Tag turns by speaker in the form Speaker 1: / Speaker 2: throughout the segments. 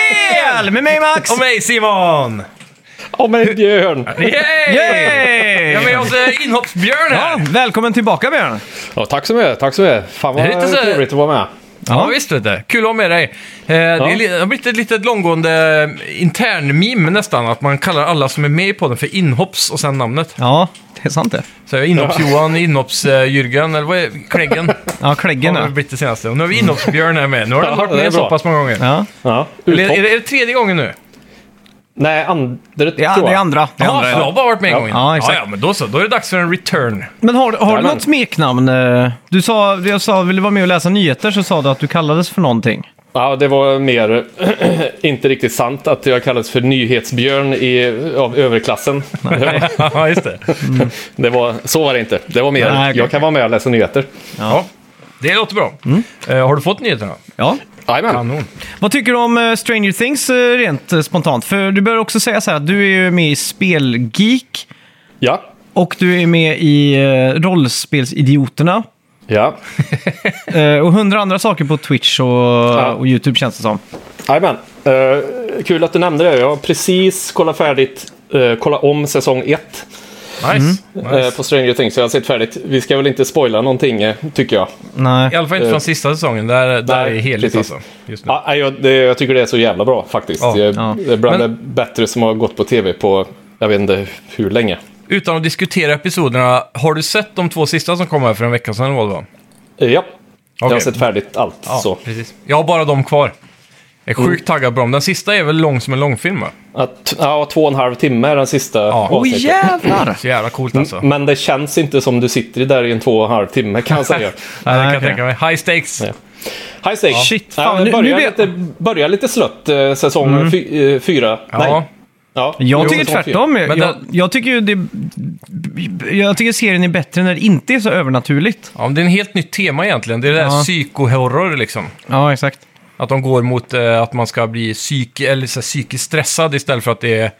Speaker 1: ikväll med mig Max!
Speaker 2: Och mig Simon!
Speaker 3: Om en björn!
Speaker 2: Yay!
Speaker 1: Yay!
Speaker 2: Jag har med oss eh, inhoppsbjörn här.
Speaker 1: Ja, välkommen tillbaka Björn!
Speaker 3: Ja, tack så mycket, tack så mycket. Fan
Speaker 2: Det är lite
Speaker 3: vad
Speaker 2: så-
Speaker 3: trevligt att vara med.
Speaker 2: Ja, visst vet du. Kul att ha med dig. Eh, Det är li- det har blivit ett litet långgående intern-meme nästan. Att man kallar alla som är med i podden för inhopps och sen namnet.
Speaker 1: Ja, det är sant det.
Speaker 2: Så jag är inhopps-Johan, inhopps-Jürgen, eller vad är Kläggen?
Speaker 1: Ja, kläggen
Speaker 2: Det har
Speaker 1: nu.
Speaker 2: blivit det senaste. Och nu har vi inhopps-Björn här med. Nu har
Speaker 3: Ja,
Speaker 2: den varit
Speaker 3: det är
Speaker 2: med så
Speaker 3: bra.
Speaker 2: pass många gånger.
Speaker 1: Ja.
Speaker 3: Ja,
Speaker 2: Eller,
Speaker 3: uthopp.
Speaker 2: är, det, är det tredje gången nu?
Speaker 3: Nej, andra
Speaker 1: Det, är,
Speaker 3: tror
Speaker 1: det är
Speaker 3: jag.
Speaker 1: andra. Det är
Speaker 2: Ja,
Speaker 1: andra
Speaker 2: så jag har
Speaker 1: ja.
Speaker 2: bara varit med en gång innan.
Speaker 1: Ja, exakt.
Speaker 2: ja, men då så. Då är det dags för en return.
Speaker 1: Men har, har du
Speaker 3: Jajamän.
Speaker 1: något smeknamn? eh? Du sa, jag sa, ville du vara med och läsa nyheter så sa du att du kallades för någonting.
Speaker 3: Ja, det var mer inte riktigt sant att jag kallades för nyhetsbjörn i, av överklassen.
Speaker 2: ja, just det. Ja.
Speaker 3: Det var, så var det inte. Det var mer,
Speaker 1: Nej, okej.
Speaker 3: jag kan vara med och läsa nyheter.
Speaker 2: Det låter bra.
Speaker 3: Mm.
Speaker 2: Eh, har du fått nyheterna?
Speaker 1: Ja.
Speaker 3: Jajamän.
Speaker 2: Kanon.
Speaker 1: Vad tycker du om eh, Stranger Things eh, rent eh, spontant? För du bör också säga så här att du är ju med i Spelgeek
Speaker 3: Ja.
Speaker 1: och du är med i eh, Rollspelsidioterna.
Speaker 3: Ja,
Speaker 1: Eh, och hundra andra saker på Twitch och, och YouTube känns det som.
Speaker 3: Jajamän. Eh, kul att du nämnde det. Jag har precis kollat färdigt, eh, kolla om säsong 1
Speaker 2: Nice. nice.
Speaker 3: på Stranger Things. Så jag har sett färdigt. Vi ska väl inte spoila någonting, eh, tycker jag.
Speaker 1: Nej.
Speaker 2: I alla fall inte från sista säsongen. Där, där
Speaker 3: eh, nej,
Speaker 2: är heligt
Speaker 3: precis.
Speaker 2: alltså. Just nu.
Speaker 3: Ja, nej, jag, det, jag tycker det är så jävla bra faktiskt.
Speaker 2: Ja,
Speaker 3: det, är-
Speaker 1: ja.
Speaker 3: det är bland
Speaker 2: Men-
Speaker 3: det bättre som har gått på tv på, jag vet inte hur länge.
Speaker 2: Utan att diskutera episoderna, har du sett de två sista som kom här för en vecka sedan? eller Vad det var?
Speaker 3: Eh, ja, jag har
Speaker 2: Okej.
Speaker 3: sett färdigt allt.
Speaker 2: Ja,
Speaker 3: Så. Mm.
Speaker 2: precis. Jag har bara dem kvar. Jag är sjukt taggad på dem. Den sista är väl lång som en långfilm, va?
Speaker 3: Att, ja, två och en halv timme är den sista
Speaker 2: Ja.
Speaker 1: Åh
Speaker 3: avsnittet.
Speaker 1: jävlar!
Speaker 2: Så jävla coolt alltså.
Speaker 3: Men det känns inte som du sitter där i en två och en halv timme kan Mm. jag
Speaker 2: Nej,
Speaker 3: säga.
Speaker 2: det kan jag
Speaker 1: okej.
Speaker 2: tänka mig. High stakes.
Speaker 3: Ja. High stakes.
Speaker 1: Shit,
Speaker 3: Ja,
Speaker 1: fan,
Speaker 3: det
Speaker 1: nu-
Speaker 3: börjar,
Speaker 1: nu blir-
Speaker 3: lite, börjar lite slött eh, säsong fy, eh, fyra.
Speaker 2: Ja.
Speaker 3: Nej. Ja,
Speaker 1: Jag
Speaker 3: jo,
Speaker 1: tycker
Speaker 3: säsong fyra.
Speaker 1: tvärtom.
Speaker 2: Men
Speaker 1: jag,
Speaker 2: den-
Speaker 1: jag tycker ju det... Jag tycker serien är bättre när det inte är så övernaturligt.
Speaker 2: Ja, men det är en helt nytt tema egentligen. Det är det där
Speaker 1: Ja.
Speaker 2: psykohorror liksom.
Speaker 1: Ja, exakt.
Speaker 2: Att de går mot eh, att man ska bli psyk, eller, så här, psykiskt stressad istället för att det är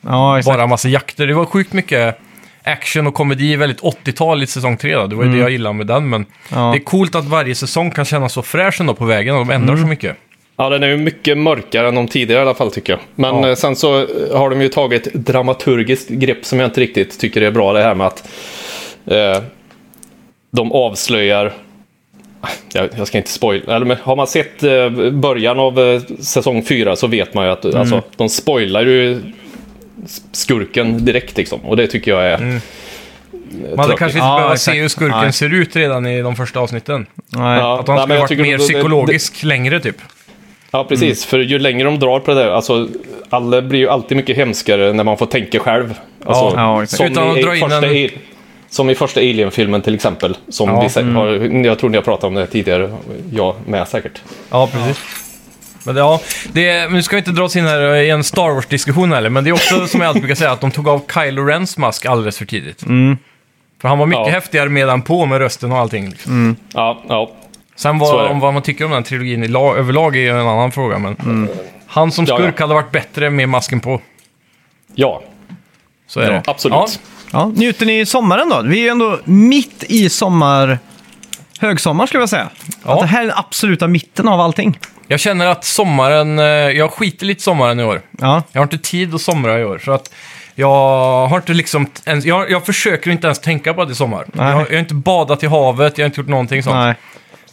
Speaker 1: Ja, exakt.
Speaker 2: bara massa jakter. Det var sjukt mycket action och komedi, väldigt 80-tal i säsong 3. Då. Det var ju
Speaker 3: Mm.
Speaker 2: det jag gillade med den, men
Speaker 1: Ja.
Speaker 2: det är coolt att varje säsong kan kännas så fräsch ändå på vägen och de ändrar
Speaker 3: Mm.
Speaker 2: så mycket.
Speaker 3: Ja, den är ju mycket mörkare än de tidigare i alla fall tycker jag. Men eh, sen så eh, har de ju tagit ett dramaturgiskt grepp som jag inte riktigt tycker är bra. Det här med att eh, de avslöjar... Jag, jag ska inte spoila. Eller, men har man sett eh, början av eh, säsong fyra så vet man ju att alltså, de spoilar ju skurken direkt liksom. Och det tycker jag är...
Speaker 2: Man hade
Speaker 3: tråkigt.
Speaker 2: kanske inte
Speaker 1: Ja,
Speaker 2: behövt
Speaker 1: exakt.
Speaker 2: se hur skurken
Speaker 1: Nej.
Speaker 2: ser ut redan i de första avsnitten.
Speaker 1: Nej.
Speaker 3: Ja.
Speaker 2: Att han
Speaker 3: Nej, men
Speaker 2: skulle
Speaker 3: jag
Speaker 2: varit
Speaker 3: tycker
Speaker 2: mer
Speaker 3: det- det-
Speaker 2: psykologisk längre typ.
Speaker 3: Ja,
Speaker 2: Mm.
Speaker 3: precis. För ju längre de drar på det där, alltså, alla blir ju alltid mycket hemskare när man får tänka själv. Alltså,
Speaker 1: ja, exakt.
Speaker 3: som,
Speaker 2: Utan att
Speaker 3: i,
Speaker 2: dra in
Speaker 3: första,
Speaker 2: en-
Speaker 3: i- som i första Alien-filmen till exempel. Som
Speaker 2: Ja, mm.
Speaker 3: vi, sä- har, jag tror ni har pratat om det tidigare, jag med säkert.
Speaker 2: Ja, precis. Men det, ja, det, är- nu ska vi inte dra oss in här i en Star Wars-diskussion heller, men det är också som jag alltid brukar säga att de tog av Kylo Rens mask alldeles för tidigt. För han var mycket
Speaker 3: Mm. Ja.
Speaker 2: häftigare medan på med rösten och allting. Liksom.
Speaker 3: Ja, ja.
Speaker 2: Sen
Speaker 3: Så är
Speaker 2: vad,
Speaker 3: det.
Speaker 2: om vad man tycker om den trilogin i la, överlag är ju en annan fråga, men han som
Speaker 3: Mm. Ja,
Speaker 2: skurk
Speaker 3: ja.
Speaker 2: hade varit bättre med masken på.
Speaker 3: ja.
Speaker 2: Så är
Speaker 1: Ja,
Speaker 2: det.
Speaker 3: absolut.
Speaker 2: Ja,
Speaker 1: Ja, njuter ni sommaren då? Vi är ju ändå mitt i sommar... Högsommar skulle jag säga.
Speaker 2: Ja.
Speaker 1: Att det här är den absoluta mitten av allting.
Speaker 2: jag känner att sommaren, eh, jag skiter lite i sommaren i år.
Speaker 1: Ja,
Speaker 2: Jag har inte tid att somra i år. Så att jag har inte liksom t- ens, jag, jag försöker inte ens tänka på att det är sommar. Jag,
Speaker 1: Nej.
Speaker 2: jag har inte badat i havet, jag har inte gjort någonting sånt.
Speaker 1: nej.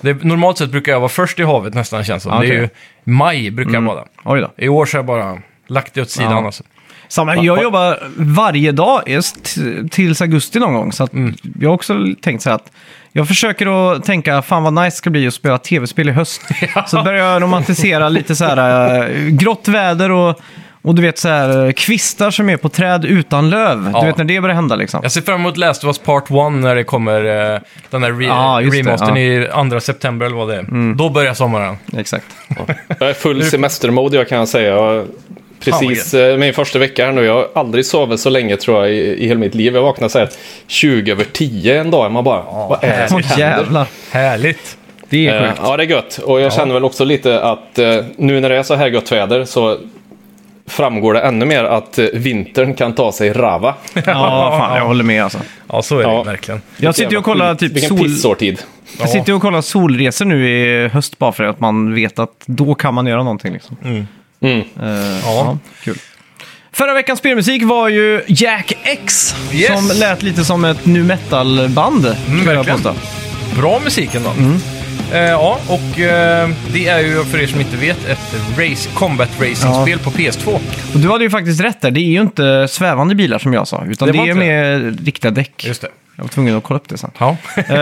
Speaker 2: Det, normalt sett brukar jag vara först i havet nästan känns som.
Speaker 1: Ja,
Speaker 2: Det är
Speaker 1: okej.
Speaker 2: ju maj brukar jag bada.
Speaker 1: Oj då.
Speaker 2: I år så har jag bara lagt det åt sidan.
Speaker 1: Ja.
Speaker 2: Alltså.
Speaker 1: Samma, jag jobbar varje dag just t- tills augusti någon gång. Så att jag har också tänkt så här att jag försöker att tänka fan vad nice det ska bli att spela tv-spel i höst. Så börjar jag romantisera lite så här eh, grått väder och, och du vet så här eh, kvistar som är på träd utan löv.
Speaker 2: Ja.
Speaker 1: Du vet när det börjar hända liksom.
Speaker 2: Jag ser fram emot Last of Us Part 1 när det kommer eh, den där re-
Speaker 1: Ja, just det,
Speaker 2: remastern i 2 september eller vad det är. Då börjar sommaren.
Speaker 1: Exakt.
Speaker 3: Jag är full semestermode jag kan säga. Jag, precis eh, min första vecka här nu. Jag har aldrig sovit så länge tror jag i, i hela mitt liv. Jag vaknade så här 20 över 10 en dag. Man bara, vad är det som
Speaker 1: Åh
Speaker 3: händer?
Speaker 1: jävlar.
Speaker 2: Härligt!
Speaker 1: Det är
Speaker 3: Eh,
Speaker 1: sjukt.
Speaker 3: Ja, det är gött. Och jag känner väl också lite att eh, nu när det är så här gött väder så framgår det ännu mer att eh, vintern kan ta sig rava.
Speaker 1: Ja, fan, jag håller med alltså.
Speaker 2: Ja, så är det
Speaker 3: Ja.
Speaker 2: verkligen.
Speaker 1: Jag sitter ju och kollar typ
Speaker 3: Vilken
Speaker 1: sol...
Speaker 3: pissårtid.
Speaker 1: Jag sitter ju och kollar solresor nu i höst bara för att man vet att då kan man göra någonting. Liksom.
Speaker 3: Mm.
Speaker 1: Eh,
Speaker 2: Ja.
Speaker 1: kul. Förra veckans spelmusik var ju Jack X.
Speaker 2: Yes. Mm,
Speaker 1: Som lät lite som ett nu metal-band. skulle jag
Speaker 2: verkligen.
Speaker 1: påstå.
Speaker 2: Bra musik ändå. Eh, ja, och eh, det är ju för er som inte vet ett race, combat racing-spel på PS2.
Speaker 1: Och du hade ju faktiskt rätt där. Det är ju inte svävande bilar som jag sa. Utan
Speaker 2: Det
Speaker 1: det,
Speaker 2: var
Speaker 1: är
Speaker 2: inte
Speaker 1: med riktiga däck.
Speaker 2: Just det.
Speaker 1: Jag var tvungen att kolla upp det sen.
Speaker 2: Ja.
Speaker 1: Eh,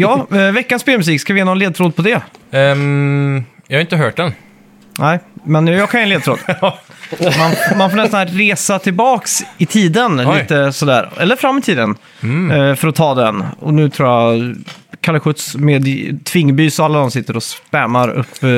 Speaker 1: ja, eh, veckans spelmusik. Ska vi ge någon ledtråd på det?
Speaker 2: Ehm, jag har inte hört den.
Speaker 1: Nej, men jag kan ge en ledtråd. Man, man får nästan resa tillbaks i tiden
Speaker 2: Oj. Mm.
Speaker 1: lite sådär. Eller fram i tiden. eh, För att ta den. Och nu tror jag Kalle Schütz med Tvingby så alla de sitter och spammar upp eh,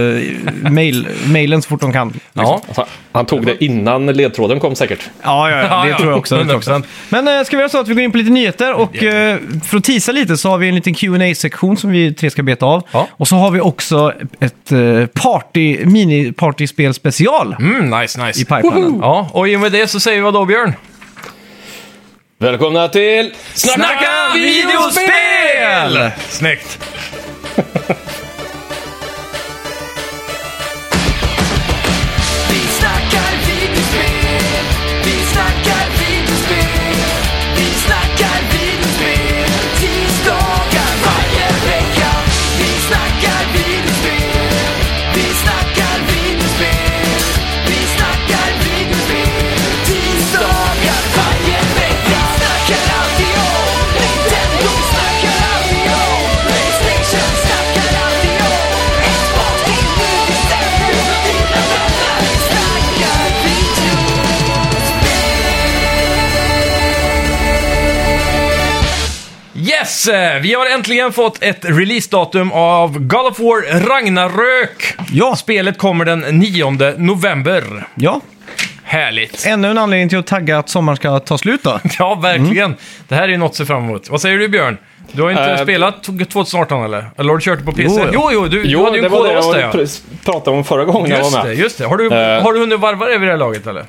Speaker 1: mail, mailen så fort de kan.
Speaker 2: Ja.
Speaker 3: Alltså, han tog det innan ledtråden kom säkert.
Speaker 1: Ja, ja, ja, det
Speaker 2: Ja,
Speaker 1: tror jag också. Det tror jag också.
Speaker 2: 100%.
Speaker 1: Men eh, ska vi göra så att vi går in på lite nyheter och eh, för att tisa lite så har vi en liten qa sektion som vi tre ska beta av.
Speaker 2: Ja.
Speaker 1: Och så har vi också ett eh, party, mini-partyspel special
Speaker 2: Mm, nice, nice.
Speaker 1: i pipelinen.
Speaker 2: Ja, och i och med det så säger vi vadå Björn?
Speaker 3: Välkomna till Snacka,
Speaker 2: Snyggt!
Speaker 4: Vi snackar videospel, vi snackar videospel, vi snackar videospel, tisdagar varje vecka. Vi snackar videospel, vi snackar videospel, vi snackar videospel, tisdagar varje vecka. Vi snackar alltid om Nintendo, vi snackar alltid om Playstation, vi snackar alltid om Xbox, det är nu vi sätter oss och tittar på det. Vi snackar video.
Speaker 2: Yes! eh, Vi har äntligen fått ett releasedatum av God of War Ragnarök!
Speaker 1: Ja.
Speaker 2: Spelet kommer den 9 november.
Speaker 1: Ja,
Speaker 2: Härligt!
Speaker 1: ännu en anledning till att tagga att sommaren ska ta slut då.
Speaker 2: Ja, verkligen. Det här är ju något att se fram emot. Vad säger du Björn? Du har ju inte
Speaker 3: Eh,
Speaker 2: spelat 2018 eller? Eller har du kört det på PC?
Speaker 1: Jo,
Speaker 2: jo, jo, du, du
Speaker 3: Jo,
Speaker 2: hade ju
Speaker 3: det
Speaker 2: en
Speaker 3: var
Speaker 2: kod
Speaker 3: det
Speaker 2: av oss där
Speaker 3: jag
Speaker 2: ja.
Speaker 3: pr- pratade om förra gången jag
Speaker 2: Just
Speaker 3: var
Speaker 2: det,
Speaker 3: med.
Speaker 2: just det. Har du,
Speaker 3: Eh.
Speaker 2: har du hunnit varva det vid det här laget eller?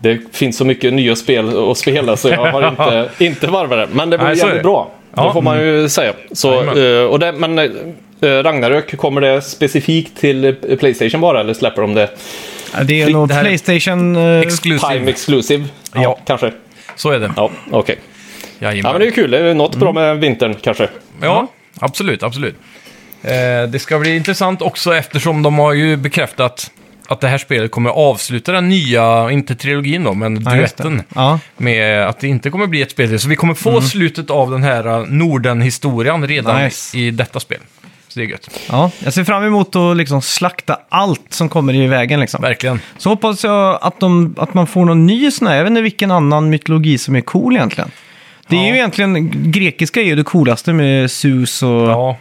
Speaker 3: Det finns så mycket nya spel att spela så jag har inte, inte varvat det. Men det var
Speaker 2: Nej, så är
Speaker 3: jävligt
Speaker 2: det.
Speaker 3: bra.
Speaker 2: Ja. Mm.
Speaker 3: Det får man ju säga. Så,
Speaker 2: Jajamän.
Speaker 3: eh, och det, men eh, Ragnarök, kommer det specifikt till eh, Playstation bara eller släpper de det
Speaker 1: Det är nog
Speaker 2: det här är
Speaker 1: Playstation... eh,
Speaker 3: Time
Speaker 2: Exclusive.
Speaker 3: Exclusive?
Speaker 2: Ja.
Speaker 3: Kanske.
Speaker 2: Så är det.
Speaker 3: Ja, okej. Ja, men
Speaker 2: Jajamän.
Speaker 3: det är ju kul. Det är ju något bra
Speaker 2: Mm.
Speaker 3: med vintern kanske.
Speaker 1: Mm.
Speaker 2: Ja, absolut, absolut. Eh, det ska bli intressant också eftersom de har ju bekräftat att det här spelet kommer avsluta den nya, inte trilogin då, men
Speaker 1: Ja, just det.
Speaker 2: duetten.
Speaker 1: Ja. Mm.
Speaker 2: Med att det inte kommer bli ett spel till. Så vi kommer få slutet av den här eh, Norden-historien redan
Speaker 1: Nice.
Speaker 2: i detta spel. Så det är gött.
Speaker 1: ja, jag ser fram emot att liksom slakta allt som kommer i vägen liksom.
Speaker 2: Verkligen.
Speaker 1: Så hoppas jag att, de, att man får någon ny sån här, jag vet inte vilken annan mytologi som är cool egentligen. Det är
Speaker 2: Ja.
Speaker 1: ju egentligen, grekiska är ju det coolaste med Zeus och,
Speaker 2: Ja,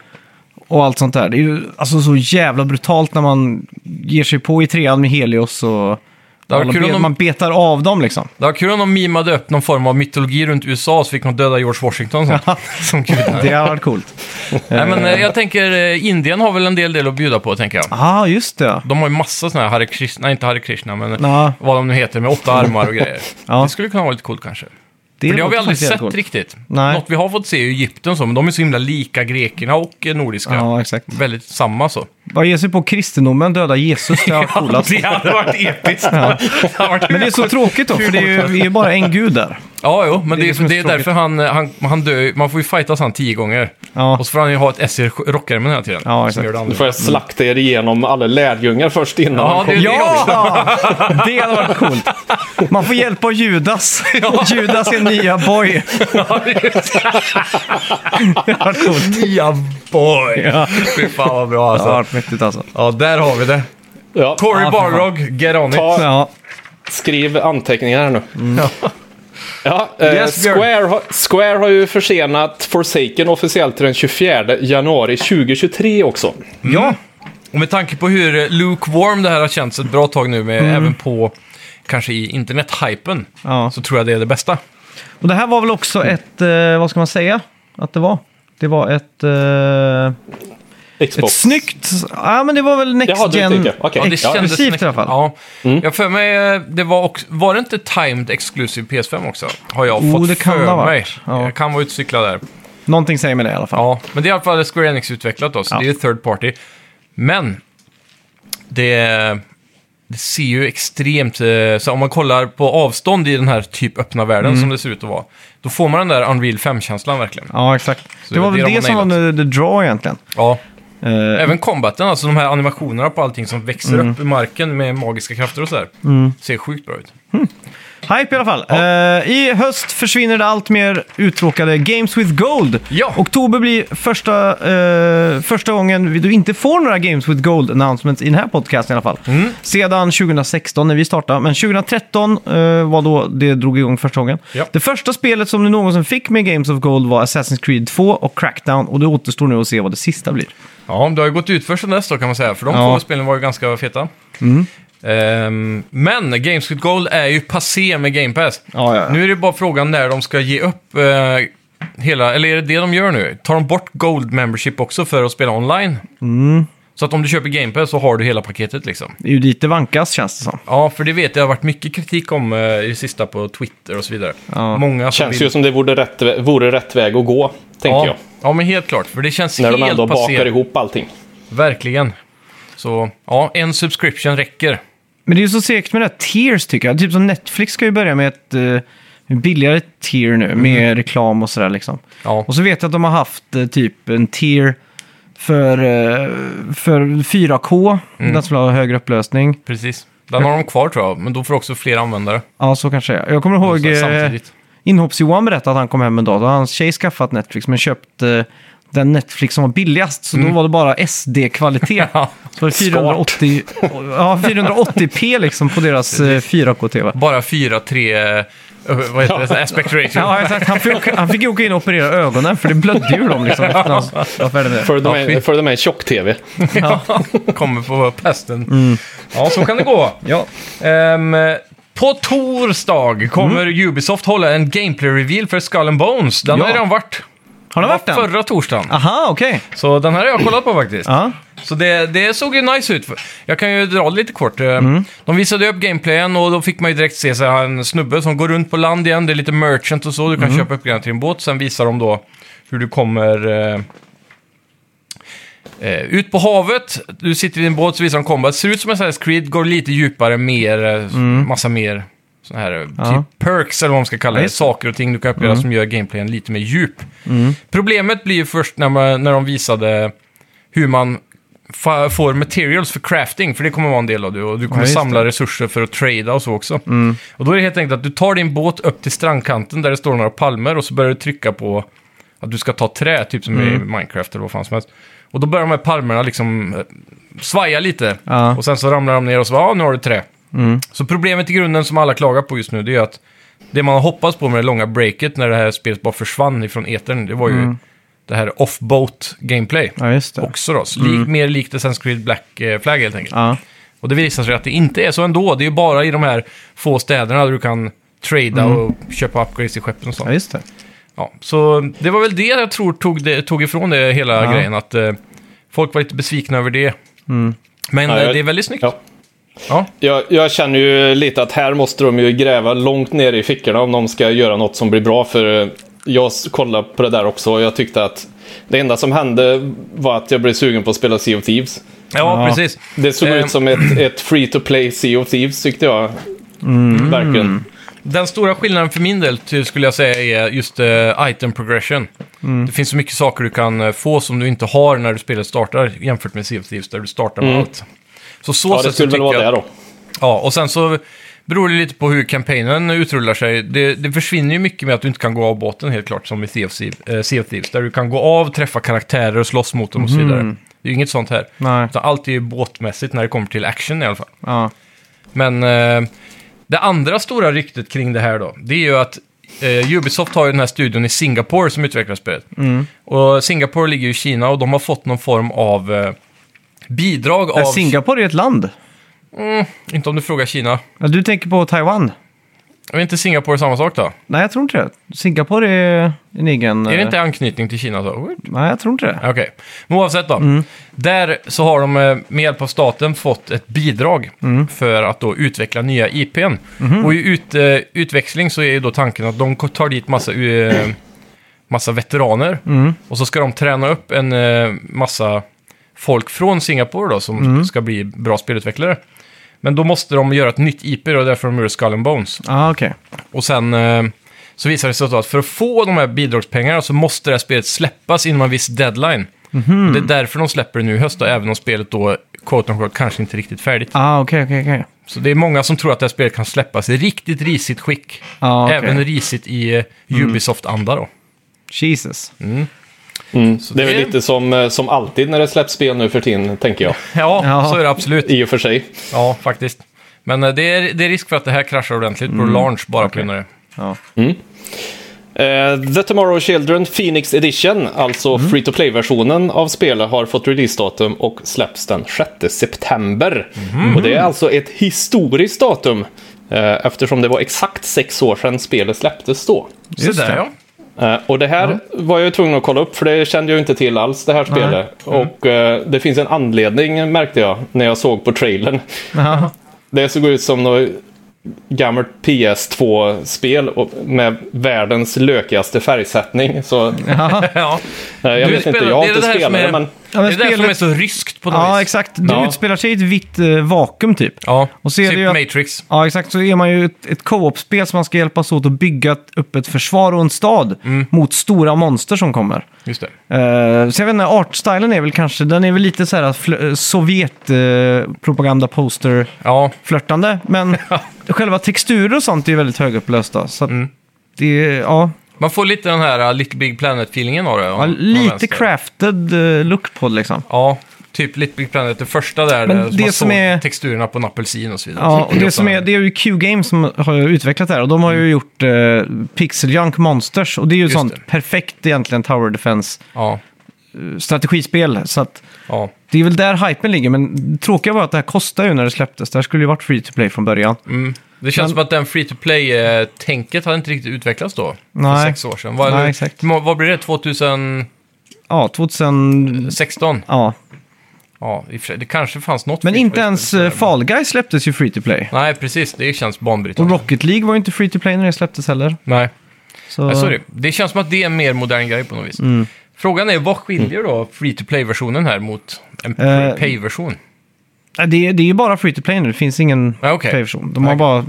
Speaker 1: och allt sånt där. Det är ju alltså så jävla brutalt när man ger sig på i trean med Helios och
Speaker 2: hade
Speaker 1: alla
Speaker 2: varit kul om
Speaker 1: be,
Speaker 2: de-
Speaker 1: man betar av dem liksom.
Speaker 2: det var kul om de mimade upp någon form av mytologi runt USA så fick de döda George Washington som, som gud.
Speaker 1: Det har varit coolt.
Speaker 2: Nej men eh, jag tänker, eh, Indien har väl en del del att bjuda på tänker jag.
Speaker 1: Ja, ah, just det.
Speaker 2: De har ju massa sådana här Hare Krishna, nej inte Hare Krishna, men
Speaker 1: Ja.
Speaker 2: vad de nu heter med åtta armar och grejer.
Speaker 1: Ja.
Speaker 2: Det skulle kunna vara lite coolt kanske. För det har vi
Speaker 1: låter
Speaker 2: aldrig
Speaker 1: faktiskt
Speaker 2: sett
Speaker 1: jävligt coolt.
Speaker 2: riktigt.
Speaker 1: Nej.
Speaker 2: Något vi har fått se är Egypten så, men de är så himla lika grekerna och eh, nordiska.
Speaker 1: Ja, exakt.
Speaker 2: Väldigt samma så.
Speaker 1: Bara ge sig på kristendomen, döda Jesus, det var coolast.
Speaker 2: det hade varit episkt. Det hade varit-
Speaker 1: Men det är så tråkigt då, för det är ju, det är ju bara en gud där.
Speaker 2: Ja, jo, men det,
Speaker 1: det
Speaker 2: är,
Speaker 1: som är
Speaker 2: det är
Speaker 1: så tråkigt.
Speaker 2: därför han, eh, han, han dör ju- Man får ju fightas han tio gånger.
Speaker 1: Ja.
Speaker 2: Och så får han ju ha ett S i rockärmen hela tiden.
Speaker 1: Ja,
Speaker 2: som
Speaker 1: exakt.
Speaker 2: gör det
Speaker 3: Nu
Speaker 2: andra.
Speaker 3: får jag slakta er igenom alla lärjungar först innan
Speaker 2: Mm. Ja,
Speaker 3: han
Speaker 2: det är
Speaker 3: kommer.
Speaker 2: ju det också.
Speaker 1: Det hade varit coolt. Man får hjälp av Judas. Judas är nya boy.
Speaker 2: Ja, det är just det.
Speaker 1: Det hade varit coolt.
Speaker 2: Nya boy!
Speaker 1: Ja.
Speaker 2: Fy fan vad bra
Speaker 1: Det
Speaker 2: alltså.
Speaker 1: hade varit mäktigt alltså.
Speaker 2: Ja, där har vi det.
Speaker 3: Ja,
Speaker 2: Corey
Speaker 1: Ja, för fan.
Speaker 2: Barlog, get on it.
Speaker 3: Ta-
Speaker 1: Ja,
Speaker 3: skriv anteckningar här nu. Ja, eh,
Speaker 2: Mm. Yes, Björn.
Speaker 3: Square, har, Square har ju försenat Forsaken officiellt till den 24 januari 2023 också.
Speaker 1: ja.
Speaker 2: Och med tanke på hur eh, lukewarm det här har känts ett bra tag nu, med, även på kanske i internethypen,
Speaker 1: Mm. Ja.
Speaker 2: så tror jag det är det bästa.
Speaker 1: Och det här var väl också ett, eh, vad ska man säga att det var? Det var ett, eh, ett
Speaker 3: Xbox.
Speaker 1: snyggt, ja men det var väl Next
Speaker 3: Jaha, du
Speaker 1: Gen
Speaker 3: tycker. Okej.
Speaker 2: Ja, det
Speaker 3: Ja,
Speaker 2: kändes
Speaker 1: exklusivt
Speaker 2: nästan-
Speaker 1: i alla fall.
Speaker 2: Ja. Jag för mig, eh, det var, också, var det inte timed exclusive PS5 också? Har jag
Speaker 1: Oh,
Speaker 2: fått
Speaker 1: det kan
Speaker 2: för
Speaker 1: det ha varit.
Speaker 2: mig.
Speaker 1: Ja.
Speaker 2: Jag kan vara utcyklad där.
Speaker 1: Någonting säger mig det i alla fall.
Speaker 2: Ja, men det är i alla fall Square Enix utvecklat då, så
Speaker 1: Ja.
Speaker 2: det är third party. Men det det ser ju extremt... eh, Så om man kollar på avstånd i den här typ öppna världen
Speaker 1: Mm.
Speaker 2: som det ser ut att vara, då får man den där Unreal 5-känslan verkligen.
Speaker 1: Ja, exakt.
Speaker 2: det
Speaker 1: det var
Speaker 2: är det
Speaker 1: väl
Speaker 2: de
Speaker 1: det
Speaker 2: har
Speaker 1: som var the, the draw egentligen.
Speaker 2: Ja.
Speaker 1: Eh,
Speaker 2: Även combaten, alltså de här animationerna på allting som växer
Speaker 1: Mm.
Speaker 2: upp i marken med magiska krafter och sådär. Ser sjukt bra ut.
Speaker 1: Hype i alla fall. Eh, I höst försvinner det allt mer uttråkade Games with Gold.
Speaker 2: Ja.
Speaker 1: Oktober blir första, eh, första gången vi- du inte får några Games with Gold announcements i den här podcasten i alla fall.
Speaker 2: Mm.
Speaker 1: Sedan 2016 när vi startade, men 2013 eh, var då det drog igång första gången.
Speaker 2: Ja.
Speaker 1: Det första spelet som du någonsin fick med Games of Gold var Assassin's Creed 2 och Crackdown och det återstår nu att se vad det sista blir.
Speaker 2: Ja, det har ju gått ut först sedan dess då kan man säga, för de
Speaker 1: Ja. Mm.
Speaker 2: två spelen var ju ganska feta. Ehm, men Games with Gold är ju passé med Game Pass.
Speaker 1: Ja, ja, ja.
Speaker 2: Nu är det bara frågan när de ska ge upp eh, hela, eller är det det de gör nu? Tar de bort Gold Membership också för att spela online?
Speaker 1: Mm.
Speaker 2: Så att om du köper Game Pass så har du hela paketet liksom.
Speaker 1: Det är ju dit det vankas känns det som.
Speaker 2: Ja, för det vet jag, det har varit mycket kritik om eh, i det sista på Twitter och så vidare.
Speaker 1: Ja.
Speaker 2: Många som
Speaker 3: Känns
Speaker 2: vill...
Speaker 3: ju som det vore rätt, vä- vore rätt väg att gå, tänker
Speaker 2: ja.
Speaker 3: jag.
Speaker 2: ja, men helt klart, för det känns
Speaker 3: När
Speaker 2: helt
Speaker 3: de ändå
Speaker 2: passé.
Speaker 3: bakar ihop allting.
Speaker 2: Verkligen. Så, ja, en subscription räcker.
Speaker 1: Men det är ju så segt med det här tiers tycker jag. Typ som Netflix ska ju börja med ett eh, billigare tier
Speaker 2: Mm.
Speaker 1: nu med reklam och sådär liksom.
Speaker 2: Ja.
Speaker 1: Och så vet jag att de har haft eh, typ en tier för, eh, för 4K,
Speaker 2: Mm.
Speaker 1: den som har högre upplösning.
Speaker 2: Precis. Den har de kvar tror jag, men då får också fler användare.
Speaker 1: Ja, så kanske det är. Jag kommer ihåg
Speaker 2: Så här,
Speaker 1: eh,
Speaker 2: Alltså, samtidigt.
Speaker 1: Inhopps-Johan berättade att han kom hem en dag. Då hade hans tjej skaffat Netflix men köpt eh, den Netflix som var billigast. Så då var det bara SD-kvalitet.
Speaker 2: Mm. Ja.
Speaker 1: Så var det 480, ja, 480p liksom på deras eh, 4K-tv.
Speaker 2: Bara 4-3, eh, vad heter det, aspect ratio.
Speaker 1: Ja, exakt. Han fick, han fick ju åka in och operera ögonen för det blödde ju dem liksom. efter han var färdig med det.
Speaker 3: För de
Speaker 2: fy.
Speaker 3: är, för de är en tjock-tv.
Speaker 2: Kommer på pesten.
Speaker 3: Mm.
Speaker 2: Ja, så kan det gå.
Speaker 1: Ja.
Speaker 2: Ehm, på torsdag kommer
Speaker 3: Mm.
Speaker 2: Ubisoft hålla en gameplay-reveal för Skull and Bones. Den
Speaker 1: Ja.
Speaker 2: har ju redan varit.
Speaker 1: Har den varit
Speaker 2: Den
Speaker 1: den?
Speaker 2: var Förra torsdagen.
Speaker 1: Aha, okej.
Speaker 2: Så den här har jag kollat på faktiskt.
Speaker 1: Ja.
Speaker 2: Så det, det såg ju nice ut. Jag kan ju dra lite kort. Eh, De visade upp gameplayen och då fick man ju direkt se så här, en snubbe som går runt på land igen. Det är lite merchant och så. Du kan köpa upp grejer till din båt. Sen visar de då hur du kommer eh, eh, ut på havet. Du sitter i din båt så visar de combat. Ser ut som en sån här Creed, går lite djupare, mer, eh, massa mer sån här eh,
Speaker 1: Mm. Ja.
Speaker 2: typ perks eller vad man ska kalla
Speaker 1: Ja,
Speaker 2: det.
Speaker 1: just det. Mm.
Speaker 2: Saker och ting du kan uppleva som gör gameplayen lite mer djup. Problemet blir ju först när, man, när de visade hur man fa- får materials för crafting, för det kommer vara en del av det. Och du kommer
Speaker 1: just det. Mm.
Speaker 2: samla resurser för att trada och så också. Och då är det helt enkelt att du tar din båt upp till strandkanten där det står några palmer och så börjar du trycka på att du ska ta trä, typ som
Speaker 1: Mm.
Speaker 2: i Minecraft eller vad fan som helst. Och då börjar de här palmerna liksom eh, svaja lite.
Speaker 1: Ja. Mm.
Speaker 2: Och sen så ramlar de ner och så ja, nu har du trä. Så problemet i grunden som alla klagar på just nu, det är att det man har hoppats på med det långa breaket när det här spelet bara försvann ifrån etern, det var ju det här off-boat gameplay.
Speaker 1: Mm. Ja, just det. Mm.
Speaker 2: Också då, Så lik, mer likt Assassin's Creed Black eh, Flag helt enkelt.
Speaker 1: Ja.
Speaker 2: Och det visar sig att det inte är så ändå. Det är ju bara i de här få städerna där du kan trada
Speaker 1: Mm.
Speaker 2: och köpa upgrades i skeppen och sånt.
Speaker 1: ja, just det.
Speaker 2: Ja, så det var väl det jag tror tog, det, tog ifrån det hela
Speaker 1: Ja.
Speaker 2: grejen, att eh, folk var lite besvikna över det. Men
Speaker 3: Ja,
Speaker 2: eh,
Speaker 3: jag-
Speaker 2: det är väldigt snyggt.
Speaker 3: Ja.
Speaker 2: Ja.
Speaker 3: Jag, jag känner ju lite att här måste de ju gräva långt ner i fickorna om de ska göra något som blir bra. För eh, jag s- kollade på det där också och jag tyckte att det enda som hände var att jag blev sugen på att spela Sea of Thieves.
Speaker 2: Ja,
Speaker 1: Ja.
Speaker 2: precis.
Speaker 3: Det såg
Speaker 2: Eh,
Speaker 3: ut som ett, ett free to play Sea of Thieves tyckte jag. Verkligen.
Speaker 2: Mm. Den stora skillnaden för min del ty- skulle jag säga är just eh, item progression. Det finns så mycket saker du kan eh, få som du inte har när du spelet startar jämfört med Sea of Thieves där du startar med allt. Så så
Speaker 3: Mm. Ja,
Speaker 2: sätt
Speaker 3: det
Speaker 2: så
Speaker 3: skulle väl
Speaker 2: tycker
Speaker 3: vara
Speaker 2: jag-
Speaker 3: det då.
Speaker 2: Ja, och sen så beror det lite på hur kampanjen utrullar sig. Det, det försvinner ju mycket med att du inte kan gå av båten helt klart, som i Sea of Thieves, eh, sea of Thieves där du kan gå av, träffa karaktärer och slåss mot dem och så vidare. Det är ju inget sånt här.
Speaker 1: Mhm. Nej.
Speaker 2: Utan allt är ju båtmässigt när det kommer till action i alla fall.
Speaker 1: Ja.
Speaker 2: Men eh, det andra stora ryktet kring det här då, det är ju att eh, Ubisoft har ju den här studion i Singapore som utvecklar spelet.
Speaker 1: Mm.
Speaker 2: Och Singapore ligger ju i Kina och de har fått någon form av eh, bidrag av...
Speaker 1: Äh, Singapore är ett land.
Speaker 2: Inte om du frågar Kina.
Speaker 1: Ja, Du tänker på Taiwan.
Speaker 2: Är inte Singapore samma sak då?
Speaker 1: Nej, jag tror inte det. Singapore är en egen...
Speaker 2: Är det
Speaker 1: eh,
Speaker 2: inte anknytning till Kina? så? Okej.
Speaker 1: Nej, jag tror inte det.
Speaker 2: Men oavsett då. Där så har de eh, med hjälp av staten fått ett bidrag för att då utveckla nya IPn. Och i ut, eh, utväxling så är ju då tanken att de tar dit massa, eh, massa veteraner. Och så ska de träna upp en eh, massa folk från Singapore då som ska bli bra spelutvecklare. Men då måste de göra ett nytt IP och därför de gjorde Skull and Bones.
Speaker 1: Ah, okej.
Speaker 2: Och sen eh, så visade det sig då att för att få de här bidragspengarna så måste det här spelet släppas inom en viss deadline.
Speaker 1: Mhm.
Speaker 2: Och Det är därför de släpper det nu i höst, då, även om spelet då, quote unquote, kanske inte är riktigt färdigt.
Speaker 1: Ah, okej, okej, okej.
Speaker 2: Så det är många som tror att det här spelet kan släppas i riktigt risigt skick.
Speaker 1: Ja, okej. Mm.
Speaker 2: Även risigt i eh, Ubisoft-anda då.
Speaker 1: Jesus.
Speaker 2: Så
Speaker 3: Det är väl
Speaker 2: det-
Speaker 3: lite som, eh, som alltid när det släpps spel nu för tiden, tänker jag.
Speaker 2: Ja,
Speaker 1: Ja.
Speaker 2: så är det absolut.
Speaker 3: I och för sig.
Speaker 2: Ja, faktiskt. Men eh, det är, det är risk för att det här kraschar ordentligt
Speaker 1: Mm.
Speaker 2: på launch bara på grund av det.
Speaker 1: Ja.
Speaker 3: Eh, The Tomorrow Children Phoenix Edition, alltså free to play-versionen av spelet, har fått releasedatum och släpps den 6 september. Och det är alltså ett historiskt datum, eh, eftersom det var exakt sex år sedan spelet släpptes då.
Speaker 2: Så
Speaker 1: Just
Speaker 2: där
Speaker 1: det.
Speaker 2: ja.
Speaker 3: Eh, Och det här var jag ju tvungen att kolla upp för det kände jag inte till alls det här spelet. Och eh, det finns en anledning märkte jag när jag såg på trailern.
Speaker 1: Aha.
Speaker 3: Det såg ut som något gammalt PS2-spel och- med världens lökigaste färgsättning. Så eh,
Speaker 2: ja.
Speaker 3: jag
Speaker 2: Du
Speaker 3: vet inte,
Speaker 2: spelar-
Speaker 3: jag har
Speaker 2: det är
Speaker 3: inte
Speaker 2: det här som
Speaker 3: spelat det
Speaker 2: är-
Speaker 3: men...
Speaker 2: Det
Speaker 1: Ja,
Speaker 2: är
Speaker 1: men
Speaker 2: därför de är
Speaker 1: spelet...
Speaker 2: så ryskt på något
Speaker 1: Ja,
Speaker 2: vis.
Speaker 1: exakt. Det
Speaker 3: Ja.
Speaker 1: utspelar sig i ett vitt eh, vakuum typ.
Speaker 2: Ja,
Speaker 1: Och så är
Speaker 2: typ
Speaker 1: det ju att-
Speaker 2: Matrix.
Speaker 1: Ja, exakt. Så är man ju ett, ett co-op-spel som man ska hjälpas åt att bygga ett- upp ett försvar och en stad
Speaker 2: Mm.
Speaker 1: mot stora monster som kommer.
Speaker 2: Just det.
Speaker 1: Eh, så jag vet inte, artstylen är väl kanske, den är väl lite så här fl- eh, Sovjet eh, propaganda poster
Speaker 2: Ja,
Speaker 1: flörtande men själva texturer och sånt är ju väldigt högupplösta. Så att
Speaker 2: Mm.
Speaker 1: det är, ja,
Speaker 2: man får lite den här uh, Little Big Planet-feelingen av det. om-
Speaker 1: ja,
Speaker 2: om
Speaker 1: lite
Speaker 2: vänster.
Speaker 1: crafted eh, look på det liksom.
Speaker 2: Ja, typ Little Big Planet, det första där.
Speaker 1: Men
Speaker 2: där
Speaker 1: det
Speaker 2: man
Speaker 1: som
Speaker 2: såg
Speaker 1: är-
Speaker 2: texturerna på en apelsin och så vidare. Typ
Speaker 1: Ja, och det, som är, det är ju Q-Game som har ju utvecklat det här och de har ju gjort eh, Pixel Junk Monsters och det är ju
Speaker 2: Just
Speaker 1: sånt
Speaker 2: det.
Speaker 1: perfekt egentligen Tower Defense
Speaker 2: Ja,
Speaker 1: strategispel. Så att
Speaker 2: ja.
Speaker 1: det är väl där hypen ligger, men det tråkiga var att det här kostade ju när det släpptes. Det här skulle ju varit free to play från början.
Speaker 2: Mm, Det känns
Speaker 1: Men-
Speaker 2: som att den free to play-tänket hade inte riktigt utvecklats då. För
Speaker 1: Nej.
Speaker 2: sex år sedan. Vad,
Speaker 1: Nej, exakt.
Speaker 2: Må- vad blir det? 2016?
Speaker 1: Ja, 2000... Ja,
Speaker 2: Ja, i och för sig, det kanske fanns något.
Speaker 1: men
Speaker 2: free to
Speaker 1: inte
Speaker 2: play-spel
Speaker 1: ens
Speaker 2: som
Speaker 1: eh,
Speaker 2: det, men-
Speaker 1: Fall Guys släpptes ju free to play.
Speaker 2: Nej, precis. Det känns
Speaker 1: Och
Speaker 2: banbrytande.
Speaker 1: Rocket League var ju inte free to play när det släpptes heller.
Speaker 2: Nej,
Speaker 1: Så... Mm.
Speaker 2: Nej, sorry. Det känns som att det är en mer modern grej på något vis. Frågan är, vad skiljer då free to play-versionen här mot en
Speaker 1: Eh,
Speaker 2: pay-version?
Speaker 1: Nej, Det, är, det är ju bara free to play nu, det finns ingen
Speaker 2: Ja, okej.
Speaker 1: play-version. De har bara...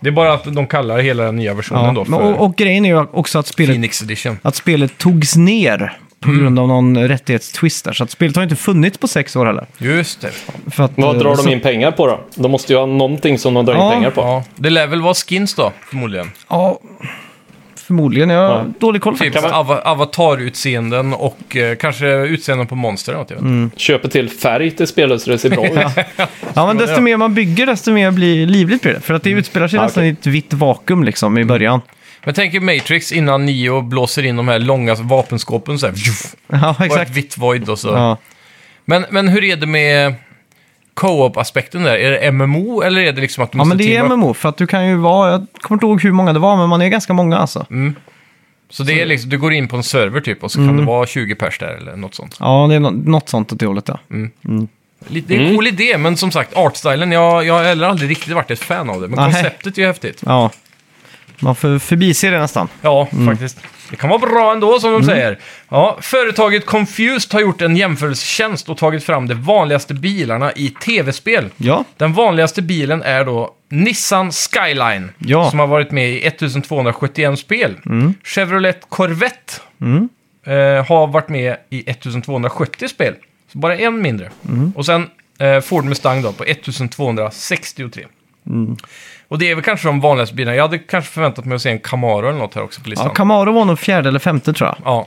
Speaker 2: Det är bara att de kallar hela den nya versionen
Speaker 1: Ja.
Speaker 2: då
Speaker 1: men-
Speaker 2: för
Speaker 1: Och, och grejen är ju också att spelet
Speaker 2: Phoenix Edition.
Speaker 1: att spelet togs ner på
Speaker 2: Mm.
Speaker 1: grund av någon rättighetstwist där. Så att spelet har inte funnits på sex år heller.
Speaker 2: Just det.
Speaker 1: För att,
Speaker 3: Vad
Speaker 1: eh,
Speaker 3: drar
Speaker 1: så-
Speaker 3: de in pengar på då? De måste ju ha någonting som de drar in
Speaker 1: Ja.
Speaker 3: pengar på.
Speaker 2: Mm. Ja. Det lär väl vara skins då, förmodligen.
Speaker 1: Ja, förmodligen. Jag har
Speaker 3: Ja.
Speaker 1: dålig koll
Speaker 2: Typ
Speaker 1: faktiskt.
Speaker 3: man-
Speaker 2: ava- avatarutseenden och eh, kanske utseenden på monster eller något, jag vet.
Speaker 1: Mm.
Speaker 2: inte.
Speaker 3: Köper till färg till spelet så det ser bra ut.
Speaker 1: Ja, men desto mer man bygger, desto mer blir livligt blir det. För att
Speaker 2: Mm.
Speaker 1: det utspelar
Speaker 2: Ah,
Speaker 1: sig
Speaker 3: Ja,
Speaker 1: nästan
Speaker 3: okej.
Speaker 1: i ett vitt vakuum liksom i början.
Speaker 2: Men tänk er Matrix innan Neo blåser in de här långa vapenskåpen så här. Vjuff,
Speaker 1: Ja,
Speaker 2: bara ett
Speaker 1: exakt.
Speaker 2: vitt void och så.
Speaker 1: Ja.
Speaker 2: Men, men hur är det med co-op-aspekten där? Är det MMO eller är det liksom att du
Speaker 1: ja,
Speaker 2: måste
Speaker 1: men det är
Speaker 2: teama upp?
Speaker 1: MMO. För att du kan ju vara, jag kommer inte ihåg hur många det var, men man är ganska många alltså.
Speaker 2: Mm. Så det är liksom, du går in på en server typ och så kan det vara 20 pers där eller något sånt.
Speaker 1: Ja, det är nå- något sånt åt det hållet ja.
Speaker 2: Mm. Lite, det är en cool idé, men som sagt, artstylen, jag, jag har heller aldrig riktigt varit ett fan av det. Men
Speaker 1: Nej.
Speaker 2: konceptet är ju häftigt.
Speaker 1: ja. Man får förbise det nästan.
Speaker 2: Ja,
Speaker 1: Mm.
Speaker 2: Mm. faktiskt. Det kan vara bra ändå, som de säger. Ja, företaget Confused har gjort en jämförelsetjänst och tagit fram de vanligaste bilarna i tv-spel.
Speaker 1: Ja,
Speaker 2: Den vanligaste bilen är då Nissan Skyline,
Speaker 1: Ja. Mm.
Speaker 2: som har varit med i 1271 spel. Chevrolet Corvette eh, har varit med i 1270 spel, så bara en mindre.
Speaker 1: Mm.
Speaker 2: Och sen eh, Ford Mustang då på 1263.
Speaker 1: Mm.
Speaker 2: Och det är väl kanske de vanligaste bilarna. Jag hade kanske förväntat mig att se en Camaro eller något här också på listan.
Speaker 1: ja Camaro var nog fjärde eller femte tror jag.
Speaker 2: Ja.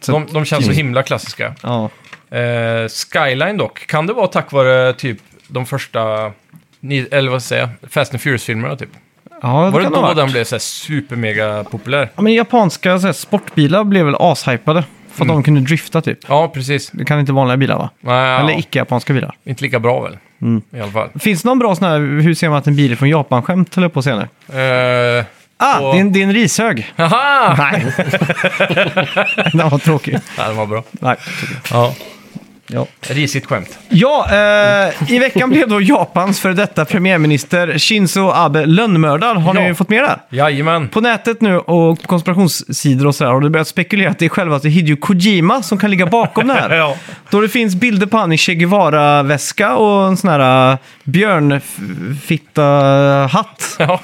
Speaker 1: Så-
Speaker 2: De, de känns så himla klassiska.
Speaker 1: Ja.
Speaker 2: Eh, Skyline dock, kan det vara tack vare typ de första, ni- eller vad säger jag, Fast and Furious-filmerna typ?
Speaker 1: Ja, det
Speaker 2: Var det
Speaker 1: kan ha
Speaker 2: då
Speaker 1: varit.
Speaker 2: den blev så här supermega populär?
Speaker 1: Ja, men japanska så här, sportbilar blev väl ashypade för
Speaker 2: Mm.
Speaker 1: att de kunde drifta typ.
Speaker 2: Ja, precis.
Speaker 1: Det kan inte vanliga bilar va?
Speaker 2: Nej,
Speaker 1: Eller
Speaker 2: ja,
Speaker 1: icke-japanska bilar.
Speaker 2: inte lika bra väl?
Speaker 1: Mm.
Speaker 2: I alla fall.
Speaker 1: Finns det någon bra sån här, hur ser man att en bil är från Japan-skämt, höll jag på att säga nu.
Speaker 2: Eh,
Speaker 1: Ah,
Speaker 2: Och-
Speaker 1: det, är en, det är en rishög.
Speaker 2: haha!
Speaker 1: Nej. Den var tråkig.
Speaker 2: Nej, den var bra.
Speaker 1: Nej.
Speaker 2: Ja.
Speaker 1: Ja.
Speaker 2: Risigt skämt.
Speaker 1: Ja, eh, i veckan blev då Japans för detta premiärminister Shinzo Abe lönnmördad. Har ni
Speaker 2: Ja.
Speaker 1: fått med det? här?
Speaker 2: Jajamän.
Speaker 1: På nätet nu och på konspirationssidor och sådär har det börjat spekulera att det är självaste Hideo Kojima som kan ligga bakom det här.
Speaker 2: Ja.
Speaker 1: Då det finns bilder på han i Che Guevara-väska och en sån här eh, björnfitta-hatt
Speaker 2: Ja.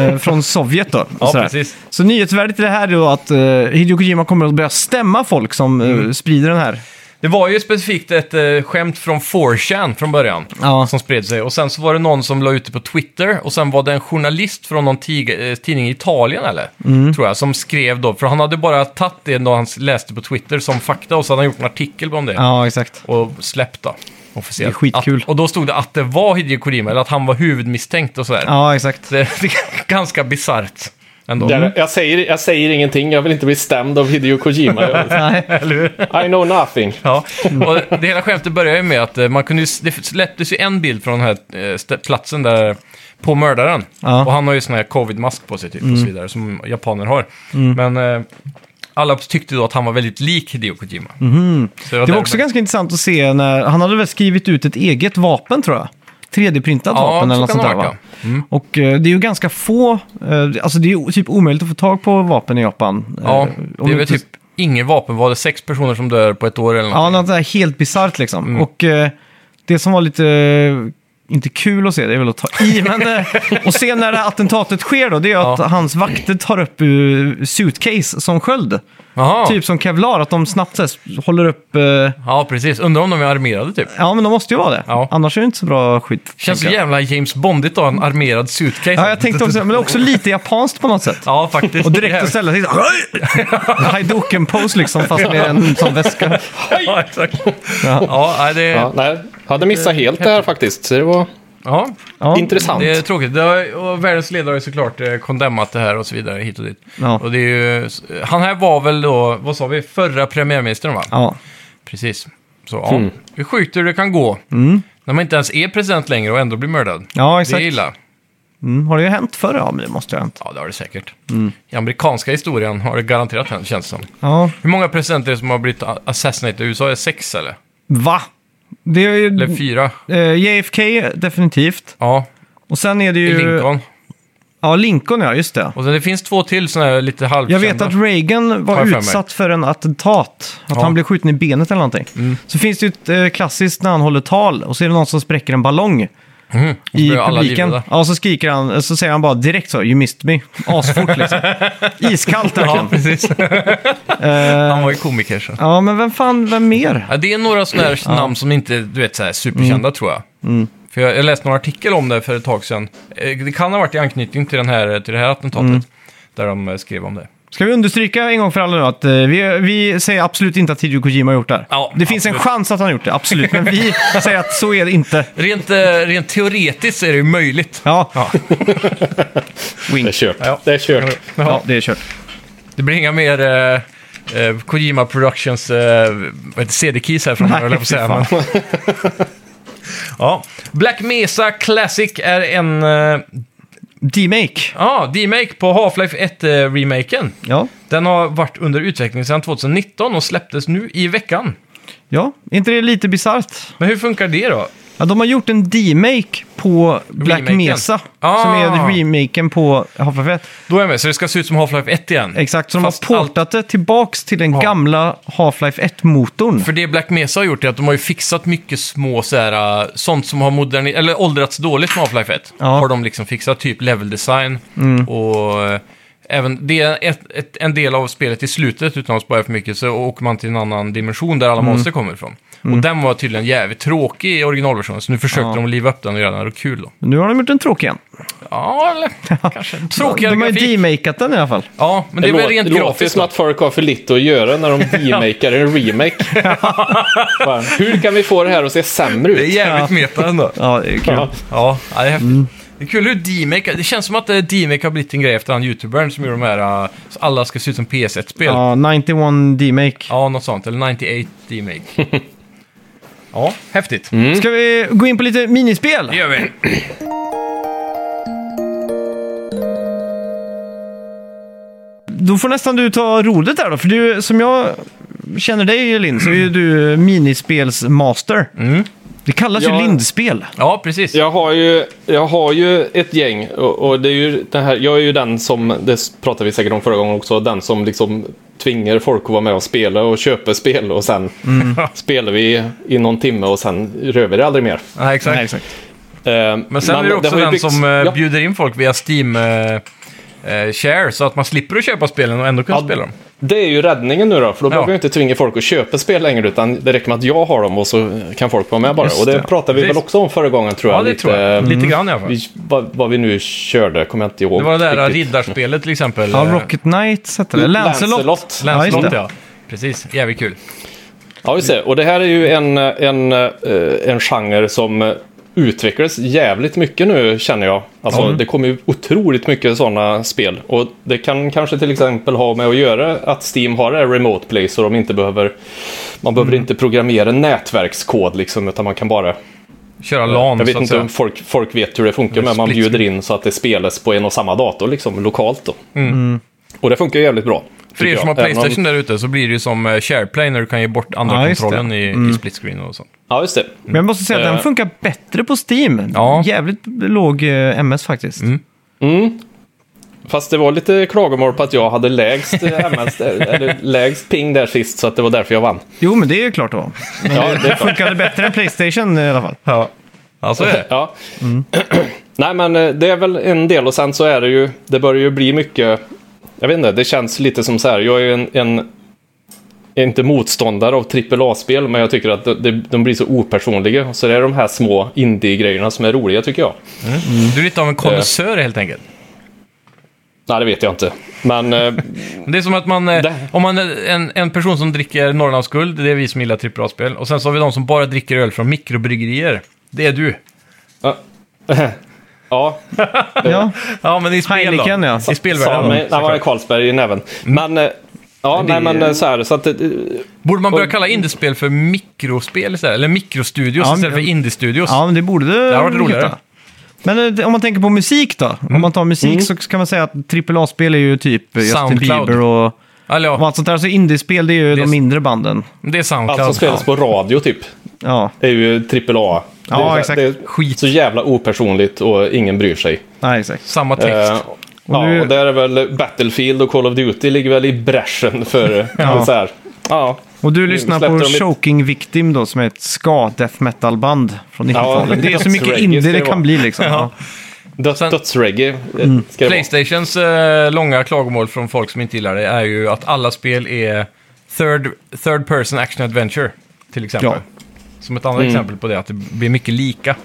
Speaker 1: eh, från Sovjet. Då, och
Speaker 2: Ja,
Speaker 1: sådär.
Speaker 2: precis.
Speaker 1: Så nyhetsvärdet i det här är då att eh, Hideo Kojima kommer att börja stämma folk som eh,
Speaker 2: Mm.
Speaker 1: sprider den här.
Speaker 2: Det var ju specifikt ett eh, skämt från 4chan från början
Speaker 1: Ja.
Speaker 2: som spred sig. Och sen så var det någon som la ut det på Twitter och sen var det en journalist från någon tig- eh, tidning i Italien eller?
Speaker 1: Mm.
Speaker 2: Tror jag, som skrev då. För han hade bara tagit det då han läste på Twitter som fakta och så hade han gjort en artikel om det.
Speaker 1: Ja, exakt.
Speaker 2: Och släppt då. Officiellt.
Speaker 1: Det är skitkul.
Speaker 2: Att, och då stod det att det var Hideo Kojima eller att han var huvudmisstänkt och sådär.
Speaker 1: Ja, exakt.
Speaker 2: Det, det är ganska bisarrt ändå.
Speaker 3: Där, jag, säger, jag säger ingenting, jag vill inte bli stämd av Hideo Kojima. Jag,
Speaker 1: Nej.
Speaker 2: Eller hur?
Speaker 3: I know nothing.
Speaker 2: Ja, och det hela skämtet börjar ju med att eh, man kunde ju, det släpptes ju en bild från den här eh, stä- platsen där på mördaren.
Speaker 1: Ja. Mm.
Speaker 2: Och han har ju sån här covid-mask på sig typ och så vidare som japaner har. Men eh, alla tyckte då att han var väldigt lik Hideo Kojima. Så
Speaker 1: Mm-hmm. Det var
Speaker 2: där-
Speaker 1: också ganska intressant att se när han hade väl skrivit ut ett eget vapen tror jag. 3D-printat
Speaker 2: Ja,
Speaker 1: vapen
Speaker 2: så
Speaker 1: eller något
Speaker 2: kan
Speaker 1: sånt
Speaker 2: det
Speaker 1: där
Speaker 2: ha
Speaker 1: va?
Speaker 2: varit,
Speaker 1: Och eh, det är ju ganska få, eh, alltså det är ju typ omöjligt att få tag på vapen i Japan. Eh,
Speaker 2: Ja,
Speaker 1: om
Speaker 2: det är väl
Speaker 1: inte-
Speaker 2: typ ingen vapen, var det sex personer som dör på ett år eller
Speaker 1: Ja,
Speaker 2: något?
Speaker 1: något där helt bisarrt liksom.
Speaker 2: Mm.
Speaker 1: Och eh, det som var lite, eh, inte kul att se, det är väl att ta i, men eh, och se när det här attentatet sker då, det är att
Speaker 2: Ja.
Speaker 1: hans vakter tar upp eh, suitcase som sköld.
Speaker 2: Jaha,
Speaker 1: Typ som kevlar, att de snabbt så här, håller upp... eh,
Speaker 2: ja precis. Undrar om de är armerade typ.
Speaker 1: Ja, men de måste ju vara det.
Speaker 2: Ja.
Speaker 1: Annars är det inte så bra skydd.
Speaker 2: Känns så
Speaker 1: tänker jag.
Speaker 2: jävla James Bondigt då, en armerad suitcase.
Speaker 1: Ja, jag tänkte också, men det är också lite japanskt på något sätt.
Speaker 2: Ja, faktiskt.
Speaker 1: Och direkt att ställa sig Haidoken-pose liksom, fast med en sån väska.
Speaker 2: Ja, exakt. Ja, nej, det...
Speaker 3: Ja, nej, hade missat helt det här faktiskt. Så det var
Speaker 2: ja.
Speaker 1: Ja.
Speaker 3: intressant.
Speaker 2: Det är tråkigt. Det har, och världens ledare har ju såklart eh, kondemnat det här och så vidare hit och dit.
Speaker 1: Ja.
Speaker 2: Och det är ju, eh, han här var väl då, vad sa vi, förra premiärministern va?
Speaker 1: Ja. Mm.
Speaker 2: Precis. Så ja, hur sjukt hur det kan gå. När man inte ens är president längre och ändå blir mördad.
Speaker 1: ja,
Speaker 2: Det är
Speaker 1: exakt.
Speaker 2: illa.
Speaker 1: Mm, har det ju hänt förr? Ja, men det måste ju ha hänt.
Speaker 2: Ja, det har det säkert.
Speaker 1: Mm.
Speaker 2: I amerikanska historien har det garanterat hänt, känns det som.
Speaker 1: Ja.
Speaker 2: Hur många presidenter är det som har blivit a- assassinated i USA? Är det sex eller?
Speaker 1: Va? Det är ju...
Speaker 2: Eller fyra?
Speaker 1: eh, JFK, definitivt.
Speaker 2: Ja,
Speaker 1: Och sen är det
Speaker 2: i
Speaker 1: ju...
Speaker 2: Lincoln.
Speaker 1: Ja, Lincoln, ja. Just det.
Speaker 2: Och sen det finns två till sådana här lite
Speaker 1: Jag
Speaker 2: halvkända.
Speaker 1: vet att Reagan var
Speaker 2: Har jag för mig.
Speaker 1: utsatt för en attentat. Att
Speaker 2: Ja. Mm.
Speaker 1: han blev skjuten i benet eller någonting. Så finns det ju ett eh, klassiskt när han håller tal och så är det någon som spräcker en ballong.
Speaker 2: Mm. Och så
Speaker 1: i
Speaker 2: blir alla
Speaker 1: publiken.
Speaker 2: livrädda.
Speaker 1: Ja, så skriker han, så säger han bara direkt så, you missed me. Asfort liksom. Iskallt
Speaker 2: Ja,
Speaker 1: verkligen.
Speaker 2: precis.
Speaker 1: Ja.
Speaker 2: Han var ju komiker så.
Speaker 1: ja, men vem fan, vem mer?
Speaker 2: Ja, det är några sådana här namn som inte du vet, så här, superkända tror jag. För jag, jag läste någon artikel om det för ett tag sedan. Eh, Det kan ha varit i anknytning till, den här, till det här attentatet. Där de eh, skrev om det.
Speaker 1: Ska vi understryka en gång för alla nu att eh, vi, vi säger absolut inte att Hideo Kojima har gjort det här.
Speaker 2: Ja,
Speaker 1: Det finns en
Speaker 2: absolut.
Speaker 1: chans att han har gjort det, absolut. Men vi säger att så är det inte.
Speaker 2: Rent, eh, rent teoretiskt är det ju möjligt.
Speaker 1: Ja,
Speaker 2: Ja.
Speaker 3: Det är kört. Det är kört.
Speaker 1: ja det är kört.
Speaker 2: Det blir inga mer eh, eh, Kojima Productions eh, vad heter det, CD-keys här framöver,
Speaker 1: Nej,
Speaker 2: höll jag på att säga.
Speaker 1: fy
Speaker 2: Men... ja. Black Mesa Classic är en eh,
Speaker 1: D-Make.
Speaker 2: ja, D-make på Half-Life 1-remaken.
Speaker 1: Ja.
Speaker 2: Den har varit under utveckling sedan 2019 och släpptes nu i veckan.
Speaker 1: ja, är inte det lite bisarrt?
Speaker 2: Men hur funkar det då?
Speaker 1: Ja, de har gjort en D-Make på Black
Speaker 2: Remaken.
Speaker 1: Mesa.
Speaker 2: Ah.
Speaker 1: Som är remaken på Half-Life 1.
Speaker 2: Då är jag med, så det ska se ut som Half-Life 1 igen?
Speaker 1: Exakt, så de
Speaker 2: Fast
Speaker 1: har portat det tillbaks till den gamla Half-Life 1-motorn.
Speaker 2: För det Black Mesa har gjort är att de har ju fixat mycket små så här, äh, sånt som har moderni- eller åldrats dåligt med Half-Life 1.
Speaker 1: Ja. Mm.
Speaker 2: Har de liksom fixat, typ level design och äh, även, det är ett, ett, en del av spelet i slutet utan att spara för mycket så åker man till en annan dimension där alla
Speaker 1: Mm.
Speaker 2: monster kommer ifrån. Och den var tydligen jävligt tråkig i originalversionen så nu försökte
Speaker 1: Ja.
Speaker 2: de liva upp den och göra den kul då.
Speaker 1: Nu har de gjort en tråkig igen.
Speaker 2: Ja, eller kanske. Tråkigare
Speaker 1: De har
Speaker 2: grafik.
Speaker 1: ju demakat den i alla fall.
Speaker 2: Ja, men det är väl
Speaker 3: låter,
Speaker 2: rent
Speaker 3: det låter
Speaker 2: grafiskt.
Speaker 3: som
Speaker 2: då.
Speaker 3: att folk har för lite att göra när de remakar en remake. Bara, Hur kan vi få det här att se sämre
Speaker 2: Det är
Speaker 3: ut?
Speaker 2: jävligt meta ändå.
Speaker 1: Ja, det är kul.
Speaker 3: Ja.
Speaker 2: Ja, ja, det är häftigt.
Speaker 3: Mm.
Speaker 2: Det är kul hur D-Make, det känns som att eh, D-Make har blivit en grej efter han youtubern som gjorde de här, eh, så alla ska se ut som PS1-spel. Ja.
Speaker 1: Ja, 91 D-Make.
Speaker 2: något sånt. Eller 98 D-Make. ja, häftigt.
Speaker 3: Mm.
Speaker 1: Ska vi gå in på lite minispel?
Speaker 2: Det gör vi.
Speaker 1: Då får nästan du ta rodet där då, för du, som jag känner dig Linn så är ju du minispelsmaster. Det kallas
Speaker 3: Ja.
Speaker 1: ju Lindspel.
Speaker 2: Ja, precis.
Speaker 3: Jag har ju, jag har ju ett gäng och, och det är ju den här, jag är ju den som, det pratade vi säkert om förra gången också, den som liksom tvingar folk att vara med och spela och köper spel och sen
Speaker 2: Mm.
Speaker 3: spelar vi i någon timme och sen rör vi det aldrig mer.
Speaker 2: Nej, exakt.
Speaker 1: Nej, exakt.
Speaker 3: Eh,
Speaker 2: Men sen är det
Speaker 3: det
Speaker 2: också
Speaker 3: har ju
Speaker 2: den
Speaker 3: byggts-
Speaker 2: som eh,
Speaker 3: ja.
Speaker 2: bjuder in folk via Steam eh, eh, Share, så att man slipper att köpa spelen och ändå kunna
Speaker 3: Ja,
Speaker 2: spela dem.
Speaker 3: Det är ju räddningen nu då, för då behöver jag
Speaker 2: Ja.
Speaker 3: inte tvinga folk att köpa spel längre, utan det räcker med att jag har dem och så kan folk vara med bara.
Speaker 1: Just
Speaker 3: och det
Speaker 1: det.
Speaker 3: pratade vi väl
Speaker 2: Precis.
Speaker 3: också om förra gången tror jag.
Speaker 2: Ja, det tror jag. Lite grann i alla fall.
Speaker 3: mm. Vi, vad, vad vi nu körde, kommer jag inte ihåg.
Speaker 2: Det var det där
Speaker 3: riktigt.
Speaker 2: riddarspelet till exempel.
Speaker 1: Ja,
Speaker 2: eh,
Speaker 1: Rocket Knight hette det. Lancelot.
Speaker 3: Lancelot.
Speaker 1: Ja, just
Speaker 2: Lancelot,
Speaker 1: det.
Speaker 2: ja. Precis, jävligt kul.
Speaker 3: Ja, just det. Och det här är ju en, en, eh, en genre som eh, utvecklas jävligt mycket nu, känner jag. Alltså,
Speaker 2: Mm.
Speaker 3: Det kommer ju otroligt mycket sådana spel. Och det kan kanske till exempel ha med att göra att Steam har det här remote play, så de inte behöver... Man behöver
Speaker 2: Mm.
Speaker 3: inte programmera nätverkskod, liksom, utan man kan bara...
Speaker 2: Köra LAN,
Speaker 3: jag vet
Speaker 2: så att
Speaker 3: inte
Speaker 2: säga.
Speaker 3: om folk, folk vet hur det funkar, men man
Speaker 2: split
Speaker 3: bjuder
Speaker 2: screen. Mm.
Speaker 3: in så att det spelas på en och samma dator, liksom, lokalt. Då. Och det funkar jävligt bra.
Speaker 2: För er
Speaker 3: tycker
Speaker 2: som har
Speaker 3: jag. Även om-
Speaker 2: Playstation där ute så blir det ju som eh, SharePlay när du kan ge bort andra
Speaker 1: Ja, just
Speaker 2: kontrollen
Speaker 1: det.
Speaker 2: i,
Speaker 3: Mm.
Speaker 2: i split screen och sånt.
Speaker 3: Ja, just det.
Speaker 1: Men jag måste säga att
Speaker 3: Eh.
Speaker 1: den funkar bättre på Steam.
Speaker 2: Ja.
Speaker 1: Jävligt låg eh, MS faktiskt.
Speaker 3: Fast det var lite klagomål på att jag hade lägst, eh, MS, eller lägst ping där sist, så att det var därför jag vann.
Speaker 1: Jo, men det är ju klart då. Men
Speaker 3: Ja, det är
Speaker 1: det funkade bättre än Playstation i alla fall.
Speaker 2: Ja. Ja, Mm. så är det.
Speaker 3: Ja. Nej, men eh, det är väl en del och sen så är det ju, det börjar ju bli mycket, jag vet inte, det känns lite som så här, jag är ju en, en jag är inte motståndare av AAA-spel, men jag tycker att de, de- de blir så opersonliga. Så det är de här små indie-grejerna som är roliga, tycker jag.
Speaker 2: Du är lite av en konnässör helt enkelt.
Speaker 3: Nej, det vet jag inte. Men eh,
Speaker 2: Det är som att man, eh,
Speaker 3: Det-
Speaker 2: om man är en, en person som dricker Norrlands guld, det är vi som gillar AAA-spel. Och sen så har vi de som bara dricker öl från mikrobryggerier. Det är du.
Speaker 3: ja,
Speaker 1: Ja.
Speaker 2: Ja, men i spel då.
Speaker 1: Heineken, ja.
Speaker 2: I
Speaker 3: sa
Speaker 2: spelvärlden.
Speaker 3: mig, nej, var det
Speaker 2: såklart. Mm.
Speaker 3: Carlsberg i näven. Men, eh, ja, nej, men eh, så här, så att eh,
Speaker 2: Borde man börja kalla indiespel för mikrospel istället? Eller mikrostudios
Speaker 1: Ja,
Speaker 2: istället för
Speaker 1: men-
Speaker 2: indiestudios?
Speaker 1: Ja, men det borde det
Speaker 2: hade varit roligare.
Speaker 1: heta. Men eh, det- om man tänker på musik då? Om man tar musik så kan man säga att AAA-spel är ju typ eh, Justin
Speaker 2: Soundcloud.
Speaker 1: Bieber och,
Speaker 2: Eller
Speaker 1: och
Speaker 2: Alltså, ja,
Speaker 1: allt sånt där. Så indiespel det är ju
Speaker 2: är-
Speaker 1: de mindre banden.
Speaker 2: det är Soundcloud.
Speaker 3: allt som spelas på radio typ
Speaker 1: Ja,
Speaker 3: är ju AAA.
Speaker 1: Ja,
Speaker 3: det, är-
Speaker 1: exakt.
Speaker 3: Det är
Speaker 2: Skit.
Speaker 3: så jävla opersonligt och ingen bryr sig.
Speaker 1: nej, exakt.
Speaker 2: Samma text.
Speaker 3: Eh, ja,
Speaker 1: nu-
Speaker 3: och där är väl Battlefield och Call of Duty ligger väl i bräschen för ja. så här. Ja,
Speaker 1: Och du
Speaker 3: Nu
Speaker 1: lyssnar
Speaker 3: Mm, släppte
Speaker 1: på
Speaker 3: de ett-
Speaker 1: Choking Victim då, som är ett ska death metal-band från 90-talet. det är så mycket
Speaker 3: dödsreggae ska
Speaker 1: indie
Speaker 3: det
Speaker 1: det
Speaker 3: vara.
Speaker 1: kan bli liksom. Ja.
Speaker 3: döds,
Speaker 2: Sen-
Speaker 3: dödsreggae eh, ska det vara.
Speaker 2: Playstations eh, långa klagomål från folk som inte gillar det är ju att alla spel är third, third person action adventure, till exempel.
Speaker 1: Ja. Mm.
Speaker 2: Som ett annat exempel på det, att det blir mycket lika.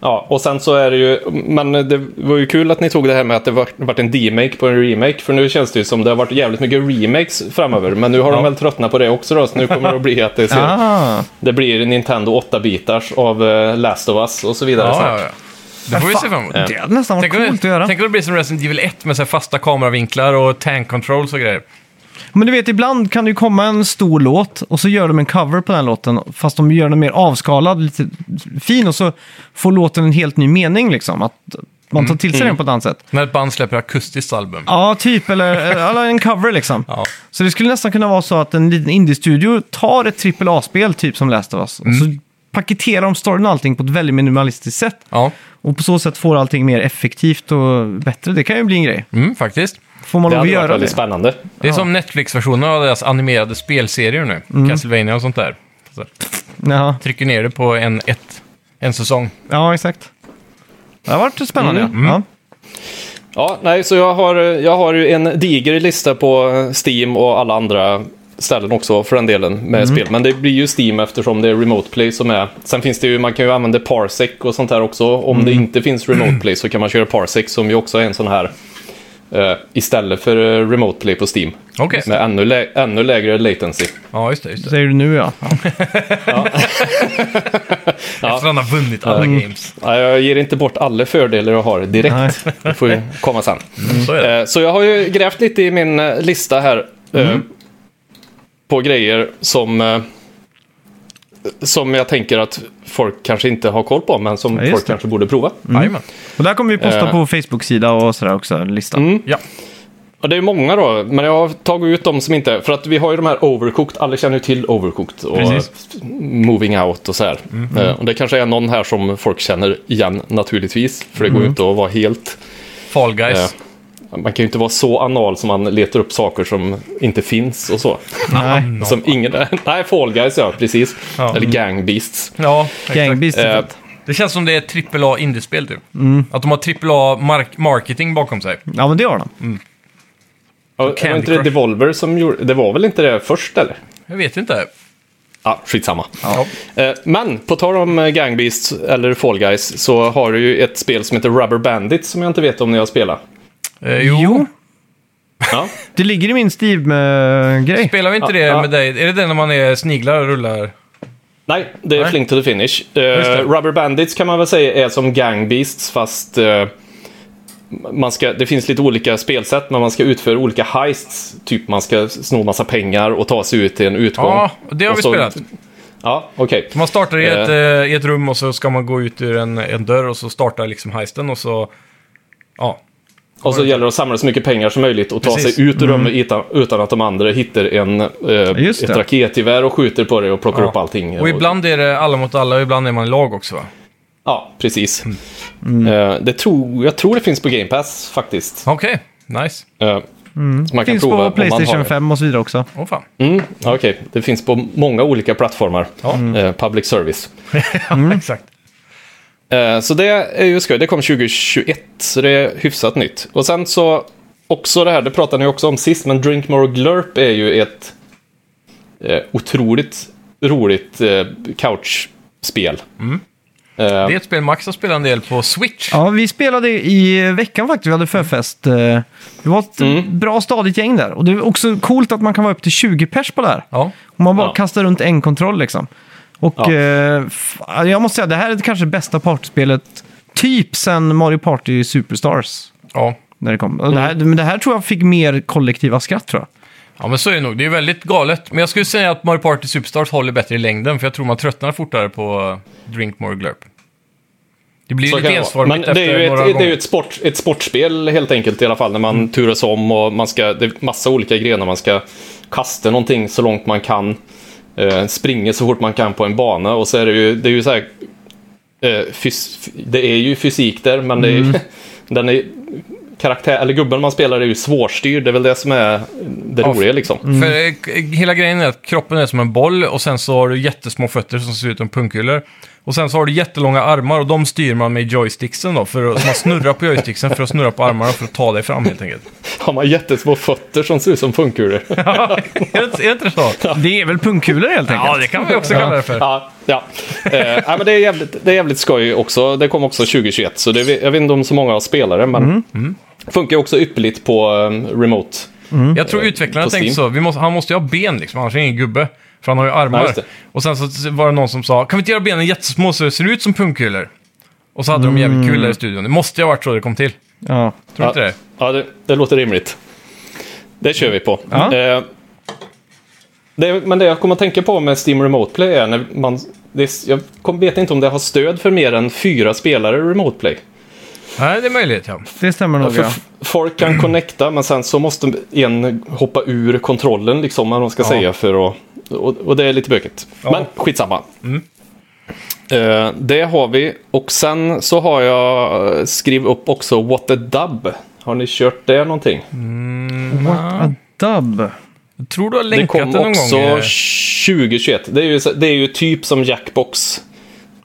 Speaker 3: Ja, och sen så är det ju, men det var ju kul att ni tog det här med att det var- vart en demake på en remake, för nu känns det ju som det har varit jävligt mycket remakes framöver, men nu har de väl tröttnat på det också då, så nu kommer det att bli att det, ser,
Speaker 1: Ah.
Speaker 3: det blir Nintendo 8-bitars av eh, Last of Us och så vidare
Speaker 2: Ja, ja,
Speaker 3: snart.
Speaker 2: ja. Det får vi se fram emot.
Speaker 1: Det hade nästan varit
Speaker 2: Tänk om,
Speaker 1: coolt att
Speaker 2: det,
Speaker 1: göra.
Speaker 2: tänk om det blir som Resident Evil 1 med så här fasta kameravinklar och tank controls och grejer.
Speaker 1: Men du vet, ibland kan det ju komma en stor låt och så gör de en cover på den låten, fast de gör den mer avskalad, lite fin, och så får låten en helt ny mening liksom. Att man tar till sig den på ett annat sätt.
Speaker 2: När ett band släpper akustiskt album.
Speaker 1: Ja, typ, eller, eller en cover liksom.
Speaker 2: Ja.
Speaker 1: Så det skulle nästan kunna vara så att en liten indie-studio tar ett AAA-spel, typ som Last of Us, och
Speaker 2: Mm.
Speaker 1: så paketerar de storyn och allting på ett väldigt minimalistiskt sätt.
Speaker 2: Ja,
Speaker 1: Och på så sätt får allting mer effektivt och bättre. Det kan ju bli en grej.
Speaker 2: mm, faktiskt.
Speaker 1: Får man
Speaker 3: Det
Speaker 1: lov att
Speaker 3: hade varit
Speaker 1: göra
Speaker 3: väldigt
Speaker 1: det?
Speaker 3: spännande.
Speaker 2: Det är som Netflix-versionen av deras animerade spelserier nu.
Speaker 1: Mm.
Speaker 2: Castlevania och sånt där. Så
Speaker 1: Ja,
Speaker 2: trycker ner det på en, ett, en säsong.
Speaker 1: ja exakt. Det har varit spännande.
Speaker 2: Mm.
Speaker 1: Ja. Ja.
Speaker 3: Ja, nej, så jag har, jag har ju en diger lista på Steam och alla andra ställen också för den delen med spel. Men det blir ju Steam eftersom det är Remote Play som är... Sen finns det ju, man kan ju använda Parsec och sånt här också. Om det inte finns Remote Play så kan man köra Parsec som ju också är en sån här eh, istället för eh, Remote Play på Steam.
Speaker 2: Okej.
Speaker 3: Med ännu, lä- ännu lägre latency.
Speaker 2: Ja, just det. Just det.
Speaker 1: Säger du nu ja.
Speaker 2: Efter han har vunnit alla games.
Speaker 3: Nej, Jag ger inte bort alla fördelar jag har direkt. Det får ju komma sen.
Speaker 2: Så är det.
Speaker 3: Eh, Så jag har ju grävt lite i min eh, lista här. eh,
Speaker 1: Mm.
Speaker 3: På grejer som, eh, som jag tänker att folk kanske inte har koll på, men som
Speaker 1: Ja, just
Speaker 3: folk
Speaker 1: det. Mm.
Speaker 3: kanske borde prova.
Speaker 2: Jajamän.
Speaker 1: Och där kommer vi posta
Speaker 3: Eh. Mm.
Speaker 1: på Facebook-sida och sådär också, listan.
Speaker 2: Ja.
Speaker 3: Ja, det är många då, men jag har tagit ut de som inte... För att vi har ju de här Overcooked, alla känner ju till Overcooked och
Speaker 2: Precis.
Speaker 3: Moving Out och så här.
Speaker 1: Mm.
Speaker 3: Eh, Och det kanske är någon här som folk känner igen naturligtvis, för
Speaker 1: Mm.
Speaker 3: det går ju inte att vara helt...
Speaker 2: Fall Guys.
Speaker 3: eh, Man kan ju inte vara så anal som man letar upp saker som inte finns och så.
Speaker 1: Nej,
Speaker 3: Som ingen... Nej, Fall Guys ja, precis.
Speaker 2: Ja.
Speaker 3: Eller Gang Beasts.
Speaker 2: Ja, exakt.
Speaker 1: Gangbeast är
Speaker 3: Eh,
Speaker 1: fett.
Speaker 2: Det känns som det är AAA indiespel typ. Att de har AAA mark- marketing bakom sig.
Speaker 1: Ja, men det har de.
Speaker 3: Ja, Var
Speaker 2: Candy
Speaker 3: inte det
Speaker 2: Crush.
Speaker 3: Devolver som gjorde... Det var väl inte det först eller?
Speaker 2: Jag vet inte.
Speaker 3: Ja, skitsamma.
Speaker 2: Ja.
Speaker 3: Eh, Men på tal om eh, Gang Beasts eller Fall Guys så har du ju ett spel som heter Rubber Bandit som jag inte vet om ni har spelat.
Speaker 2: Eh, jo.
Speaker 3: Ja,
Speaker 1: Det ligger i min eh, Steam-grej.
Speaker 2: Spelar vi inte det
Speaker 3: ja.
Speaker 2: med dig? Är det det när man är sniglar och rullar?
Speaker 3: nej, det är
Speaker 2: Nej.
Speaker 3: Fling to the Finish. Eh,
Speaker 2: det.
Speaker 3: Rubber Bandits kan man väl säga är som Gang Beasts fast eh, man ska, det finns lite olika spelsätt men man ska utföra olika heists. Typ man ska sno massa pengar och ta sig ut till en utgång.
Speaker 2: Ja, det har
Speaker 3: Och
Speaker 2: vi
Speaker 3: så-
Speaker 2: spelat.
Speaker 3: Ja, okej.
Speaker 2: Man startar i
Speaker 3: Eh.
Speaker 2: ett, eh, i ett rum och så ska man gå ut ur en, en dörr och så startar liksom heisten och så... Ja,
Speaker 3: Och så gäller det att samla så mycket pengar som möjligt och ta
Speaker 2: Precis. Mm.
Speaker 3: sig ut ur rummet utan, utan att de andra hittar en, eh,
Speaker 1: Just
Speaker 3: ett
Speaker 1: det.
Speaker 3: raketgevär och skjuter på dig och plockar
Speaker 2: Ja.
Speaker 3: upp allting.
Speaker 2: Och ibland är det alla mot alla och ibland är man i lag också va?
Speaker 3: Ja, precis.
Speaker 2: Mm.
Speaker 3: Eh, det tror, jag tror det finns på Game Pass faktiskt.
Speaker 2: Okej, nice.
Speaker 3: Eh, så man kan
Speaker 1: Mm. Finns
Speaker 3: prova om man
Speaker 1: på
Speaker 3: har
Speaker 1: Playstation
Speaker 3: det.
Speaker 1: 5 och så vidare också.
Speaker 2: Åh fan.
Speaker 3: Mm, ja, Okej, det finns på många olika plattformar. Eh, public service.
Speaker 1: Mm.
Speaker 2: Exakt.
Speaker 3: Eh, så det är ju skoj. Det kom 2021, så det är hyfsat nytt. Och sen så, också det här, det pratade ni också om sist, men Drink More Glurp är ju ett eh, otroligt roligt eh, couchspel. Eh,
Speaker 2: Det är ett spel Max har spelat en del på Switch.
Speaker 1: Ja, vi spelade i veckan faktiskt. Vi hade förfest. Eh, Det var ett
Speaker 3: Mm.
Speaker 1: bra stadigt gäng där. Och det är också coolt att man kan vara upp till 20 pers på det här.
Speaker 2: Ja.
Speaker 1: Och man bara
Speaker 3: Ja.
Speaker 1: kastar runt en kontroll liksom. Och
Speaker 3: Ja.
Speaker 1: eh, f- jag måste säga, det här är kanske det bästa partyspelet typ sen Mario Party Superstars.
Speaker 2: ja.
Speaker 1: När det kom. Och det här,
Speaker 3: Mm.
Speaker 1: men det här tror jag fick mer kollektiva skratt tror jag.
Speaker 2: Ja, men så är det nog. Det är väldigt galet. Men jag skulle säga att Mario Party Superstars håller bättre i längden, för jag tror man tröttnar fortare på eh, Drink More Glurp. Det blir ju
Speaker 3: Så
Speaker 2: lite
Speaker 3: kan det vara. Men
Speaker 2: ensformigt
Speaker 3: det är
Speaker 2: efter
Speaker 3: ju
Speaker 2: några
Speaker 3: ett, det är
Speaker 2: gånger. Mm.
Speaker 3: ju ett, sport, ett sportspel helt enkelt i alla fall, när man turas om och man ska, det är massa olika grenar. Man ska kasta någonting så långt man kan, eh, springa så fort man kan på en bana och så är det ju, det är ju så här, eh, fys, det är ju fysik där, men det är,
Speaker 2: Mm.
Speaker 3: ju- den är, karaktär, eller gubben man spelar är ju svårstyrd, det är väl det som är det
Speaker 2: Ja,
Speaker 3: roliga liksom.
Speaker 2: För eh, hela grejen är att kroppen är som en boll och sen så har du jättesmå fötter som ser ut som pungkulor. Och sen så har du jättelånga armar och de styr man med joysticksen då. För att, så man snurrar på joysticksen för att snurra på armarna för att ta dig fram helt enkelt.
Speaker 3: Har man jättesmå fötter som ser ut som pungkulor.
Speaker 2: är, det, är det inte så?
Speaker 1: Det är väl pungkulor helt enkelt.
Speaker 2: Ja, det kan vi också kalla det för.
Speaker 3: Ja, ja. Eh, ja, men det, är jävligt, det är jävligt skoj också. Det kom också 2021, så det, jag vet inte om så många spelare, men
Speaker 2: Mm.
Speaker 3: funkar ju också ypperligt på eh, remote.
Speaker 2: Jag tror utvecklarna
Speaker 3: Eh, På
Speaker 2: tänkte så.
Speaker 3: Steam.
Speaker 2: Vi måste, han måste ju ha ben liksom, annars är det ingen gubbe. För han har ju
Speaker 3: Ja,
Speaker 2: armar.
Speaker 3: just det.
Speaker 2: och sen så var det någon som sa, kan vi inte göra benen jättesmå så det ser ut som pungkulor? Och så hade de jävligt kul där i studion. Det måste ju ha varit så det kom till.
Speaker 1: Ja.
Speaker 2: Tror du inte det?
Speaker 3: Mm. Ja, det, det låter rimligt. Det kör vi på.
Speaker 1: Ja.
Speaker 3: Eh, det, men det jag kommer att tänka på med Steam Remote Play är när man... Det, jag kom- vet inte om det har stöd för mer än fyra spelare i Remote Play.
Speaker 2: Nej, det är möjligt ja.
Speaker 1: Det stämmer nog
Speaker 3: För
Speaker 1: ja.
Speaker 3: f- folk kan connecta men sen så måste en hoppa ur kontrollen liksom vad man ska säga för att... Och, och det är lite bökigt. Men skitsamma.
Speaker 2: Mm.
Speaker 3: Eh, det har vi och sen så har jag eh, skrivit upp också What a Dub. Har ni kört det någonting?
Speaker 2: Mm.
Speaker 1: What a dub.
Speaker 2: Jag tror du har
Speaker 3: Det
Speaker 2: länkat
Speaker 3: kom
Speaker 2: det någon
Speaker 3: också
Speaker 2: gång. eh,
Speaker 3: 2021. Det är, ju, så- det är ju typ som Jackbox.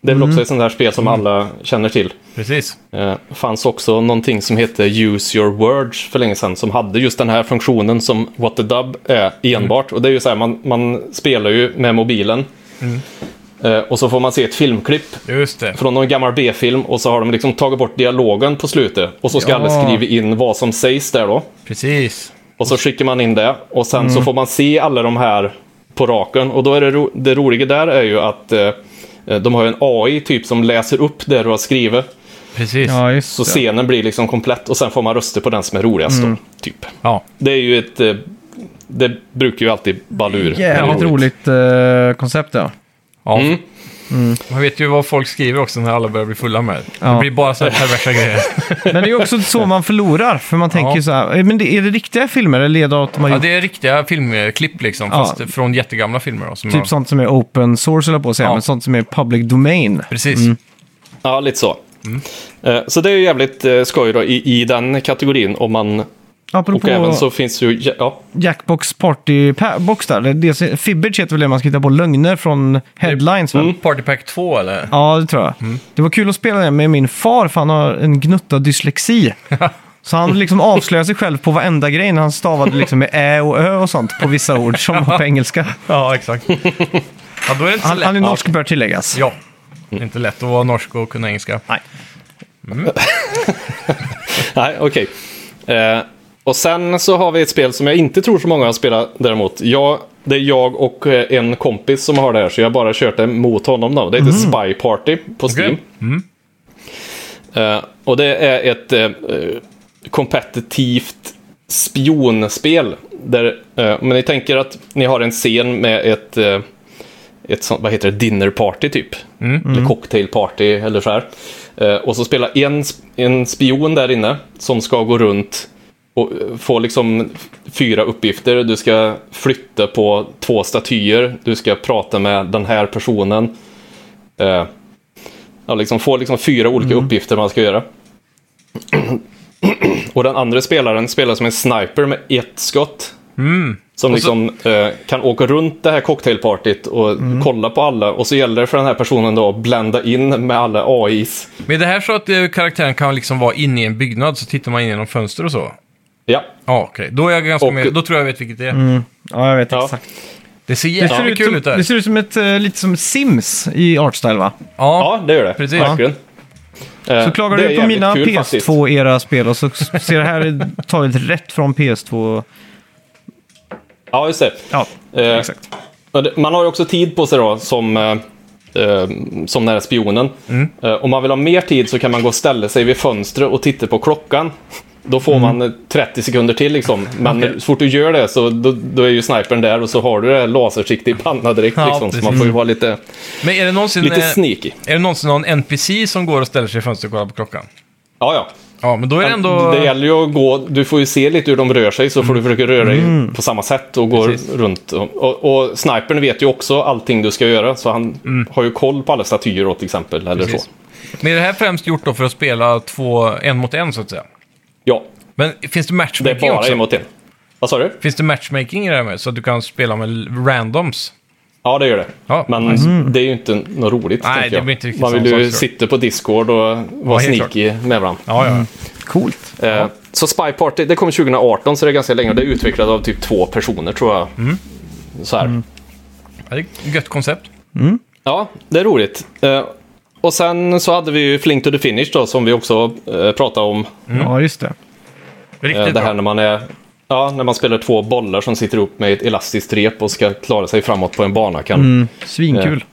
Speaker 3: Det
Speaker 2: Mm.
Speaker 3: är väl också ett sånt här spel som alla känner till.
Speaker 2: Precis.
Speaker 3: Eh, fanns också någonting som hette Use Your Words för länge sedan som hade just den här funktionen som What the Dub är enbart. Och det är ju så här, man, man spelar ju med mobilen. Eh, och så får man se ett filmklipp
Speaker 2: Just det.
Speaker 3: från någon gammal B-film och så har de liksom tagit bort dialogen på slutet. Och så ska
Speaker 1: Ja.
Speaker 3: alla skriva in vad som sägs där då.
Speaker 2: Precis.
Speaker 3: Och så Mm. skickar man in det och sen så får man se alla de här på raken. Och då är det, ro- det roliga där är ju att eh, de har ju en AI typ som läser upp det du har skrivit.
Speaker 2: Precis. Ja.
Speaker 1: Ja, Mm. just
Speaker 3: Så
Speaker 1: det.
Speaker 3: scenen blir liksom komplett och sen får man röster på den som är roligast då, typ. Det är ju ett... eh, Det brukar ju alltid balla ur. Mm.
Speaker 1: Jävligt roligt eh, koncept ja.
Speaker 2: ja. Man vet ju vad folk skriver också när alla börjar bli fulla med.
Speaker 1: Ja.
Speaker 2: Det blir bara så här perversa grejer.
Speaker 1: Men det är ju också så man förlorar, för man tänker
Speaker 2: Ja.
Speaker 1: ju så här, "Eh, men det, är det riktiga filmer eller är det att man
Speaker 2: Ja,
Speaker 1: gjort
Speaker 2: det är riktiga filmklipp liksom,
Speaker 1: Ja.
Speaker 2: fast från jättegamla filmer. Då, som har-
Speaker 1: typ sånt som är open source, eller på att säga,
Speaker 2: Ja.
Speaker 1: men sånt som är public domain?
Speaker 2: Precis.
Speaker 1: Mm.
Speaker 3: Ja, lite så. Eh, Så det är ju jävligt eh, skoj då i, i den kategorin. Om man, och
Speaker 1: Apropå
Speaker 3: även så finns ju... Ja,
Speaker 1: Jackbox Party pa- Box där, det- det, Fibbage heter väl det man ska hitta på lögner från headlines,
Speaker 3: Mm.
Speaker 1: väl?
Speaker 2: Party Pack 2 eller?
Speaker 1: Ja, det tror jag. Det var kul att spela det med min far, för han har en gnutta dyslexi. Så han liksom avslöjade sig själv på varenda grej när han stavade liksom med ä och ö och sånt på vissa ord som var på engelska.
Speaker 2: Ja, exakt. ja, då är det inte så
Speaker 1: Han,
Speaker 2: lätt.
Speaker 1: han är norsk bör tilläggas.
Speaker 2: Ja. Det är inte lätt att vara norsk och kunna engelska.
Speaker 1: Nej.
Speaker 3: Nej, okej. Eh, och sen så har vi ett spel som jag inte tror så många har spelat däremot. Jag, det är jag och eh, en kompis som har det här, så jag har bara kört det mot honom då. Det heter Spy Party på
Speaker 2: Okej.
Speaker 3: Steam. Eh, och det är ett eh, eh, kompetitivt spionspel. Där, eh, men ni tänker att ni har en scen med ett, eh, ett sånt, vad heter det, dinner party typ. Eller cocktail party eller så här. Eh, och så spelar en, sp- en spion där inne som ska gå runt och eh, få liksom fyra uppgifter. Du ska flytta på två statyer, du ska prata med den här personen. Eh, ja, liksom få liksom fyra olika uppgifter man ska göra. och den andra spelaren spelar som en sniper med ett skott. Som liksom eh, kan åka runt det här cocktailpartyt och
Speaker 1: Mm.
Speaker 3: kolla på alla. Och så gäller det för den här personen då att blända in med alla AIs.
Speaker 2: Men är det här så att eh, karaktären kan liksom vara inne i en byggnad så tittar man in genom fönster och så?
Speaker 3: Ja,
Speaker 2: Ja, okej. Då är jag ganska
Speaker 3: Och-
Speaker 2: med. Då tror jag jag vet vilket det är.
Speaker 1: Ja, jag vet
Speaker 3: Ja.
Speaker 1: exakt.
Speaker 2: Det ser
Speaker 1: Mm. Det ser,
Speaker 2: jävligt
Speaker 1: ut
Speaker 2: kul
Speaker 1: som,
Speaker 2: ut där.
Speaker 1: det ser ut som ett, eh, lite som Sims i Artstyle va?
Speaker 2: Ja,
Speaker 3: ja det gör det.
Speaker 2: Precis.
Speaker 3: Verkligen. Eh,
Speaker 1: Så klagar
Speaker 3: det är
Speaker 1: du på
Speaker 3: jävligt
Speaker 1: mina
Speaker 3: kul faktiskt.
Speaker 1: PS2-era spel och så ser det här taget rätt från PS2.
Speaker 3: Ja, just det.
Speaker 1: Ja,
Speaker 3: Eh,
Speaker 1: exakt.
Speaker 3: Men det- Man har ju också tid på sig då, som, eh, eh, som den här spionen.
Speaker 2: Mm.
Speaker 3: Eh, om man vill ha mer tid så kan man gå och ställa sig vid fönstret och titta på klockan. Då
Speaker 2: Mm.
Speaker 3: får man eh, 30 sekunder till liksom. Men när- så fort du gör det så då, då är ju snipern där och så har du det här lasersiktet i pannan direkt.
Speaker 2: Ja,
Speaker 3: liksom. Så man
Speaker 2: precis.
Speaker 3: får ju vara lite,
Speaker 2: men är det någonsin...
Speaker 3: lite
Speaker 2: eh,
Speaker 3: sneaky.
Speaker 2: Är det någonsin någon NPC som går och ställer sig i fönstret och kollar på klockan?
Speaker 3: Ja, ja.
Speaker 2: Ja, men då är det ändå...
Speaker 3: Det gäller ju att gå, du får ju se lite hur de rör sig så får du försöka röra dig på samma sätt och gå
Speaker 2: Mm. Precis.
Speaker 3: runt. Och, och, och snipern vet ju också allting du ska göra så han har ju koll på alla statyer då, till exempel. Eller
Speaker 2: Mm. Precis.
Speaker 3: så.
Speaker 2: Men är det här främst gjort då för att spela två, en mot en så att säga?
Speaker 3: Ja,
Speaker 2: Men finns det
Speaker 3: det är
Speaker 2: matchmaking
Speaker 3: bara
Speaker 2: också?
Speaker 3: en mot en. Vad sa du?
Speaker 2: Finns det matchmaking i det här med? Så att du kan spela med l- randoms?
Speaker 3: Ja, det gör det.
Speaker 2: Ja,
Speaker 3: Men det är ju inte något roligt.
Speaker 2: Nej,
Speaker 3: tänker
Speaker 2: det
Speaker 3: jag.
Speaker 2: blir inte riktigt
Speaker 3: Man vill
Speaker 2: samma
Speaker 3: ju
Speaker 2: sak, tror
Speaker 3: sitta på Discord och vara
Speaker 2: helt
Speaker 3: sneaky med varandra.
Speaker 2: Ja, ja.
Speaker 1: Mm. Coolt.
Speaker 3: Eh, Så Spy Party, det kom 2018 så det är ganska länge. Det är utvecklat av typ två personer tror jag.
Speaker 2: Mm.
Speaker 3: Så här.
Speaker 2: ja det är ett gött koncept.
Speaker 3: Ja, det är roligt. Eh, och sen så hade vi ju Flink to the Finish då, som vi också eh, pratade om.
Speaker 1: Ja, just det.
Speaker 2: Riktigt
Speaker 3: Eh, det här
Speaker 2: bra.
Speaker 3: när man, är, ja, när man spelar två bollar som sitter ihop med ett elastiskt rep och ska klara sig framåt på en bana. Kan,
Speaker 1: Svinkul.
Speaker 3: Eh.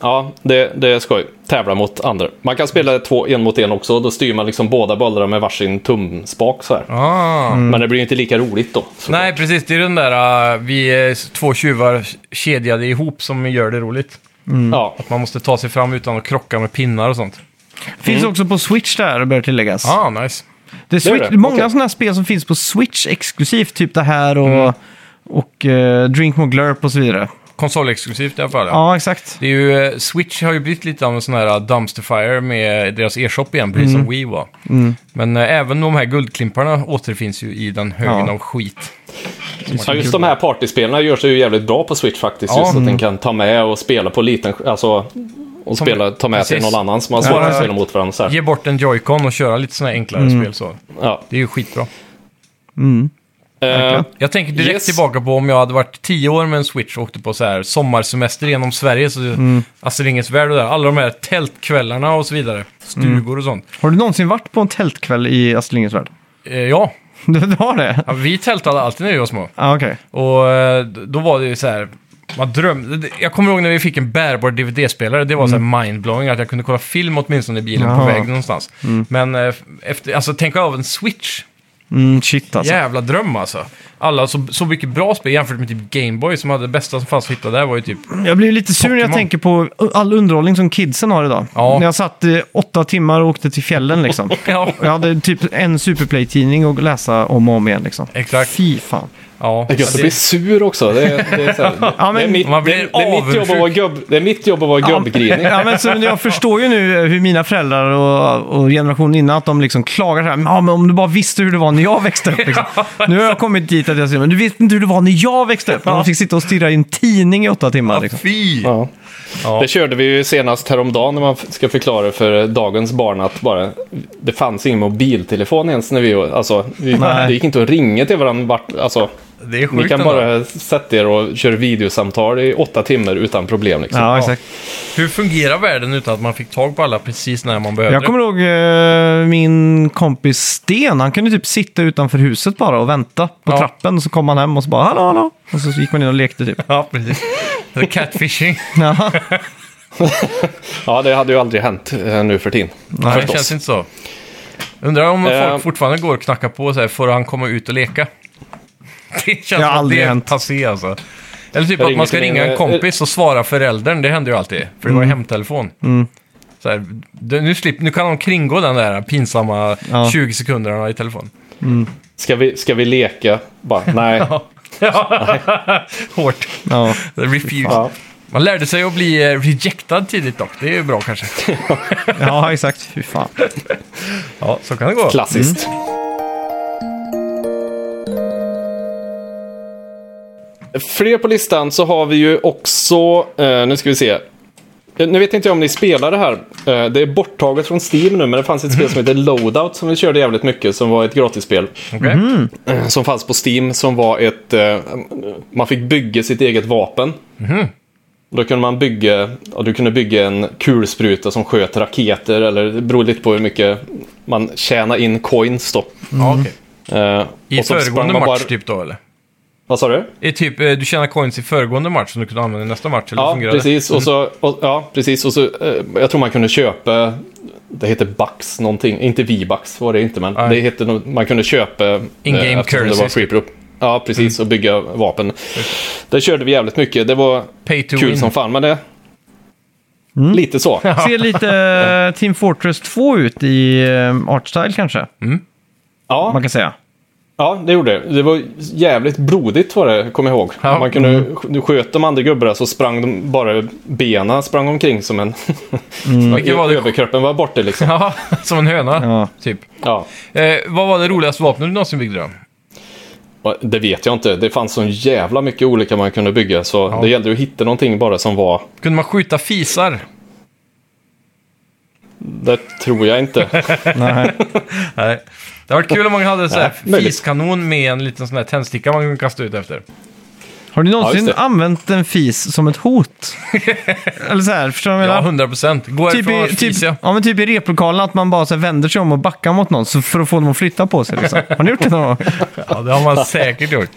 Speaker 3: Ja, det, det är skoj. Tävla mot andra. Man kan spela två en mot en också. Då styr man liksom båda bollarna med varsin tumspak så här.
Speaker 2: Ah.
Speaker 3: Men det blir ju inte lika roligt då. Så-
Speaker 2: Nej, precis. Det är den där uh, vi är s- två tjuvar kedjade ihop som gör det roligt.
Speaker 3: Ja,
Speaker 2: Man måste ta sig fram utan att krocka med pinnar och sånt.
Speaker 1: Finns också på Switch där, bör tilläggas.
Speaker 2: Ah, nice.
Speaker 1: Det är
Speaker 3: Mm. Det är
Speaker 1: Switch,
Speaker 3: det.
Speaker 1: Många
Speaker 3: Okej.
Speaker 1: sådana här spel som finns på Switch exklusivt, typ det här och,
Speaker 3: Mm.
Speaker 1: och eh, Drink More Glurp och så vidare.
Speaker 2: Konsolexklusivt i alla fall.
Speaker 1: Ja, exakt.
Speaker 2: Det är ju, eh, Switch har ju blivit lite av en sån här ah, dumpster fire med deras e-shop igen, precis
Speaker 1: Mm.
Speaker 2: som Wii var. Men eh, även de här guldklimparna återfinns ju i den högen
Speaker 1: Ja.
Speaker 2: av skit.
Speaker 3: ja just de här partyspelarna gör sig ju jävligt bra på Switch faktiskt.
Speaker 2: Ja.
Speaker 3: Just att den kan ta med och spela på liten... Alltså, och
Speaker 2: Ta
Speaker 3: spela,
Speaker 2: med-
Speaker 3: ta med sig
Speaker 2: precis.
Speaker 3: någon annan som man
Speaker 2: Ja,
Speaker 3: ja,
Speaker 2: ja.
Speaker 3: spelar mot varandra. Så här.
Speaker 2: Ge bort en joycon och köra lite såna här enklare
Speaker 1: Mm.
Speaker 2: spel så.
Speaker 3: Ja.
Speaker 2: Det är ju skitbra.
Speaker 3: Eh,
Speaker 2: Jag tänker direkt
Speaker 3: Yes.
Speaker 2: tillbaka på om jag hade varit tio år med en Switch och åkte på så här sommarsemester genom Sverige. Så alltså, Astrid Lindgrens Värld och där. Alla de här tältkvällarna och så vidare. Stugor och sånt.
Speaker 1: Har du någonsin varit på en tältkväll i Astrid Lindgrens Värld?
Speaker 2: Eh, ja.
Speaker 1: Du har det?
Speaker 2: ja, vi tältade alltid när vi var små.
Speaker 1: Ja, okej.
Speaker 2: Och eh, d- då var det ju så här... Man drömde, jag kommer ihåg när vi fick en bärbar DVD-spelare. Det var så här mindblowing att jag kunde kolla film åtminstone i bilen på
Speaker 1: Jaha.
Speaker 2: väg någonstans. Men eh, efter, alltså, tänk av en switch.
Speaker 1: Mm, shit alltså.
Speaker 2: Jävla dröm alltså. Alla så, så mycket bra spel jämfört med typ Gameboy som hade det bästa som fanns att hitta där var ju typ...
Speaker 1: Jag blir lite sur när jag
Speaker 2: Pokémon.
Speaker 1: tänker på all underhållning som kidsen har idag.
Speaker 2: Ja.
Speaker 1: När jag satt eh, åtta timmar och åkte till fjällen liksom.
Speaker 2: Ja,
Speaker 1: Och Jag hade typ en Superplay-tidning att läsa om och om igen liksom.
Speaker 2: Exakt.
Speaker 1: Fy fan.
Speaker 2: ja.
Speaker 3: Det är gött att bli sur också. Det är, det är, så här,
Speaker 1: Ja, men
Speaker 3: det är, mitt,
Speaker 2: man blir
Speaker 3: det, det är mitt jobb att vara gubb, det är mitt jobb att vara gubbgrinig.
Speaker 1: Ja, men så jag förstår ju nu eh, hur mina föräldrar och, och generationen innan att de liksom klagar så här. Ja, men om du bara visste hur det var när jag växte upp. Liksom. Nu har jag kommit dit att jag säger, men du visste inte hur det var när jag växte upp. När man fick sitta och stirra i en tidning i åtta timmar. Liksom.
Speaker 2: Fy!
Speaker 3: Ja.
Speaker 2: Ja.
Speaker 3: Det körde vi ju senast häromdagen när man f- ska förklara för dagens barn att bara, det fanns ingen mobiltelefon ens när vi, alltså, vi
Speaker 1: Nej.
Speaker 3: det gick inte att ringa till varandra. Vart, alltså,
Speaker 2: Det är
Speaker 3: ni
Speaker 2: sjukt
Speaker 3: kan
Speaker 2: ändå.
Speaker 3: bara sätta er och köra videosamtal i åtta timmar utan problem. Liksom.
Speaker 1: Ja, exakt.
Speaker 2: Hur fungerar världen utan att man fick tag på alla precis när man behövde?
Speaker 1: Jag kommer ihåg eh, min kompis Sten. Han kunde typ sitta utanför huset bara och vänta på
Speaker 2: Ja.
Speaker 1: trappen. Så kom han hem och så bara hallå, hallå. Och så gick man in och lekte typ.
Speaker 2: Ja, precis. Det är catfishing.
Speaker 1: Ja.
Speaker 3: Ja, det hade ju aldrig hänt eh, nu för tiden.
Speaker 2: Nej, det
Speaker 3: förstås.
Speaker 2: känns inte så. Undrar om folk
Speaker 3: Eh.
Speaker 2: fortfarande går och knackar på och säger, får han komma ut och leka? Det känns
Speaker 1: har
Speaker 2: som att
Speaker 1: aldrig
Speaker 2: det är
Speaker 1: hänt.
Speaker 2: passé alltså. Eller typ
Speaker 3: Jag
Speaker 2: att man
Speaker 3: ringer
Speaker 2: ska
Speaker 3: till
Speaker 2: ringa
Speaker 3: min,
Speaker 2: en
Speaker 3: eh, Mm.
Speaker 2: kompis och svara föräldern, det händer ju alltid. För det var ju hemtelefon. Så här, d- nu, slip, nu kan de kringgå den där pinsamma
Speaker 1: Ja.
Speaker 2: 20 sekunderna i telefon.
Speaker 3: Ska vi, ska vi leka? Bara, nej.
Speaker 2: Ja. Hårt.
Speaker 1: Ja.
Speaker 2: Refused.
Speaker 3: Ja.
Speaker 2: Man lärde sig att bli eh, rejectad tidigt dock, det är ju bra kanske.
Speaker 1: ja, exakt. Fy fan.
Speaker 2: Ja, så kan det gå.
Speaker 3: Klassiskt. Fler på listan så har vi ju också, eh, nu ska vi se. Eh, Nu vet inte jag om ni spelar det här. Eh, det är borttaget från Steam nu, men det fanns ett spel som heter Loadout som vi körde jävligt mycket, som var ett gratisspel.
Speaker 2: Okej.
Speaker 3: eh, Som fanns på Steam, som var ett... Eh, man fick bygga sitt eget vapen.
Speaker 2: Mhm.
Speaker 3: Då kunde man bygga, ja, du kunde bygga en kulspruta som sköt raketer, eller det beror lite på hur mycket man tjänar in coins då.
Speaker 2: Ja, okej.
Speaker 3: Eh,
Speaker 2: Mm. I
Speaker 3: och så sprang
Speaker 2: föregående
Speaker 3: man
Speaker 2: match
Speaker 3: bara-
Speaker 2: typ då eller?
Speaker 3: Vad sa du?
Speaker 2: I typ, eh, du tjänar coins i föregående match som du kunde använda i nästa match, eller
Speaker 3: Ja,
Speaker 2: fungerar Mm.
Speaker 3: precis. Och så, och, ja, precis. Och så, eh, jag tror man kunde köpa, det heter Bucks någonting, inte V-Bucks var det inte, men
Speaker 2: Nej.
Speaker 3: det heter, nog- man kunde köpa eh,
Speaker 2: In-game
Speaker 3: eftersom
Speaker 2: currency. Mm.
Speaker 3: Det var free pro- Ja, precis. Och bygga vapen. Det körde vi jävligt mycket. Det var
Speaker 2: det? Pay to
Speaker 3: kul
Speaker 2: win.
Speaker 3: som fan, men det... Lite så.
Speaker 1: Ser lite eh, Team Fortress 2 ut i eh, artstyle kanske,
Speaker 2: Mm.
Speaker 3: Ja,
Speaker 1: man kan säga.
Speaker 3: ja, det gjorde det. Det var jävligt blodigt var det, kommer jag ihåg.
Speaker 2: Ja. Mm.
Speaker 3: Man kunde, Du sköt de andra gubbarna så sprang de bara benen sprang omkring som en...
Speaker 2: Vilket var det-
Speaker 3: Överkroppen var borta liksom.
Speaker 2: Ja, som en höna,
Speaker 1: Ja.
Speaker 2: typ.
Speaker 3: Ja.
Speaker 2: Eh, vad var det roligaste vapnet du någonsin byggde då?
Speaker 3: Och Det vet jag inte. Det fanns så jävla mycket olika man kunde bygga. Så det gällde ju att hitta någonting bara som var...
Speaker 2: Kunde man skjuta fisar?
Speaker 3: Det tror jag inte.
Speaker 1: Nej.
Speaker 2: Nej. Det hade varit kul om man hade så här
Speaker 3: Nej, möjligt.
Speaker 2: fiskanon med en liten sån här tändsticka man kunde kasta ut efter.
Speaker 1: Har ni
Speaker 3: Ja,
Speaker 1: någonsin
Speaker 3: just det.
Speaker 1: använt en fis som ett hot? Eller så här, förstår du vad jag
Speaker 2: Ja,
Speaker 1: menar?
Speaker 2: 100 procent. Gå
Speaker 1: Typ
Speaker 2: härifrån
Speaker 1: i,
Speaker 2: typ,
Speaker 1: typ,
Speaker 2: fis, ja.
Speaker 1: ja, men typ i replokalen, att man bara så här vänder sig om och backar mot någon så för att få dem att flytta på sig. Liksom. Har ni gjort det någon gång?
Speaker 2: ja, det har man säkert gjort.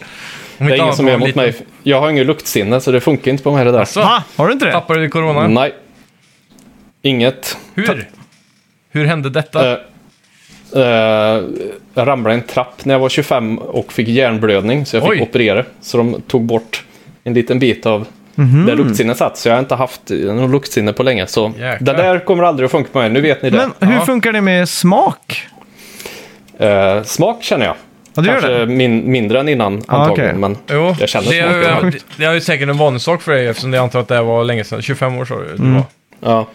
Speaker 2: Om
Speaker 3: Det
Speaker 2: inte
Speaker 3: är ingen
Speaker 2: annat
Speaker 3: som
Speaker 2: var
Speaker 3: är
Speaker 2: en
Speaker 3: mot
Speaker 2: liten-
Speaker 3: mig. Jag har ingen luktsinne så det funkar inte på mig det där.
Speaker 2: Alltså,
Speaker 1: Va? Har du inte det?
Speaker 2: tappade du corona?
Speaker 3: Nej. Inget.
Speaker 2: Hur? Hur hände detta?
Speaker 3: Eh, eh, jag ramlade i en trapp när jag var 25 och fick hjärnblödning så jag fick
Speaker 2: Oj.
Speaker 3: operera. Så de tog bort en liten bit av
Speaker 2: Mhm.
Speaker 3: där luktsinnet satt. Så jag har inte haft någon luktsinne på länge. Så
Speaker 2: Jäklar.
Speaker 3: det där kommer aldrig att funka på mig. Nu vet ni det.
Speaker 1: Men hur
Speaker 2: Ja.
Speaker 1: funkar det med smak?
Speaker 3: Eh, smak känner jag.
Speaker 1: Ja, det gör
Speaker 3: Kanske
Speaker 1: det.
Speaker 3: Min, mindre än innan antagligen.
Speaker 1: okej.
Speaker 3: Men
Speaker 2: Jo,
Speaker 3: jag känner
Speaker 2: det,
Speaker 3: smaken.
Speaker 2: är, det, det är ju säkert en vanlig sak för dig eftersom jag antar att det här var länge sedan. 25 år sa du det var.
Speaker 3: Ja.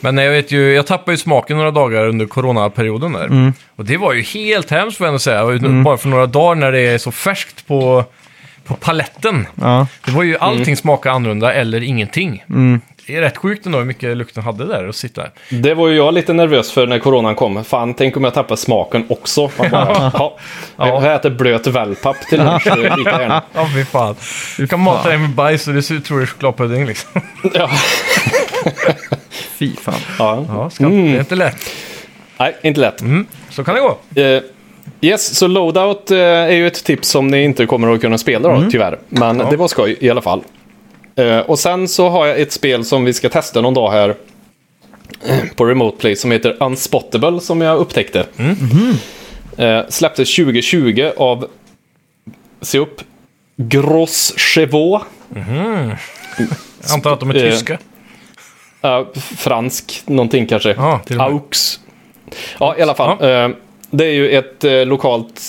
Speaker 2: Men jag vet ju, jag tappade ju smaken några dagar under coronaperioden där. Och det var ju helt hemskt får jag ändå säga. Bara för några dagar när det är så färskt på, på paletten.
Speaker 1: Ja.
Speaker 2: Det var ju allting smakade annorlunda eller ingenting. Det är rätt sjukt ändå hur mycket lukten hade där och sitta. där.
Speaker 3: Det var ju jag lite nervös för när coronan kom. Fan, tänk om jag tappar smaken också. Man bara, ja. Jag har ätit blöt wellpapp till lunch. det är lika gärna.
Speaker 2: Ja, fy fan. Du kan mata dig med bajs och det ser ut tror det är chokladpudding liksom.
Speaker 3: Ja.
Speaker 1: Fy fan.
Speaker 3: Ja.
Speaker 2: Ja, skatt. Det är inte lätt.
Speaker 3: Nej, inte lätt.
Speaker 2: Mm. Så kan det gå.
Speaker 3: Eh, yes, så loadout eh, är ju ett tips som ni inte kommer att kunna spela då, tyvärr. Men det var skoj i alla fall. Eh, och sen så har jag ett spel som vi ska testa någon dag här eh, på Remote Play som heter Unspottable som jag upptäckte. Eh, släpptes 2020 av, se upp, Gross Chevaux.
Speaker 2: Jag antar att de är
Speaker 3: Eh,
Speaker 2: tyska.
Speaker 3: Eh, fransk någonting kanske.
Speaker 2: Ja, till och med.
Speaker 3: Aux. Ja, i alla fall. Eh, det är ju ett eh, lokalt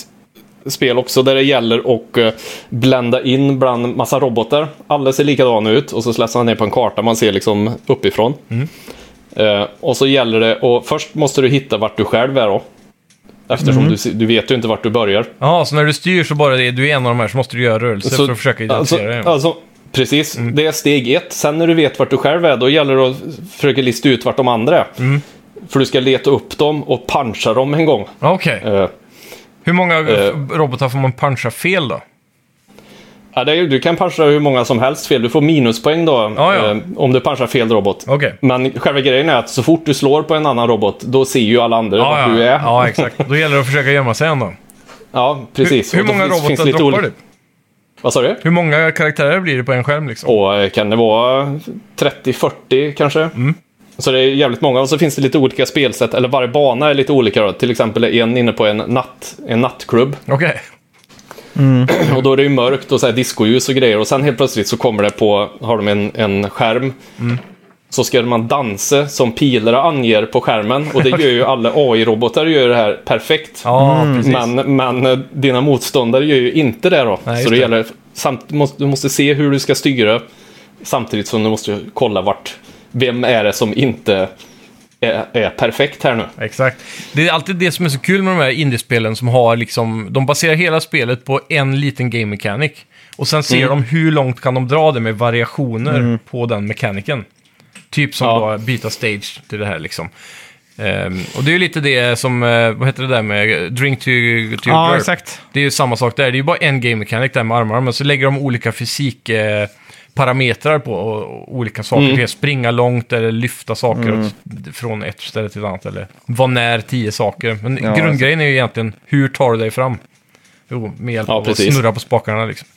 Speaker 3: spel också där det gäller att eh, blända in bland massa robotar. Alla ser likadana ut och så släsar han ner på en karta man ser liksom uppifrån.
Speaker 2: Mm.
Speaker 3: Eh, och så gäller det, och först måste du hitta vart du själv är då. Eftersom
Speaker 2: Mm.
Speaker 3: du, se- du vet ju inte vart du börjar.
Speaker 2: Ja, så när du styr så bara är du en av de här så måste du göra rörelser
Speaker 3: Så-
Speaker 2: för att försöka identifiera Mm.
Speaker 3: alltså,
Speaker 2: dig.
Speaker 3: alltså, Precis, det är steg ett. Sen när du vet vart du själv är, då gäller det att försöka lista ut vart de andra är.
Speaker 2: Mm.
Speaker 3: För du ska leta upp dem och puncha dem en gång.
Speaker 2: Ja, Okej.
Speaker 3: Eh,
Speaker 2: Hur många
Speaker 3: eh.
Speaker 2: robotar får man puncha fel då?
Speaker 3: ja, det är, ju- du kan puncha hur många som helst fel. Du får minuspoäng då,
Speaker 2: Ja, ja.
Speaker 3: eh, om du punchar fel robot.
Speaker 2: Okej.
Speaker 3: Men själva grejen är att så fort du slår på en annan robot, då ser ju alla andra
Speaker 2: Ja,
Speaker 3: vart
Speaker 2: ja,
Speaker 3: du är.
Speaker 2: ja, exakt. Då gäller det att försöka gömma sig ändå.
Speaker 3: Ja, precis.
Speaker 2: Hur, hur
Speaker 3: Och då
Speaker 2: många
Speaker 3: finns- finns
Speaker 2: robotar
Speaker 3: lite
Speaker 2: droppar
Speaker 3: olika-
Speaker 2: du?
Speaker 3: Vad sa du?
Speaker 2: Hur många karaktärer blir det på en skärm liksom?
Speaker 3: Och eh, kan det vara 30-40 kanske? Så det är jävligt många. Och så finns det lite olika spelsätt, eller varje bana är lite olika. Då. Till exempel är en inne på en, natt, en nattklubb.
Speaker 2: Okej.
Speaker 3: Och då är det ju mörkt och så här discoljus och grejer. Och sen helt plötsligt så kommer det på, har de en, en skärm. Så ska man dansa som pilar anger på skärmen. Och det gör ju alla AI-robotar gör det här perfekt.
Speaker 2: Ja, precis.
Speaker 3: Men, men eh, dina motståndare gör ju inte det då.
Speaker 2: Nej, just
Speaker 3: så det,
Speaker 2: det.
Speaker 3: gäller, samt, måste, du måste se hur du ska styra samtidigt som du måste kolla vart, vem är det som inte är, är perfekt här nu.
Speaker 2: Exakt. Det är alltid det som är så kul med de här indiespelen som har liksom... De baserar hela spelet på en liten game mechanic. Och sen ser
Speaker 1: Mm.
Speaker 2: de hur långt kan de dra det med variationer på den mekaniken. Typ som då
Speaker 3: Ja.
Speaker 2: byta stage till det här liksom. Ehm, och det är ju lite det som, eh, vad heter det där med drink to, to your
Speaker 1: Ja,
Speaker 2: girl.
Speaker 1: exakt.
Speaker 2: Det är ju samma sak där, det är ju bara en game mechanic där med armarna, men så lägger de olika fysik... Eh, parametrar på och, och olika saker.
Speaker 3: Mm.
Speaker 2: Det är Springa långt eller lyfta saker åt, från ett ställe till ett annat. Eller vara när tio saker. Men
Speaker 1: Ja,
Speaker 2: grundgrejen är ju egentligen, hur tar du dig fram? Jo, med hjälp
Speaker 3: alltså. Ja,
Speaker 2: av att
Speaker 3: precis.
Speaker 2: snurra på spakarna liksom.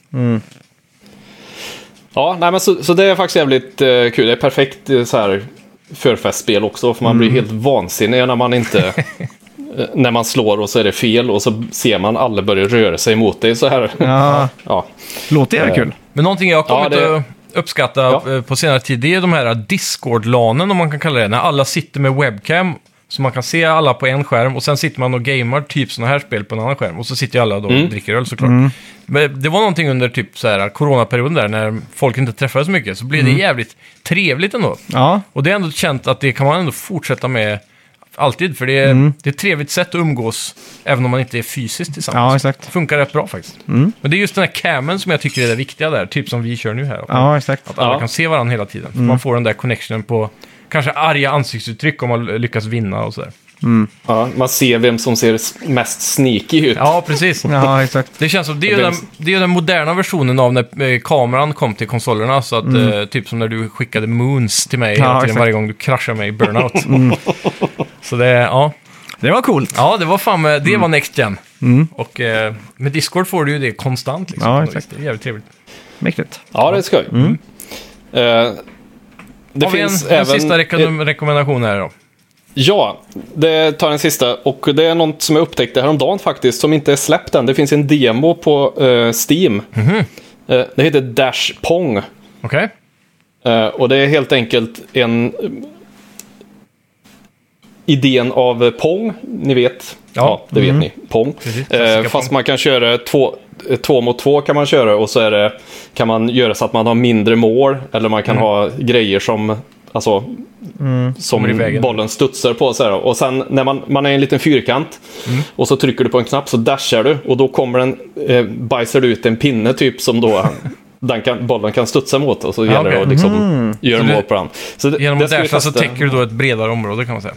Speaker 3: Ja, nej, men så, så det är faktiskt jävligt eh, kul. Det är perfekt eh, så här förfestspel också, för man blir
Speaker 2: Mm.
Speaker 3: helt vansinnig när man inte... eh, när man slår och så är det fel och så ser man alla börja röra sig mot dig så här.
Speaker 1: Ja,
Speaker 3: Ja.
Speaker 1: låter jävligt kul.
Speaker 2: Men någonting jag har
Speaker 3: Ja,
Speaker 2: kommit
Speaker 3: det-
Speaker 2: att uppskatta
Speaker 3: Ja.
Speaker 2: eh, på senare tid, det är de här Discord-lanen om man kan kalla det. När alla sitter med webcam, så man kan se alla på en skärm och sen sitter man och gamar typ sådana här spel på en annan skärm. Och så sitter ju alla då
Speaker 3: Mm.
Speaker 2: och dricker öl såklart.
Speaker 1: Mm.
Speaker 2: Men det var någonting under typ så här coronaperioden där, när folk inte träffades så mycket, så blev det jävligt trevligt ändå.
Speaker 1: Mm. Ja,
Speaker 2: Och det är ändå känt att det kan man ändå fortsätta med alltid, för det är,
Speaker 1: Mm.
Speaker 2: det är ett trevligt sätt att umgås, även om man inte är fysiskt tillsammans.
Speaker 1: ja exakt.
Speaker 2: Funkar rätt bra faktiskt.
Speaker 1: Mm.
Speaker 2: Men det är just den här camen som jag tycker är det viktiga där, typ som vi kör nu här.
Speaker 1: Ja, Mm. exakt.
Speaker 2: Att alla
Speaker 3: Ja.
Speaker 2: kan se varandra hela tiden. För Man får den där connectionen på kanske arga ansiktsuttryck om man lyckas vinna och sådär.
Speaker 3: Ja, man ser vem som ser s- mest sneaky ut.
Speaker 2: Ja, precis.
Speaker 1: Ja, exakt.
Speaker 2: Det känns som, det är, ju
Speaker 3: Det är-
Speaker 2: den, det är ju den moderna versionen av när eh, kameran kom till konsolerna. Så att, eh, typ som när du skickade moons till mig hela tiden
Speaker 1: Mm. exakt. Mm.
Speaker 2: varje gång du kraschade mig i burnout. Så det, ja.
Speaker 1: Det var coolt.
Speaker 2: Ja, det var fan, med- det
Speaker 1: Mm.
Speaker 2: var next gen. Och eh, med Discord får du ju det konstant liksom.
Speaker 1: Ja,
Speaker 2: på något
Speaker 1: exakt.
Speaker 2: vis. Det är jävligt trevligt.
Speaker 1: Mäktigt.
Speaker 3: Ja, det är skoj. Eh, det
Speaker 2: Har vi en,
Speaker 3: finns
Speaker 2: en
Speaker 3: även... Eh,
Speaker 2: sista rekom- rekommendation här då?
Speaker 3: Ja, det tar en sista. Och det är något som jag upptäckte häromdagen faktiskt, som inte är släppt än. Det finns en demo på eh, Steam.
Speaker 2: Mhm.
Speaker 3: Eh, det heter Dash Pong.
Speaker 2: Okej.
Speaker 3: Eh, och det är helt enkelt en... eh, idén av eh, Pong, ni vet.
Speaker 2: Ja. Mm.
Speaker 3: Ja, det vet ni. Pong.
Speaker 2: Precis,
Speaker 3: Eh,
Speaker 2: klassiska
Speaker 3: fast
Speaker 2: Pong.
Speaker 3: man kan köra två, eh, två mot två kan man köra och så är det, kan man göra så att man har mindre mål eller man
Speaker 2: Mm.
Speaker 3: kan ha grejer som Alltså,
Speaker 2: Kommer i
Speaker 3: som
Speaker 2: vägen.
Speaker 3: bollen studsar på. Så här. då. Och sen när man, man är i en liten fyrkant
Speaker 2: Mm.
Speaker 3: och så trycker du på en knapp så dashar du och då kommer den, eh, bajsar du ut en pinne typ som då den kan, bollen kan studsa mot och så gäller
Speaker 2: okej.
Speaker 3: det att liksom göra
Speaker 2: Så du-
Speaker 3: mål på den. Så det,
Speaker 2: Mm. Genom att
Speaker 3: det ska vi
Speaker 2: dasha så
Speaker 3: testa.
Speaker 2: täcker Mm. du då ett bredare område kan man säga.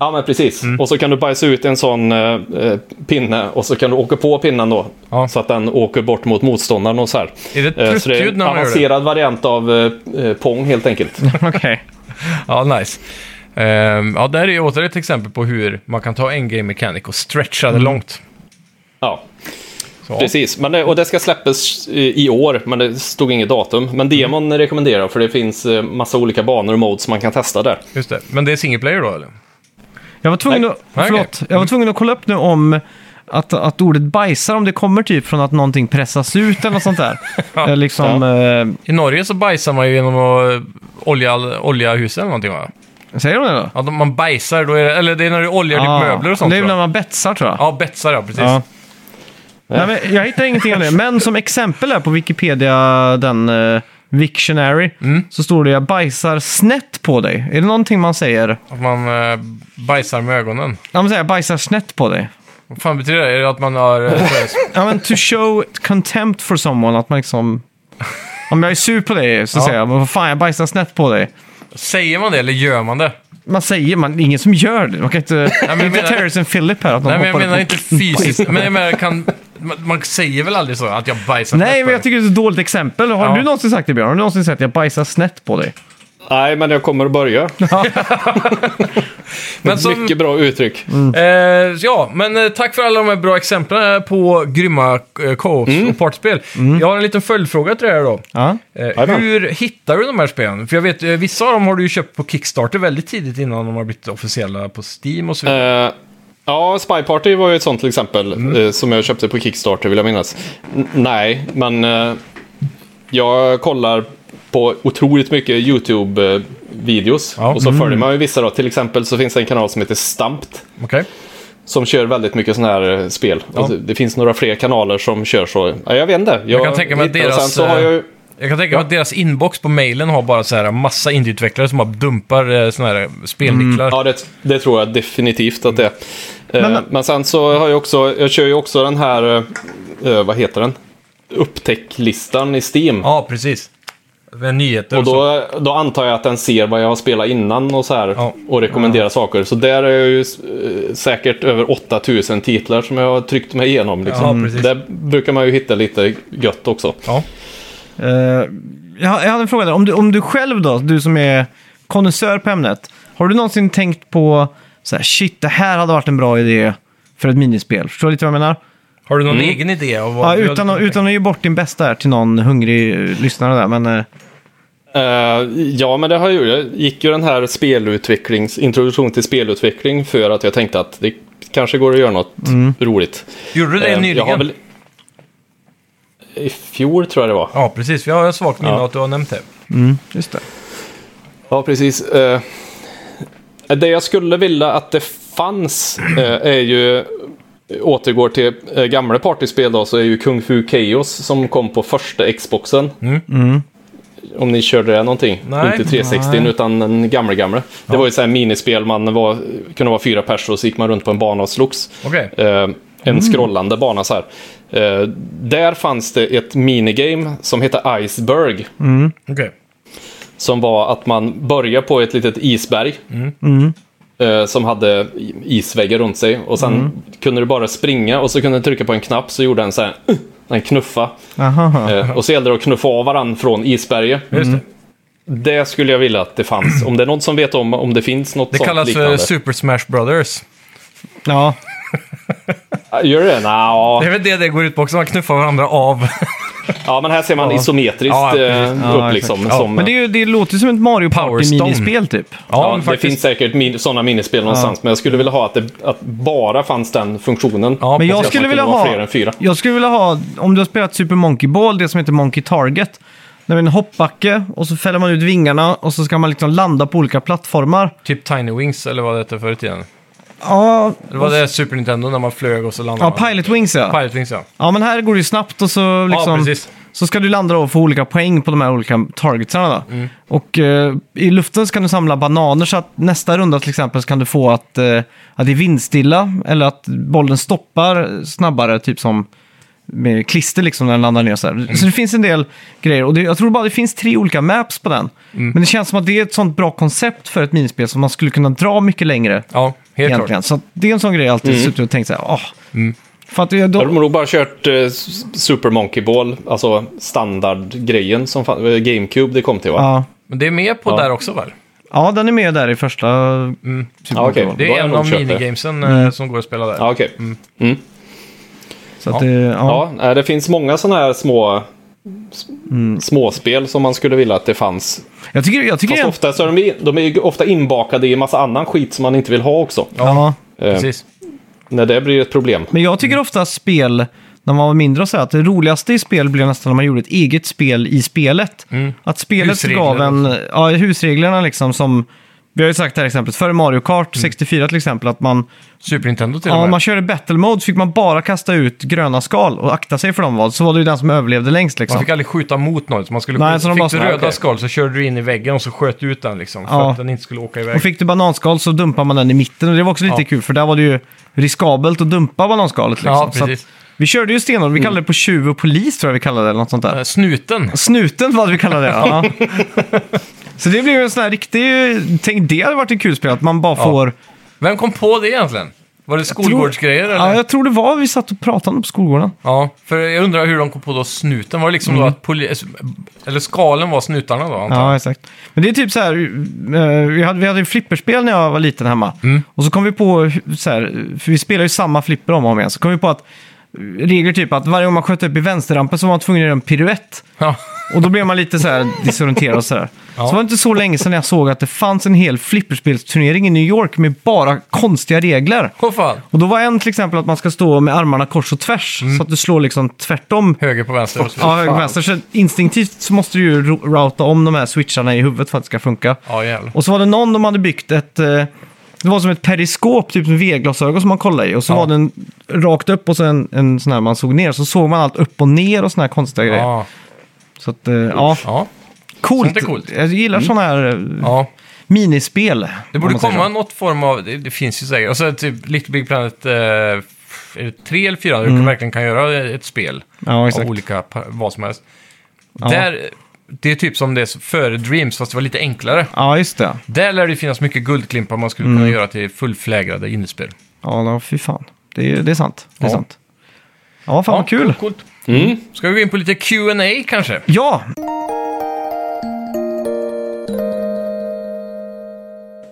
Speaker 3: Ja, men precis. Och så kan du bajsa ut en sån eh, eh, pinne och så kan du åka på pinnen då.
Speaker 2: Ja.
Speaker 3: Så att den åker bort mot motståndaren och så här.
Speaker 2: Är det ett
Speaker 3: Eh, så det är
Speaker 2: pruttljud
Speaker 3: en
Speaker 2: när man gör det?
Speaker 3: avancerad variant av eh, eh, Pong helt enkelt.
Speaker 1: Okej.
Speaker 2: Ja, nice. Ehm, ja, där är ju åter ett exempel på hur man kan ta en game mechanic och stretcha det långt.
Speaker 3: ja.
Speaker 2: Så, ja.
Speaker 3: Mm. Precis, men det, och det ska släppas eh, i i år, men det stod inget datum.
Speaker 2: Mm.
Speaker 3: Men demon rekommenderar jag, för det finns eh, massa olika banor och modes man kan testa där.
Speaker 2: Just det. Men det är single player då, eller?
Speaker 1: Jag var Mm. tvungen
Speaker 3: Nej.
Speaker 1: att...
Speaker 2: Nej,
Speaker 1: Förlåt. Jag var tvungen att kolla upp nu om att, att ordet bajsar, om det kommer typ från att någonting pressas ut eller något sånt där. Eh, liksom,
Speaker 2: I Norge så bajsar man ju genom att olja, olja huset eller någonting va?
Speaker 1: eh, säger de det då?
Speaker 2: Ja, de- man bajsar, då är det, eller det är när du oljar
Speaker 1: Ja,
Speaker 2: ditt möbler och sånt
Speaker 1: Ah. Det är
Speaker 2: tror
Speaker 1: när
Speaker 2: jag.
Speaker 1: man betsar tror jag.
Speaker 2: Ja, betsar ja, precis.
Speaker 1: Ja. Nej, men jag hittar ingenting om det, men som exempel här på Wikipedia, den eh, Victionary,
Speaker 2: Mm.
Speaker 1: så står det jag bajsar snett på dig. Är det någonting man säger?
Speaker 2: Att man eh, bajsar med ögonen.
Speaker 1: Ja, man säger jag bajsar snett på dig.
Speaker 2: Vad fan betyder det? Är det att man har... eh,
Speaker 1: Ja, men to show contempt for someone, att man liksom... Om jag är sur på dig så
Speaker 2: Ja.
Speaker 1: säger jag, men vad fan jag bajsar snett på dig.
Speaker 2: Säger man det eller gör man det?
Speaker 1: Man säger, man, det är ingen som gör det. Man kan inte...
Speaker 2: jag
Speaker 1: det är inte
Speaker 2: menar-
Speaker 1: Terrence and Philip här, att de
Speaker 2: Nej, men jag
Speaker 1: hoppar upp
Speaker 2: menar
Speaker 1: och-
Speaker 2: inte fysiskt. men jag menar, kan, man, man säger väl aldrig så? Att jag bajsar
Speaker 1: Nej,
Speaker 2: snett på
Speaker 1: men jag
Speaker 2: dig?
Speaker 1: tycker det är ett dåligt exempel. Har
Speaker 2: Ja.
Speaker 1: du någonsin sagt det, Björn? Har du någonsin sagt att jag bajsar snett på dig?
Speaker 3: Nej, men jag kommer att börja.
Speaker 2: Men som-
Speaker 3: Mycket bra uttryck.
Speaker 2: Eh, ja, men eh, tack för alla de här bra exemplen här på grymma eh, co-ops
Speaker 1: Mm.
Speaker 2: och partspel. Jag har en liten följdfråga till det här då.
Speaker 1: Ja.
Speaker 2: Eh,
Speaker 3: Jajamän.
Speaker 2: hur hittar du de här spelen? För jag vet, eh, vissa av dem har du ju köpt på Kickstarter väldigt tidigt innan de har blivit officiella på Steam och så vidare.
Speaker 3: Eh, ja, Spy Party var ju ett sånt till exempel.
Speaker 2: Mm.
Speaker 3: eh, som jag köpte på Kickstarter vill jag minnas. N- nej, men eh, jag kollar på otroligt mycket YouTube-videos.
Speaker 2: Ja. Mm.
Speaker 3: Och så följer man ju vissa då. Till exempel så finns det en kanal som heter Stamped.
Speaker 1: Eh.
Speaker 2: Okej.
Speaker 3: Som kör väldigt mycket sådana här eh, spel. Och det- det finns några fler kanaler som kör så. Ja, jag vet inte. Jag,
Speaker 2: kan tänka mig att
Speaker 3: hittar och
Speaker 2: deras,
Speaker 3: Sen så har jag ju...
Speaker 2: Jag kan tänka mig att deras inbox på mailen har bara så här massa indieutvecklare som bara dumpar eh, såna här spelnycklar.
Speaker 1: Mm.
Speaker 3: Ja, det, det tror jag definitivt att det är. Men,
Speaker 1: Men-
Speaker 3: men sen så har jag också, jag kör ju också den här, eh, vad heter den? Upptäcklistan i Steam.
Speaker 2: Ja, precis. Med nyheter
Speaker 3: och
Speaker 2: och, så.
Speaker 3: då, då antar jag att den ser vad jag har spelat innan och så här.
Speaker 2: Ja.
Speaker 3: Och rekommenderar saker. Så där är jag ju eh, säkert över 8000 titlar som jag har tryckt mig igenom. Liksom.
Speaker 2: Ja, precis.
Speaker 3: där brukar man ju hitta lite gött också.
Speaker 2: Ja.
Speaker 1: Eh, jag, jag hade en fråga där. Om du, om du själv då, du som är konnässör på ämnet. Har du någonsin tänkt på så här, shit, det här hade varit en bra idé för ett minispel? Förstår du lite vad jag menar?
Speaker 2: Har du någon
Speaker 3: Mm.
Speaker 2: egen idé? Av vad
Speaker 1: Ja,
Speaker 2: du
Speaker 1: utan, att,
Speaker 2: hade tänkt?
Speaker 1: utan att ge bort din bästa här till någon hungrig eh, lyssnare där. Men, eh,
Speaker 3: Eh, ja, men det har jag gjort. Jag gick ju den här spelutvecklings, introduktion till spelutveckling för att jag tänkte att det kanske går att göra något roligt.
Speaker 2: Gjorde du Mm. det
Speaker 3: Eh,
Speaker 2: nyligen?
Speaker 3: Jag har väl... I fjol tror jag det var.
Speaker 2: Ja, precis. Vi har svagt minne
Speaker 3: Ja.
Speaker 2: att du har nämnt det.
Speaker 1: just det.
Speaker 3: Ja, precis. Eh, det jag skulle vilja att det fanns eh, är ju, återgår till eh, gamla partyspel då, så är ju Kung Fu Chaos som kom på första Xboxen. Om ni körde det någonting.
Speaker 2: Nej.
Speaker 3: Inte 360
Speaker 1: Nej.
Speaker 3: utan den gamla gamla. Det var ju så här minispel, man var, kunde vara fyra personer och så gick man runt på en bana och slogs.
Speaker 2: Okej.
Speaker 3: Eh, en scrollande bana så här. Eh, där fanns det ett minigame som hette Iceberg.
Speaker 2: Okej.
Speaker 3: Som var att man börjar på ett litet isberg. Eh, som hade i- isväggar runt sig. Och sen kunde du bara springa och så kunde du trycka på en knapp så gjorde den så här. Den knuffa.
Speaker 1: Aha.
Speaker 3: Eh, och så gällde det att knuffa av varandra från isberget.
Speaker 2: Just det.
Speaker 3: Det skulle jag vilja att det fanns. Om det är någon som vet om, om det finns något
Speaker 2: Det
Speaker 3: mm. sånt
Speaker 2: kallas för
Speaker 3: liknande.
Speaker 2: Super Smash Brothers.
Speaker 1: Ja,
Speaker 3: Gör det? Nja.
Speaker 2: Det är väl det det går ut på också, man knuffar varandra av.
Speaker 3: Ja, men här ser man isometriskt
Speaker 2: Ja, precis.
Speaker 3: eh,
Speaker 1: Ja,
Speaker 3: upp
Speaker 1: exakt.
Speaker 3: liksom.
Speaker 1: Ja.
Speaker 3: som,
Speaker 1: Men det, är ju, det låter ju som ett Mario
Speaker 2: Power Stone.
Speaker 1: Party-minispel typ.
Speaker 3: Ja, det finns säkert min sådana minispel någonstans, men jag skulle vilja ha att det att bara fanns den funktionen.
Speaker 2: Ja,
Speaker 1: Men
Speaker 2: precis.
Speaker 1: jag
Speaker 3: att
Speaker 1: skulle
Speaker 3: man
Speaker 1: vilja
Speaker 3: kunde vara fler
Speaker 1: ha...
Speaker 3: än fyra.
Speaker 1: Jag skulle vilja ha, om du har spelat Super Monkey Ball, det som heter Monkey Target. När det är en hoppbacke och så fäller man ut vingarna och så ska man liksom landa på olika plattformar.
Speaker 2: Typ Tiny Wings eller vad det hette förr i tiden.
Speaker 1: Ja,
Speaker 2: Det var det Super Nintendo när man flög och så
Speaker 1: ja
Speaker 2: landade man.
Speaker 1: Pilot Wings ja.
Speaker 2: Pilot Wings ja.
Speaker 1: Ja, men här går det ju snabbt och så
Speaker 2: Ja,
Speaker 1: liksom...
Speaker 2: precis.
Speaker 1: så ska du landa då och få olika poäng på de här olika targetsarna. Då.
Speaker 2: Mm.
Speaker 1: Och eh, i luften så kan du samla bananer så att nästa runda till exempel så kan du få att, eh, att det är vindstilla eller att bollen stoppar snabbare, typ som med klister liksom när den landar ner. Så, här.
Speaker 2: Mm.
Speaker 1: så det finns en del grejer och det, jag tror bara det finns tre olika maps på den.
Speaker 2: Mm.
Speaker 1: Men det känns som att det är ett sånt bra koncept för ett minispel som man skulle kunna dra mycket längre.
Speaker 2: Ja, helt klart.
Speaker 1: egentligen. Så att det är en sån grej jag alltid suttit och tänkt så här, åh. För att jag, då,
Speaker 3: Har de nog bara kört eh, S- Super Monkey Ball, alltså standardgrejen som fan, eh, GameCube det kom till va?
Speaker 1: ja,
Speaker 2: Men det är med på där också väl?
Speaker 1: ja, den är med där i första... typ Super
Speaker 3: Ja, okej.
Speaker 1: Bowl.
Speaker 2: Det
Speaker 3: Då har
Speaker 2: är en
Speaker 3: jag
Speaker 2: av
Speaker 3: nog köpt det.
Speaker 2: minigamesen eh,
Speaker 1: Mm.
Speaker 2: som går att spela där.
Speaker 3: Ja, okej.
Speaker 1: Så att det, ja.
Speaker 3: Ja, nej, det finns många sådana här små s- småspel som man skulle vilja att det fanns.
Speaker 1: Jag tycker, jag tycker
Speaker 3: Fast
Speaker 1: jag,
Speaker 3: ofta så är de, i- de är ju ofta inbakade i massa annan skit som man inte vill ha också.
Speaker 1: ja.
Speaker 3: Eh,
Speaker 2: Precis.
Speaker 3: när det blir ett problem.
Speaker 1: Men jag tycker ofta att spel, när man var mindre, så här, att det roligaste i spel blev nästan när man gjorde ett eget spel i spelet. Att spelet
Speaker 2: Husregler
Speaker 1: gav en, ja, husreglerna liksom som, vi har ju sagt det här exemplet, före Mario Kart 64 till exempel, att man,
Speaker 2: Super Nintendo till och
Speaker 1: ja,
Speaker 2: med.
Speaker 1: om man körde battle mode så fick man bara kasta ut gröna skal och akta sig för dem vad, så var det ju den som överlevde längst liksom.
Speaker 2: Man fick aldrig skjuta mot någon. Så man skulle,
Speaker 1: Nej, så de
Speaker 2: fick
Speaker 1: bara så
Speaker 2: du
Speaker 1: här,
Speaker 2: röda
Speaker 1: okej.
Speaker 2: skal så körde du in i väggen och så sköt du ut den liksom. För
Speaker 1: Ja.
Speaker 2: att den inte skulle åka iväg.
Speaker 1: Och fick du bananskal så dumpar man den i mitten. Och det var också lite
Speaker 2: Ja.
Speaker 1: kul, för där var det ju riskabelt att dumpa bananskalet. Liksom.
Speaker 2: Ja,
Speaker 1: Så att
Speaker 2: precis. Mm.
Speaker 1: vi körde ju stenhårt. Vi kallade det på tjuv och polis, tror jag vi kallade det, eller något sånt där.
Speaker 2: Eh, Snuten.
Speaker 1: Snuten var det vi kallade det, ja. Så det blev ju en sån här riktig... Tänk, det hade varit ett kul spel, att man bara får...
Speaker 2: Vem kom på det egentligen? Var det skolgårdsgrejer eller?
Speaker 1: Ja, jag tror det var vi satt och pratade om det på skolgården.
Speaker 2: Ja, för jag undrar hur de kom på då snuten. Var det liksom då att poli- Eller skalen var snutarna då, antar jag?
Speaker 1: Mm. Ja, exakt. Men det är typ så här, eh, vi hade, vi hade ju flipperspel när jag var liten hemma. Och så kom vi på, hu- så här, för vi spelar ju samma flipper om och om igen, så kom vi på att eh, regler typ att varje gång man sköt upp i vänsterrampen så var man tvungen att göra en piruett.
Speaker 2: Ja.
Speaker 1: Och då blev man lite så här disorienterad och sådär. Så var det inte så länge sedan jag såg att det fanns en hel flipperspelsturnering i New York med bara konstiga regler.
Speaker 2: Åh fan.
Speaker 1: Och då var en till exempel att man ska stå med armarna kors och tvärs, så att du slår liksom tvärtom
Speaker 2: Höger på vänster. och så vidare.
Speaker 1: Ja, höger och vänster. Så instinktivt så måste du ju ro- routa om de här switcharna i huvudet för att det ska funka.
Speaker 2: Ja, jävlar.
Speaker 1: Och så var det någon de hade byggt ett... eh, Det var som ett periskop, typ med V-glasögon som man kollade i. Och så
Speaker 2: Ja.
Speaker 1: var den rakt upp och sen en sån här man såg ner. Så såg man allt upp och ner och såna här konstiga grejer.
Speaker 2: Ja.
Speaker 1: Så att, eh, ja,
Speaker 2: ja.
Speaker 1: coolt.
Speaker 2: sånt är coolt.
Speaker 1: Jag gillar såna här eh,
Speaker 2: ja.
Speaker 1: minispel.
Speaker 2: Det
Speaker 1: om
Speaker 2: borde
Speaker 1: man säger
Speaker 2: komma
Speaker 1: så.
Speaker 2: något form av, det, det finns ju säkert, och så typ Little Big Planet eh, är det tre eller fyra, där du verkligen kan göra ett spel
Speaker 1: Ja, Mm. exakt.
Speaker 2: av olika, pa- vad som helst. Där, det är typ som det är före Dreams, fast det var lite enklare.
Speaker 1: Ja, just det.
Speaker 2: Där lär det finnas mycket guldklimpar man skulle kunna göra till fullflägrade innespel.
Speaker 1: Mm. Ja, då, fy fan. Det är, det är sant. Det är
Speaker 2: Ja.
Speaker 1: sant. Ja, fan vad kul.
Speaker 2: Coolt. Ska vi gå in på lite Q&A kanske?
Speaker 1: Ja!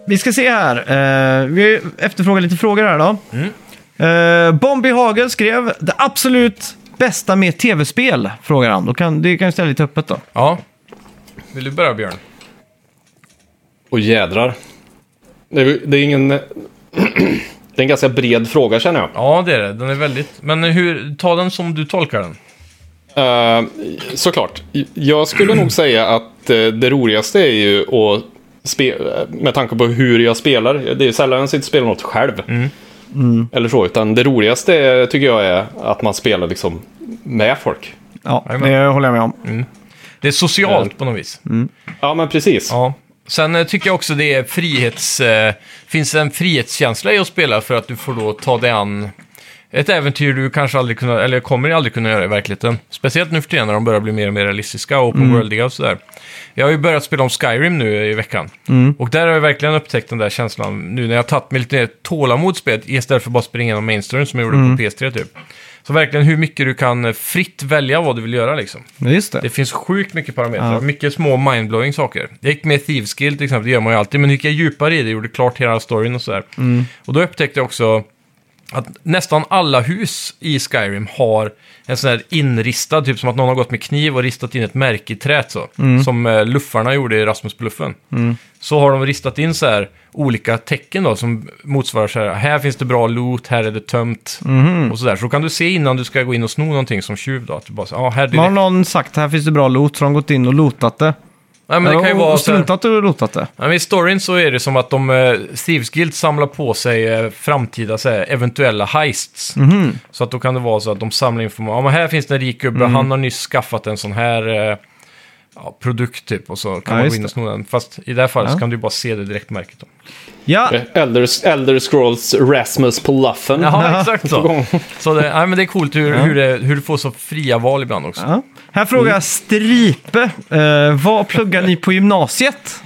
Speaker 1: Vi ska se här. Eh, vi efterfrågar lite frågor här då.
Speaker 2: Mm.
Speaker 1: Eh, Bombi Hagel skrev det absolut bästa med tv-spel, frågar han. Då kan, det kan jag ställa lite öppet då.
Speaker 2: Ja. Vill du börja Björn?
Speaker 3: Och jädrar. Det är, det är ingen... det är en ganska bred fråga känner jag.
Speaker 2: Ja, det är det. Den är väldigt... Men hur... ta den som du tolkar den.
Speaker 3: Eh, såklart. Jag skulle nog säga att eh, det roligaste är ju att spe- eh, med tanke på hur jag spelar. Det är ju sällan jag sitter och spelar något själv.
Speaker 2: Mm.
Speaker 3: Eller så, utan det roligaste är, tycker jag är att man spelar liksom med folk.
Speaker 1: Ja,
Speaker 2: Jajamän. Mm.
Speaker 1: det håller jag med om.
Speaker 2: Det är socialt på något vis.
Speaker 3: Ja, men precis.
Speaker 2: Ja. Sen eh, tycker jag också det är frihets... Eh, finns en frihetskänsla i att spela för att du får då ta dig an ett äventyr du kanske aldrig kunna, eller kommer aldrig kunna göra i verkligheten. Speciellt nu för tiden när de börjar bli mer och mer realistiska och open worldiga och sådär. Jag har ju börjat spela om Skyrim nu i veckan. Och där har jag verkligen upptäckt den där känslan nu när jag har tagit mig lite mer tålamod i spelet istället för att bara springa igenom mainstream som jag gjorde på PS3 typ. Så verkligen hur mycket du kan eh, fritt välja vad du vill göra liksom.
Speaker 1: Ja, Just det.
Speaker 2: Det finns sjukt mycket parametrar, mycket små mindblowing saker. Jag gick med Thieves Guild till exempel, det gör man ju alltid, men nu gick jag djupare i det, gjorde klart hela storyn och sådär.
Speaker 1: Mm.
Speaker 2: Och då upptäckte jag också att nästan alla hus i Skyrim har en sån här inristad, typ som att någon har gått med kniv och ristat in ett märke i träet så.
Speaker 1: Mm.
Speaker 2: Som eh, luffarna gjorde i Rasmusbluffen. Så har de ristat in så här olika tecken då som motsvarar så här, här finns det bra loot, här är det tömt
Speaker 1: Mhm.
Speaker 2: och sådär. Så då kan du se innan du ska gå in och sno någonting som tjuv då, att du bara så, ah, här direkt
Speaker 1: Man har någon sagt här finns det bra loot, så har de gått in och lootat det.
Speaker 2: Nej, men det kan ju
Speaker 1: och,
Speaker 2: vara
Speaker 1: och
Speaker 2: så här,
Speaker 1: struntat och lootat det.
Speaker 2: Nej, men I storyn så är det som att de, eh, Thieves Guild samlar på sig eh, framtida så här, eventuella heists.
Speaker 1: Mhm.
Speaker 2: Så att då kan det vara så att de samlar information. Ja, men här finns det en rik gubbe, han har nyss skaffat en sån här eh, ja, produkt typ. Och så kan
Speaker 1: Ja,
Speaker 2: man gå
Speaker 1: just
Speaker 2: in och
Speaker 1: det.
Speaker 2: sno den. Fast i det här fallet
Speaker 1: Ja.
Speaker 2: så kan du ju bara se det direktmärket. Då.
Speaker 1: Ja,
Speaker 3: Elder, Elder Scrolls Rasmus Pluffen.
Speaker 2: Jaha, exakt så. så det, nej, men det är coolt hur, hur, det, hur du får så fria val ibland också.
Speaker 1: Ja. Här frågar
Speaker 2: Mm.
Speaker 1: Stripe, eh, vad pluggar ni på gymnasiet?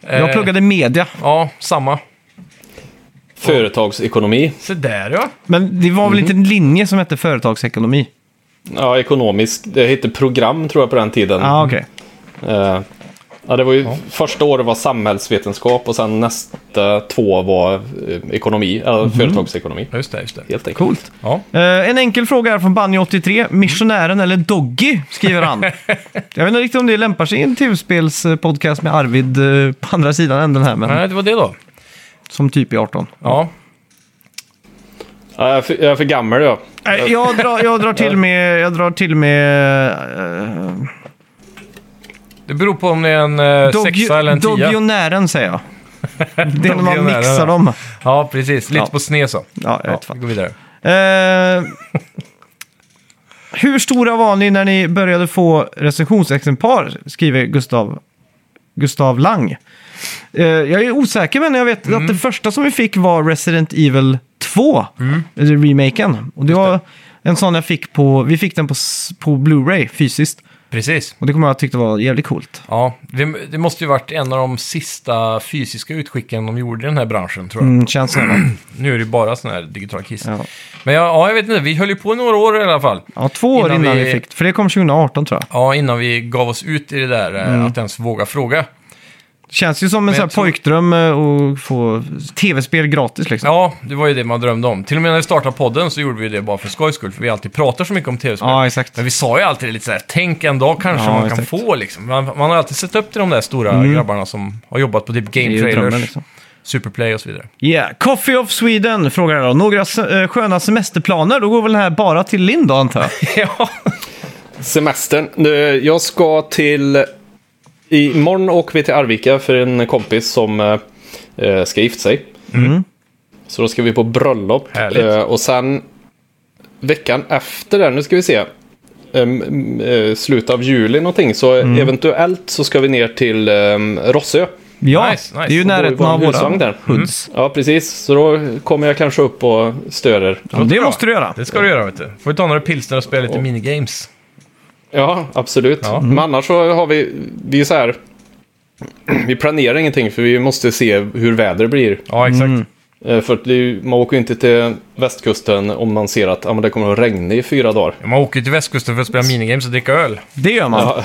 Speaker 1: Jag
Speaker 2: Eh,
Speaker 1: pluggade media,
Speaker 2: Ja, samma.
Speaker 3: Företagsekonomi.
Speaker 2: Så där ja.
Speaker 1: men det var väl inte en linje som hette företagsekonomi?
Speaker 3: Ja, ekonomisk. Det hette program tror jag på den tiden.
Speaker 1: Ja, ah, okej.
Speaker 3: Eh, ja, det var ju första året var samhällsvetenskap och sen nästa två var eh, ekonomi, eller företagsekonomi.
Speaker 2: Just det, just det.
Speaker 3: Helt enkelt.
Speaker 1: Coolt.
Speaker 2: Ja.
Speaker 1: Eh, en enkel fråga här från Banjo83. Missionären eller Doggy, skriver han. Jag vet inte riktigt om det lämpar sig i en tv-spelspodcast med Arvid eh, på andra sidan än den här, men typ
Speaker 2: Nej, det var det då.
Speaker 1: som typ i 18.
Speaker 2: Ja,
Speaker 3: Ja, jag, är för, jag är för gammal jag.
Speaker 1: Nej, Jag drar, jag drar till med... Jag drar till med... eh,
Speaker 2: Det beror på om det är en eh, sexa eller en tia.
Speaker 1: Dogionären säger jag. Det är när man
Speaker 2: Dogionären,
Speaker 1: mixar
Speaker 2: ja.
Speaker 1: dem.
Speaker 2: Ja, precis. Lite
Speaker 1: Ja.
Speaker 2: på sned så.
Speaker 1: Ja, jag
Speaker 2: Ja,
Speaker 1: vet
Speaker 2: vi
Speaker 1: fan.
Speaker 2: går vidare.
Speaker 1: Eh, hur stora var ni när ni började få recensionsexemplar? Skriver Gustav, Gustav Lang. Eh, jag är osäker, men jag vet
Speaker 2: Mm.
Speaker 1: att det första som vi fick var Resident Evil 2.
Speaker 2: Mm.
Speaker 1: Eller remaken. Och det var en sån jag fick på... Vi fick den på, s- på Blu-ray fysiskt.
Speaker 2: Precis.
Speaker 1: Och det kommer jag att tyckte var jävligt coolt.
Speaker 2: Ja, det, det måste ju varit en av de sista fysiska utskicken de gjorde i den här branschen, tror jag.
Speaker 1: Mm, känns det. va?
Speaker 2: Nu är det ju bara sån här digital kiss.
Speaker 1: Ja.
Speaker 2: Men ja, ja, jag vet inte, vi höll ju på i några år i alla fall.
Speaker 1: Ja, två år
Speaker 2: Innan
Speaker 1: innan,
Speaker 2: vi-
Speaker 1: vi fick. För det kom 2018 tror jag.
Speaker 2: Ja, innan vi gav oss ut i det där eh,
Speaker 1: Mm.
Speaker 2: att ens våga fråga.
Speaker 1: Känns ju som en sån här
Speaker 2: jag tror-
Speaker 1: pojkdröm eh, att få tv-spel gratis liksom.
Speaker 2: Ja, det var ju det man drömde om. Till och med när vi startade podden så gjorde vi det bara för skojs skull, för vi alltid pratar så mycket om tv-spel.
Speaker 1: Ja, exakt.
Speaker 2: Men vi sa ju alltid det lite så här, tänk en dag kanske
Speaker 1: Ja,
Speaker 2: man kan
Speaker 1: exakt. Mm.
Speaker 2: få liksom. Man, man har alltid sett upp till de där stora grabbarna som har jobbat på typ
Speaker 1: Det
Speaker 2: Game
Speaker 1: är ju
Speaker 2: Trailers,
Speaker 1: drömmen, liksom.
Speaker 2: Superplay och så vidare.
Speaker 1: Yeah. Coffee of Sweden frågar jag då. Några se- eh, sköna semesterplaner? Då går väl den här bara till Lind då, antar jag?
Speaker 2: ja,
Speaker 3: Semestern. Nu, Jag ska till... Imorgon åker vi till Arvika för en kompis som eh, eh, ska gifta sig. Så då ska vi på bröllop.
Speaker 2: Härligt.
Speaker 3: Eh, Och sen veckan efter det, nu ska vi se. Em, em, eh, Slutet av juli någonting. Så eventuellt så ska vi ner till em, Rossö.
Speaker 1: ja,
Speaker 2: Nice, nice.
Speaker 1: det är ju
Speaker 2: Och
Speaker 3: då är
Speaker 1: närheten
Speaker 3: vår
Speaker 1: av
Speaker 3: husvagn
Speaker 1: våra
Speaker 3: där.
Speaker 1: hoods.
Speaker 3: Ja, precis. Så då kommer jag kanske upp och störer.
Speaker 1: Ja, det måste du göra.
Speaker 2: det ska du göra vet du. Får vi ta några pilsner och spela lite minigames.
Speaker 3: Ja, absolut.
Speaker 2: Ja.
Speaker 3: Men annars så har vi, vi är så här, vi planerar ingenting för vi måste se hur väder blir.
Speaker 2: Ja, exakt.
Speaker 1: Mm.
Speaker 3: Eh, För att det är, ju- man åker ju inte till västkusten om man ser att ja, men det kommer att regna i fyra dagar.
Speaker 2: Man åker ju till västkusten för att spela minigames och dricka öl.
Speaker 1: Det gör man.
Speaker 3: Ja,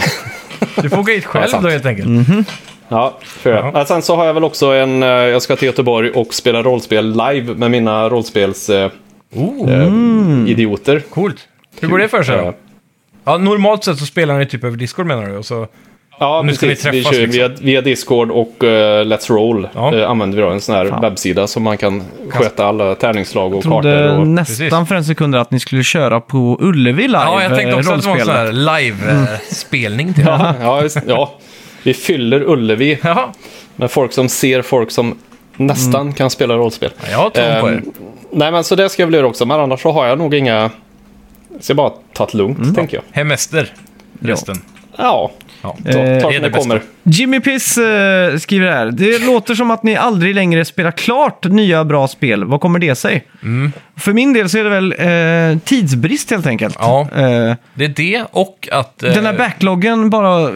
Speaker 2: Du får åka hit
Speaker 3: Ja,
Speaker 2: själv
Speaker 3: sant.
Speaker 2: då helt enkelt.
Speaker 1: Mm.
Speaker 3: ja, för jag.
Speaker 2: Ja.
Speaker 3: Ja, Sen så har jag väl också en, eh, jag ska till Göteborg och spela rollspel live med mina eh, rollspelsidioter.
Speaker 2: Oh,
Speaker 1: Eh.
Speaker 2: coolt. Hur går det för sig
Speaker 3: Ja.
Speaker 2: då? Ja, normalt sett så spelar ni typ över Discord menar du? Och så...
Speaker 3: Ja,
Speaker 2: Nu ska
Speaker 3: precis.
Speaker 2: vi
Speaker 3: vi
Speaker 2: träffas, liksom.
Speaker 3: kör ju via, via Discord och eh, Let's Roll.
Speaker 2: Ja.
Speaker 3: eh, använder vi då en sån här
Speaker 1: Fan.
Speaker 3: webbsida som man kan sköta alla tärningslag och
Speaker 1: Jag trodde
Speaker 3: kartor. Och...
Speaker 1: nästan
Speaker 2: Precis.
Speaker 1: för en sekund att ni skulle köra på Ullevi live.
Speaker 2: Ja, jag tänkte
Speaker 1: eh,
Speaker 2: också att det var en sån här
Speaker 1: rollspelet.
Speaker 2: live-spelning till. Ja.
Speaker 3: Ja, ja, just, ja, vi fyller Ullevi
Speaker 2: Jaha,
Speaker 3: med folk som ser folk som nästan kan spela rollspel.
Speaker 2: Mm. Ja, jag tror på
Speaker 3: Ehm,
Speaker 2: er.
Speaker 3: nej, men så det ska jag väl göra också, men annars så har jag nog inga... Så jag bara tagit lugnt,
Speaker 2: Mm.
Speaker 3: tänker jag.
Speaker 2: Hemester. Resten.
Speaker 3: Ja,
Speaker 2: Ja.
Speaker 3: ta,
Speaker 1: Eh,
Speaker 3: ta
Speaker 2: det är
Speaker 3: det
Speaker 2: det
Speaker 3: när det kommer.
Speaker 1: Jimmy Piss eh, skriver här. Det låter som att ni aldrig längre spelar klart nya bra spel. Vad kommer det sig? För min del så är det väl eh, tidsbrist helt enkelt.
Speaker 2: Ja.
Speaker 1: Eh,
Speaker 2: Det är det och att... eh,
Speaker 1: den här backloggen bara eh,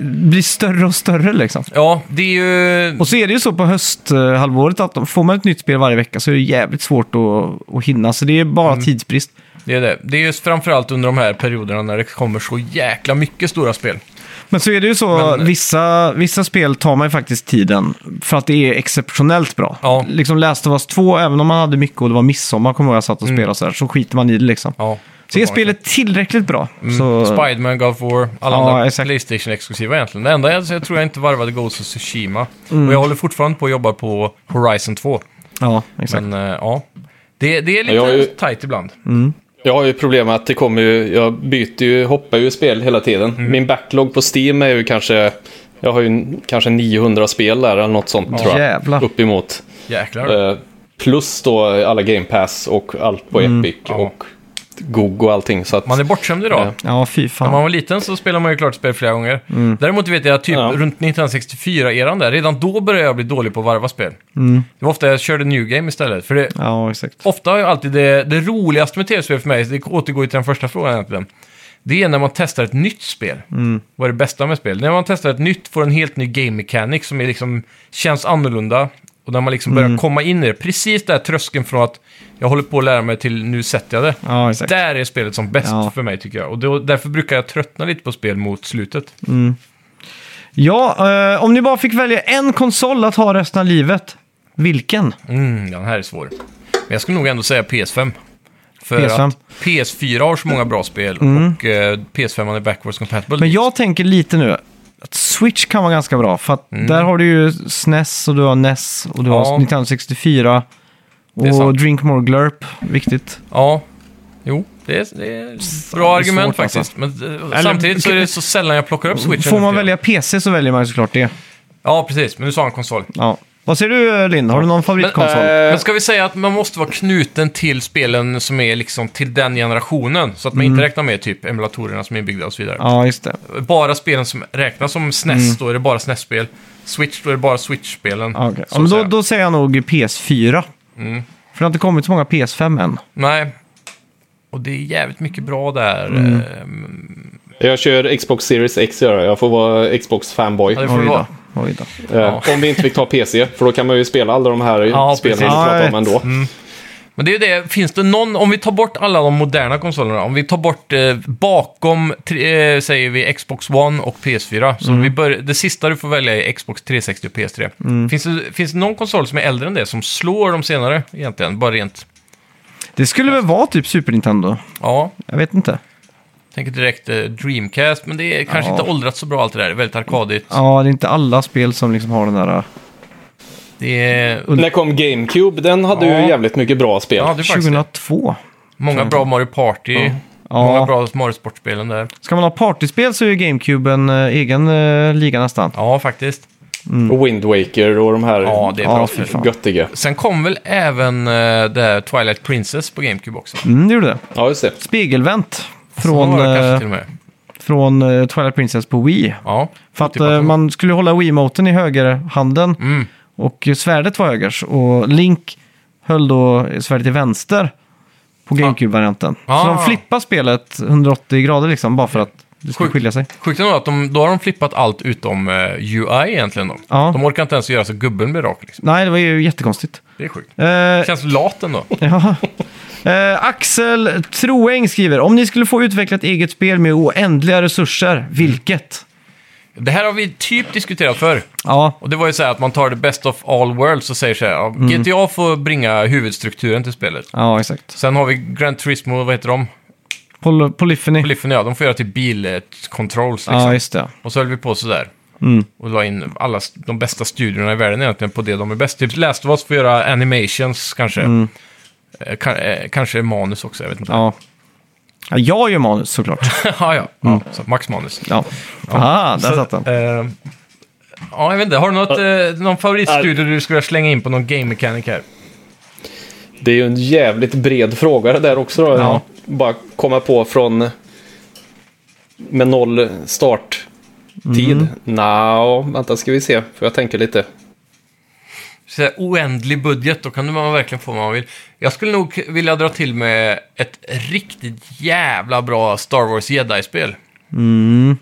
Speaker 1: blir större och större liksom.
Speaker 2: Ja, det är ju...
Speaker 1: Och så är det ju så på hösthalvåret att om- får man ett nytt spel varje vecka så är det jävligt svårt att, att hinna. Så det är bara
Speaker 2: Mm.
Speaker 1: tidsbrist.
Speaker 2: Det är, det. Det är ju framförallt under de här perioderna när det kommer så jäkla mycket stora spel.
Speaker 1: Men så är det ju så,
Speaker 2: Men-
Speaker 1: vissa, vissa spel tar man ju faktiskt tiden för att det är exceptionellt bra.
Speaker 2: Ja.
Speaker 1: Liksom Last of Us 2, även om man hade mycket och det var midsommar, kommer jag ihåg jag satt och spelade och så här, så skiter man i det liksom.
Speaker 2: Mm. Ja.
Speaker 1: så är spelet tillräckligt bra.
Speaker 2: Mm.
Speaker 1: Så,
Speaker 2: Spiderman, God of War, alla
Speaker 1: Ja,
Speaker 2: andra
Speaker 1: exakt.
Speaker 2: Playstation-exklusiva egentligen. Det enda jag, jag tror jag inte varvade Ghost of Tsushima. Och jag håller fortfarande på att jobba på Horizon 2.
Speaker 1: ja, Mm. exakt.
Speaker 2: Men eh, ja, det, det är lite
Speaker 3: Jag är ju-
Speaker 2: tight ibland.
Speaker 1: Mm.
Speaker 3: Jag har ju problem med att det kommer ju, jag byter ju, hoppar ju spel hela tiden.
Speaker 2: Mm.
Speaker 3: Min backlog på Steam är ju kanske, jag har ju n- kanske 900 spel där eller något sånt tror jag.
Speaker 1: Jävlar.
Speaker 3: Uppemot.
Speaker 2: Jäklar.
Speaker 3: Eh, plus då alla Game Pass och allt på Epic
Speaker 2: Mm. Ja.
Speaker 3: och GOG och allting. Så att,
Speaker 2: Man är bortskämd idag.
Speaker 3: Ja.
Speaker 1: Ja, fy fan.
Speaker 2: När man var liten så spelade man ju klart spel flera gånger.
Speaker 1: Mm.
Speaker 2: Däremot vet jag att typ
Speaker 3: Ja.
Speaker 2: runt 1964-eran där, redan då började jag bli dålig på att varva spel.
Speaker 1: Mm.
Speaker 2: Det var ofta jag körde New Game istället. För det,
Speaker 1: Ja, exakt.
Speaker 2: ofta har jag alltid det, det roligaste med tv-spel för mig, det återgår ju till den första frågan egentligen. Det är när man testar ett nytt spel.
Speaker 1: Mm.
Speaker 2: Vad är det bästa med spel? När man testar ett nytt, får en helt ny game mechanic som är liksom, känns annorlunda. Och när man liksom
Speaker 1: Mm.
Speaker 2: börjar komma in i det. Precis där tröskeln från att jag håller på att lära mig till nu sätter jag det.
Speaker 1: Ja, exakt.
Speaker 2: Där är spelet som bäst
Speaker 1: Ja.
Speaker 2: för mig tycker jag. Och då, därför brukar jag tröttna lite på spel mot slutet.
Speaker 1: Ja, eh, om ni bara fick välja en konsol att ha resten av livet, vilken?
Speaker 2: Mm, den här är svår. Men jag skulle nog ändå säga PS5. För
Speaker 1: PS5.
Speaker 2: att PS4 har så många bra spel och eh, PS5 är backwards compatible.
Speaker 1: Mm. Men jag tänker lite nu att Switch kan vara ganska E bra. För att där har du ju SNES och du har NES och du
Speaker 2: Mm. Ja.
Speaker 1: har 1964.
Speaker 2: är
Speaker 1: Och
Speaker 2: sant.
Speaker 1: drink more glurp, viktigt.
Speaker 2: Ja, jo. Det är, det är ett bra
Speaker 1: det är
Speaker 2: argument
Speaker 1: svårt, alltså. Mm,
Speaker 2: faktiskt. Men eh, samtidigt så är det så sällan jag plockar upp switchen.
Speaker 1: Får
Speaker 2: nu
Speaker 1: man
Speaker 2: för
Speaker 1: välja PC så väljer man ju såklart det.
Speaker 2: tiden. Ja, precis. Men du sa han konsol.
Speaker 1: Ja. Vad säger du Lind? Har du någon favoritkonsol?
Speaker 3: Eh,
Speaker 2: Men ska vi säga att man måste vara knuten till spelen som är liksom till den generationen? Så att man inte räknar med typ emulatorerna som är inbyggda och så vidare.
Speaker 1: Mm. ja, just det.
Speaker 2: Bara spelen som räknas som SNES, då är det bara SNES-spel. Switch, då är det bara Switch-spelen.
Speaker 1: Ja, okej.
Speaker 2: så
Speaker 1: Ja, men
Speaker 2: att
Speaker 1: då,
Speaker 2: säga. Mm.
Speaker 1: då säger jag nog PS4. För det har inte kommit så många PS5 än.
Speaker 2: Nej. Och det är jävligt mycket bra där.
Speaker 1: Mm.
Speaker 2: Ehm,
Speaker 3: Jag kör Xbox Series X, gör jag. jag får vara Xbox-fanboy.
Speaker 2: Ja, det får
Speaker 1: Oj
Speaker 2: vi
Speaker 1: då.
Speaker 2: vara.
Speaker 1: Oj då.
Speaker 3: Eh, Om vi inte fick ta PC, för då kan man ju spela alla de här
Speaker 2: Ja, mm.
Speaker 3: spelen vi
Speaker 2: precis.
Speaker 3: pratar om
Speaker 1: Ja,
Speaker 3: ändå.
Speaker 2: Men det är ju det, finns det någon, om vi tar bort alla de moderna konsolerna, om vi tar bort eh, bakom, tre- eh, säger vi Xbox One och PS4,
Speaker 1: Mm.
Speaker 2: så vi bör, det sista du får välja är Xbox 360 och PS3.
Speaker 1: Mm.
Speaker 2: Finns, det, finns det någon konsol som är äldre än det, som slår de senare egentligen? Bara rent,
Speaker 1: Det skulle väl vara typ Super Nintendo?
Speaker 2: ja,
Speaker 1: Jag vet inte.
Speaker 2: tänker direkt eh, Dreamcast, men det är kanske
Speaker 1: Ja.
Speaker 2: inte åldrats så bra allt det där, Det är väldigt arkadigt.
Speaker 1: Ja, det är inte alla spel som liksom har den där...
Speaker 2: Det är,
Speaker 3: När kom GameCube? Den hade
Speaker 2: Ja.
Speaker 3: ju jävligt mycket bra spel.
Speaker 2: ja, det är faktiskt det.
Speaker 1: 2002.
Speaker 2: många bra Mario Party,
Speaker 1: Ja.
Speaker 2: många bra Mario Sportspelen där.
Speaker 1: Ska man ha partyspel så är ju GameCube en eh, egen eh, liga nästan.
Speaker 2: Ja, faktiskt.
Speaker 3: Och Wind Waker och de här
Speaker 2: Ja, det är
Speaker 1: Ja,
Speaker 2: bra
Speaker 1: fy
Speaker 2: spel.
Speaker 1: fan.
Speaker 3: göttiga.
Speaker 2: Sen kom väl även eh, det här Twilight Princess på GameCube också.
Speaker 1: Mm, det gjorde det.
Speaker 3: Ja, just det.
Speaker 1: Spegelvänt
Speaker 2: Så
Speaker 1: från,
Speaker 2: var det kanske
Speaker 1: eh,
Speaker 2: till och med.
Speaker 1: från eh, Twilight Princess på Wii.
Speaker 2: Ja. Typ
Speaker 1: För att
Speaker 2: Otippat
Speaker 1: eh,
Speaker 2: nog.
Speaker 1: man skulle ju hålla Wiimoten i högerhanden
Speaker 2: Mm.
Speaker 1: och svärdet var högers. Och Link höll då svärdet till vänster på GameCube-varianten. Så
Speaker 2: Ah.
Speaker 1: de flippar spelet 180 grader liksom bara för att det ska
Speaker 2: Sjukt.
Speaker 1: skilja sig.
Speaker 2: Sjukt ändå att de, då har de flippat allt utom eh, UI egentligen. Då.
Speaker 1: Ja.
Speaker 2: De orkar inte ens göra så gubben blir rak. Liksom.
Speaker 1: Nej, det var ju jättekonstigt.
Speaker 2: Det är sjukt.
Speaker 1: Eh,
Speaker 2: Känns lat ändå.
Speaker 1: Ja. Eh, Axel Troeng skriver, om ni skulle få utveckla ett eget spel med oändliga resurser, vilket?
Speaker 2: Det här har vi typ diskuterat förr.
Speaker 1: Ja,
Speaker 2: Och det var ju så här att man tar det best of all worlds och säger så här, ja,
Speaker 1: Mm.
Speaker 2: GTA får bringa huvudstrukturen till spelet.
Speaker 1: ja exakt.
Speaker 2: Sen har vi Gran Turismo, vad heter de?
Speaker 1: Poly polyphony.
Speaker 2: Polyphony, ja, de får göra till bilcontrols liksom.
Speaker 1: ja, just det.
Speaker 2: Och så höll vi på sådär. Och la in alla st- de bästa studiorna i världen egentligen på det de är bäst. Typ Last of Us får göra animations kanske. Eh, ka- eh, kanske manus också, jag vet inte.
Speaker 1: Ja. ja jag gör manus såklart.
Speaker 2: ja, Mm. ja. ja så max manus.
Speaker 1: Ja. Aha, där
Speaker 2: Så,
Speaker 1: satt den.
Speaker 2: eh, ja, jag vet inte. Har du något, eh, någon favoritstudio du skulle vilja slänga in på någon game mechanic här?
Speaker 3: Det är ju en jävligt bred fråga det där också. Då.
Speaker 1: Ja.
Speaker 3: Bara komma på från med noll starttid. Nja, vänta ska vi se. Får jag tänka lite.
Speaker 2: Så här, oändlig budget, då kan man verkligen få vad man vill. Jag skulle nog vilja dra till med ett riktigt jävla bra Star Wars Jedi-spel.
Speaker 1: Mm.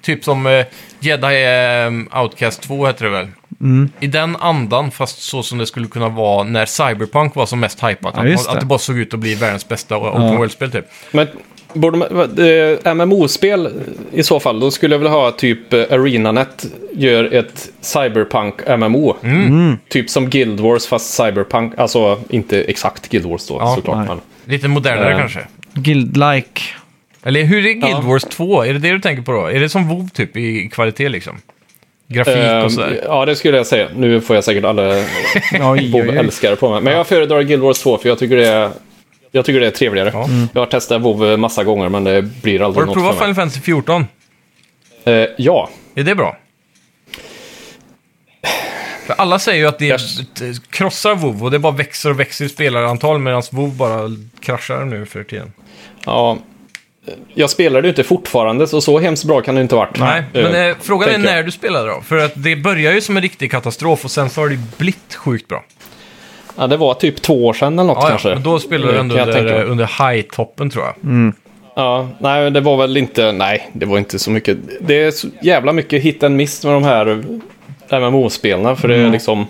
Speaker 2: Typ som eh, Jedi eh, Outcast 2 heter det väl?
Speaker 1: Mm.
Speaker 2: I den andan, fast så som det skulle kunna vara när Cyberpunk var som mest hypat.
Speaker 1: Ja, just
Speaker 2: att,
Speaker 1: det
Speaker 2: att det bara såg ut att bli världens bästa open world-spel typ.
Speaker 3: Men borde man, vad, eh, MMO-spel i så fall, då skulle jag vilja ha typ eh, ArenaNet gör ett cyberpunk-MMO. Typ som Guild Wars fast cyberpunk. Alltså inte exakt Guild Wars då
Speaker 2: Ja,
Speaker 3: såklart.
Speaker 1: nej.
Speaker 3: Men,
Speaker 2: Lite modernare
Speaker 3: Eh.
Speaker 2: kanske.
Speaker 1: Guild-like.
Speaker 2: Eller hur är Guild
Speaker 3: Ja.
Speaker 2: Wars 2? Är det det du tänker på då? Är det som WoW typ i kvalitet liksom? Grafik
Speaker 3: Ehm,
Speaker 2: och sådär.
Speaker 3: ja, det skulle jag säga. Nu får jag säkert alla
Speaker 1: Oj, oj, oj.
Speaker 3: WoW-älskare på mig. Men jag föredrar Guild Wars 2 för jag tycker det är, jag tycker det är trevligare. Mm.
Speaker 2: Ja.
Speaker 3: Jag har testat WoW massa gånger men det blir
Speaker 2: Har
Speaker 3: aldrig
Speaker 2: du
Speaker 3: något för
Speaker 2: provat
Speaker 3: mig.
Speaker 2: Final Fantasy 14?
Speaker 3: Eh, ja,
Speaker 2: Är det bra? För alla säger ju att det t- krossar WoW och det bara växer och växer i spelarantal medan WoW bara kraschar nu för tiden.
Speaker 3: ja. Jag spelar det ju inte fortfarande så så hemskt bra kan det inte ha varit.
Speaker 2: Nej, men
Speaker 3: Eh,
Speaker 2: eh, frågan är
Speaker 3: tänker
Speaker 2: när
Speaker 3: jag.
Speaker 2: du spelade då? För att det börjar ju som en riktig katastrof och sen så har det blivit sjukt bra.
Speaker 3: Ja, det var typ två år sedan eller något
Speaker 2: Ja,
Speaker 3: kanske.
Speaker 2: ja, men då spelade du
Speaker 3: Eh,
Speaker 2: ändå
Speaker 3: kan jag tänka
Speaker 2: under,
Speaker 3: mig. Mm.
Speaker 2: under high-toppen tror jag.
Speaker 3: Ja, nej, men det var väl inte... Nej, det var inte så mycket. Det är så jävla mycket hit and miss med de här eh, MMO-spelen. För det är liksom...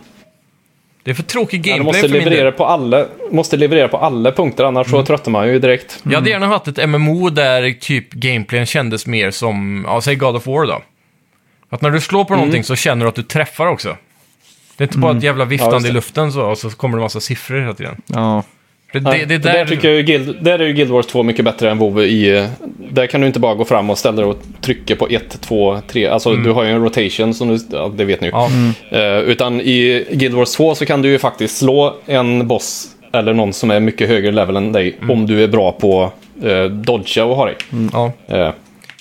Speaker 2: Det är för tråkig
Speaker 3: Ja, du
Speaker 2: gameplay
Speaker 3: måste
Speaker 2: Mm. för min del. Mm.
Speaker 3: leverera, på alla, måste leverera på alla punkter, annars så tröttnar man ju direkt.
Speaker 2: Jag hade gärna haft ett MMO där typ gameplayen kändes mer som, ja, säg God of War då. Att när du slår
Speaker 3: Mm.
Speaker 2: på någonting så känner du att du träffar också. Det är inte bara ett jävla
Speaker 3: Ja,
Speaker 2: viftande
Speaker 3: just det.
Speaker 2: i luften så, och så kommer det en massa siffror hela tiden.
Speaker 1: Ja.
Speaker 2: För det,
Speaker 3: Nej,
Speaker 2: det, det,
Speaker 3: där,
Speaker 2: där,
Speaker 3: tycker jag ju Guild, där är ju Guild Wars 2 mycket bättre än WoW i... eh, Där kan du inte bara gå fram och ställa dig och trycka på 1, 2, 3. Alltså du har ju en rotation som du... Ja, det vet ni ju.
Speaker 2: Mm. Ja. Mm.
Speaker 3: Eh, utan i Guild Wars 2 så kan du ju faktiskt slå en boss eller någon som är mycket högre level än dig
Speaker 2: Mm.
Speaker 3: om du är bra på eh, dodga och ha dig.
Speaker 2: ja.
Speaker 3: Eh,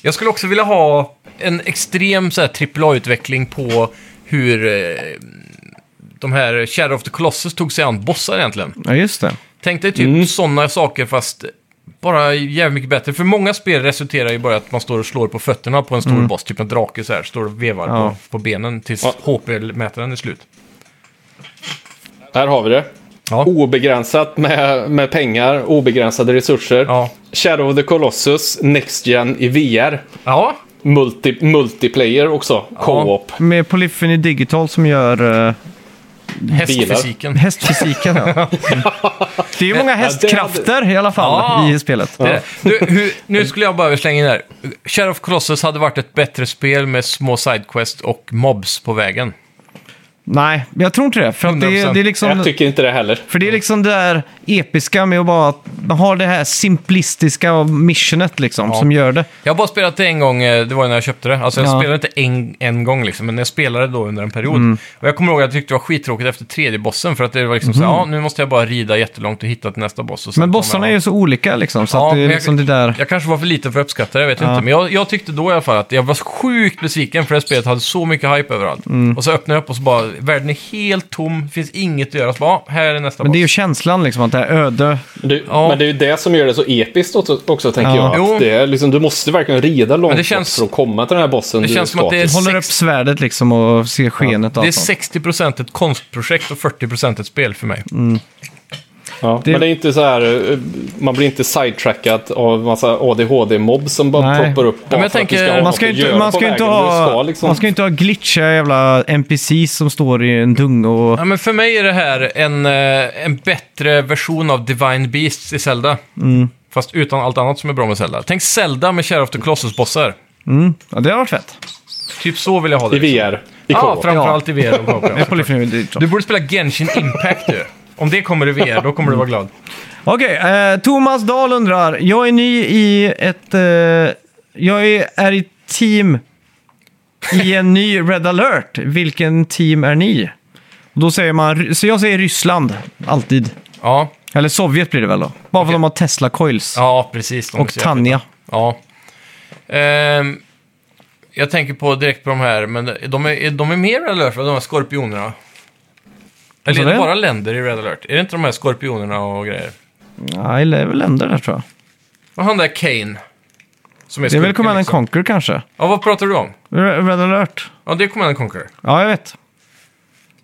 Speaker 2: Jag skulle också vilja ha en extrem så här AAA-utveckling på hur eh, de här Shadow of the Colossus tog sig an bossar egentligen.
Speaker 1: Ja, just det.
Speaker 2: Tänk dig typ sådana saker fast bara jävligt mycket bättre. För många spel resulterar ju bara i att man står och slår på fötterna på en stor boss, typ en drake så här, står och vevar
Speaker 1: Ja.
Speaker 2: på, på benen tills
Speaker 3: Ja.
Speaker 2: HP-mätaren är slut.
Speaker 3: här har vi det.
Speaker 2: Ja.
Speaker 3: Obegränsat med, med pengar, obegränsade resurser.
Speaker 2: Ja.
Speaker 3: Shadow of the Colossus, Next Gen i VR.
Speaker 2: Ja,
Speaker 3: Multi, multiplayer också, co-op.
Speaker 1: Med Polyphony Digital som gör eh,
Speaker 2: hästfysiken.
Speaker 1: hästfysiken. ja. Mm. Det är ju många hästkrafter i alla fall
Speaker 2: Ja.
Speaker 1: i spelet.
Speaker 2: Det är det. Du, hur, nu skulle jag bara vilja slänga in här. Sheriff Colossus hade varit ett bättre spel med små sidequests och mobs på vägen.
Speaker 1: Nej, jag tror inte det. För, att det,
Speaker 2: 100%.
Speaker 1: det är liksom,
Speaker 3: Jag tycker inte det heller.
Speaker 1: för det är liksom det där episka med att bara man har det här simplistiska missionet liksom som gör det.
Speaker 2: Jag har bara spelat det en gång, eh, det var ju när jag köpte det. Alltså jag
Speaker 1: Ja. Mm.
Speaker 2: spelade inte en, en gång liksom, men jag spelade då under en period. Och jag kommer ihåg att jag tyckte det var skittråkigt efter tredje bossen, för att det var liksom så här, ja nu måste jag bara rida jättelångt och hitta till nästa boss. Och sen
Speaker 1: Mm. Men
Speaker 2: kommer
Speaker 1: bossarna är
Speaker 2: jag-
Speaker 1: ju så olika liksom. Så
Speaker 2: Ja,
Speaker 1: att det är
Speaker 2: men jag-
Speaker 1: liksom det där...
Speaker 2: Jag kanske var för liten för att uppskatta det, jag vet
Speaker 1: Ja.
Speaker 2: inte. Men jag, jag tyckte då i alla fall att jag var sjukt besviken för det här spelet hade så mycket hype överallt.
Speaker 1: Mm.
Speaker 2: Och så öppnar jag upp och så bara, världen är helt tom, finns inget att göra. Så bara, "Ah, här är nästa
Speaker 1: Men
Speaker 2: boss.
Speaker 1: det är ju känslan liksom att det är öde.
Speaker 3: Det,
Speaker 2: Ja.
Speaker 3: Men det är ju det som gör det så episkt också, också tänker
Speaker 1: Ja.
Speaker 3: jag.
Speaker 2: Jo.
Speaker 3: Att det är, liksom, du måste verkligen rida långt bort
Speaker 2: känns-
Speaker 3: för att komma till den här bossen
Speaker 2: det
Speaker 3: du
Speaker 2: känns som
Speaker 3: ska
Speaker 2: att det är
Speaker 3: till.
Speaker 1: Håller
Speaker 2: sex-
Speaker 1: upp svärdet liksom och ser skenet och
Speaker 2: Det är
Speaker 1: allt sånt.
Speaker 2: 60% ett konstprojekt och 40% ett spel för mig.
Speaker 3: Ja.
Speaker 1: det-
Speaker 3: Men det är inte så här, eh, man blir inte sidetrackad av massa ADHD-mobb som bara
Speaker 1: Nej.
Speaker 3: ploppar upp bara
Speaker 2: men jag
Speaker 3: för att du
Speaker 2: tänker-
Speaker 3: ska ha
Speaker 1: Man
Speaker 3: något
Speaker 1: ska, ju
Speaker 3: att
Speaker 1: inte,
Speaker 3: göra
Speaker 1: man,
Speaker 3: på
Speaker 1: ska ju inte
Speaker 3: vägen. Du
Speaker 1: ha,
Speaker 3: ska liksom-
Speaker 1: man ska ju inte ha glitchiga jävla NPCs som står i en dung och...
Speaker 2: Ja, men för mig är det här en, eh, en bättre version av Divine Beasts i Zelda.
Speaker 1: Mm.
Speaker 2: Fast utan allt annat som är bra med Zelda. Tänk Zelda med Shadow of the Colossus-bossar.
Speaker 1: Ja, det har varit fett.
Speaker 2: Typ så vill jag ha det.
Speaker 3: I VR, i
Speaker 2: Ja,
Speaker 3: co-op.
Speaker 2: framförallt i VR. och co-op, ja.
Speaker 1: Polyphony Digital.
Speaker 2: Du borde spela Genshin Impact du. Om det kommer i VR, då kommer du vara glad.
Speaker 1: Okej, eh, Thomas Dahl undrar. Jag är ny i ett... Eh, jag är, är i team i en ny Red Alert. Vilken team är ni? Och då säger man... Ry- Så jag säger Ryssland, alltid.
Speaker 2: Ja,
Speaker 1: Eller Sovjet blir det väl då? Bara för att de har Tesla Coils.
Speaker 2: ja precis. de är
Speaker 1: och
Speaker 2: så jävla-
Speaker 1: Tanja.
Speaker 2: Ja. Ehm, jag tänker på direkt på de här, men de är, de är mer Red Alert, va? de här skorpionerna.
Speaker 1: Vad sa
Speaker 2: Eller är det
Speaker 1: du?
Speaker 2: bara länder i Red Alert? Är det inte de här skorpionerna och grejer?
Speaker 1: Nej, det är väl länder där tror jag.
Speaker 2: Och han där Kane. Som är
Speaker 1: Det är väl
Speaker 2: skurken,
Speaker 1: Command and
Speaker 2: liksom.
Speaker 1: Conquer kanske?
Speaker 2: Ja, vad pratar du om?
Speaker 1: Re- Red Alert.
Speaker 2: Ja, det är Command and Conquer.
Speaker 1: Ja, jag vet.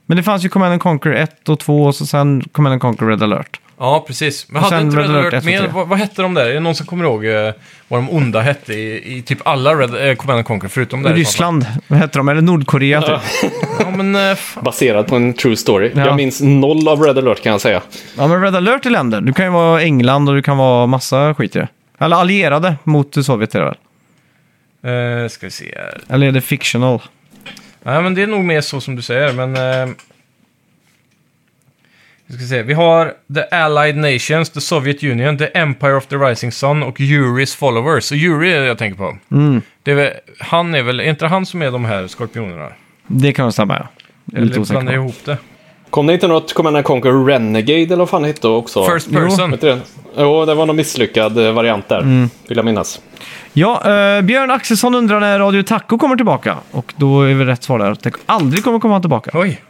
Speaker 1: Men det fanns ju Command and Conquer 1 och 2 och så sen Command and Conquer Red Alert.
Speaker 2: Ja, precis. Men
Speaker 1: Och
Speaker 2: hade
Speaker 1: sen
Speaker 2: inte Red
Speaker 1: Red Alert
Speaker 2: Alert
Speaker 1: 1 och
Speaker 2: med?
Speaker 1: 3.
Speaker 2: Vad, vad hette de där? Är det någon som kommer ihåg eh, vad de onda hette i, i typ alla Red, eh, Command and Conquer, förutom där? i så fall?
Speaker 1: Ryssland hette de, eller Nordkorea typ.
Speaker 2: Ja, men eh, fan.
Speaker 3: Baserad på en true story.
Speaker 1: Ja.
Speaker 3: Jag minns noll av Red Alert kan jag säga.
Speaker 1: Ja, men Red Alert är länder. Du kan ju vara England och du kan vara massa skit i det. Eller allierade mot Sovjet är det väl?
Speaker 2: Eh, ska vi se här.
Speaker 1: Eller är det fictional?
Speaker 2: Nej, men det är nog mer så som du säger, men... Eh, vi ska se. Vi har The Allied Nations, The Soviet Union, The Empire of the Rising Sun och Yuri's Followers. Och Yuri är det jag tänker på.
Speaker 1: Mm.
Speaker 2: Det är väl, han är väl... Är inte han som är de här skorpionerna?
Speaker 1: Det kan nog stämma, ja. Jag är lite
Speaker 2: Eller
Speaker 1: osäker
Speaker 2: blandar jag
Speaker 1: på.
Speaker 2: ihop det?
Speaker 3: Kom det inte något Command and Conquer Renegade eller vad fan det hette också?
Speaker 2: First person.
Speaker 3: Vet du det? Jo, det var någon misslyckad eh, variant där,
Speaker 1: Mm.
Speaker 3: vill jag minnas.
Speaker 1: Ja, eh, Björn Axelsson undrar när Radio Taco kommer tillbaka. Och då är väl rätt svar där att det aldrig kommer komma tillbaka.
Speaker 2: Oj.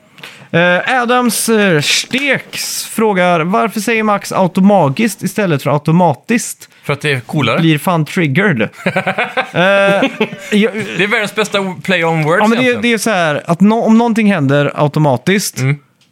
Speaker 1: Eh, Adams eh, Steks frågar varför säger Max automagiskt istället för automatiskt?
Speaker 2: För att det är coolare.
Speaker 1: Blir fan triggered. Eh, ja,
Speaker 2: Det är världens bästa play on words
Speaker 1: ja, men det,
Speaker 2: egentligen. Mm.
Speaker 1: det är så här att nå- om någonting händer automatiskt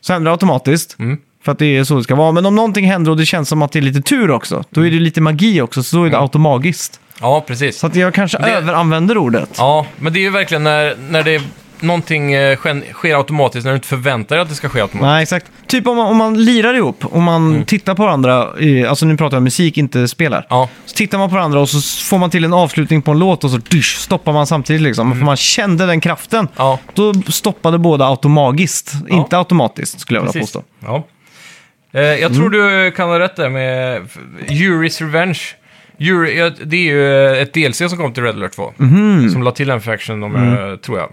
Speaker 1: så händer det automatiskt. För att det är så det ska vara. Men om någonting händer och det känns som att det är lite tur också, då är det lite magi också, så då är det automagiskt.
Speaker 2: Ja, precis.
Speaker 1: Så att jag kanske
Speaker 2: Mm. Det-
Speaker 1: överanvänder ordet.
Speaker 2: Ja, men det är ju verkligen när, när det är någonting eh, sken- sker automatiskt när du inte förväntar dig att det ska ske automatiskt.
Speaker 1: Nej, exakt. Typ om man, om man lirar ihop, om man tittar på varandra, i, alltså nu pratar jag musik, inte spelar.
Speaker 2: Mm. Ja.
Speaker 1: Så tittar man på varandra och så s- får man till en avslutning på en låt och så dysch, stoppar man samtidigt liksom. För man kände den kraften.
Speaker 2: Mm. Ja.
Speaker 1: Då stoppade båda automatiskt, inte automatiskt skulle jag vilja
Speaker 2: Precis.
Speaker 1: påstå.
Speaker 2: Ja. Eh, jag tror
Speaker 1: Mm.
Speaker 2: du kan ha rätt där med f- Yuri's Revenge. Yuri, ja, det är ju eh, ett DLC som kom till Red Alert 2.
Speaker 1: Mhm.
Speaker 2: Som la till en faction, om jag-
Speaker 1: Mm.
Speaker 2: tror jag.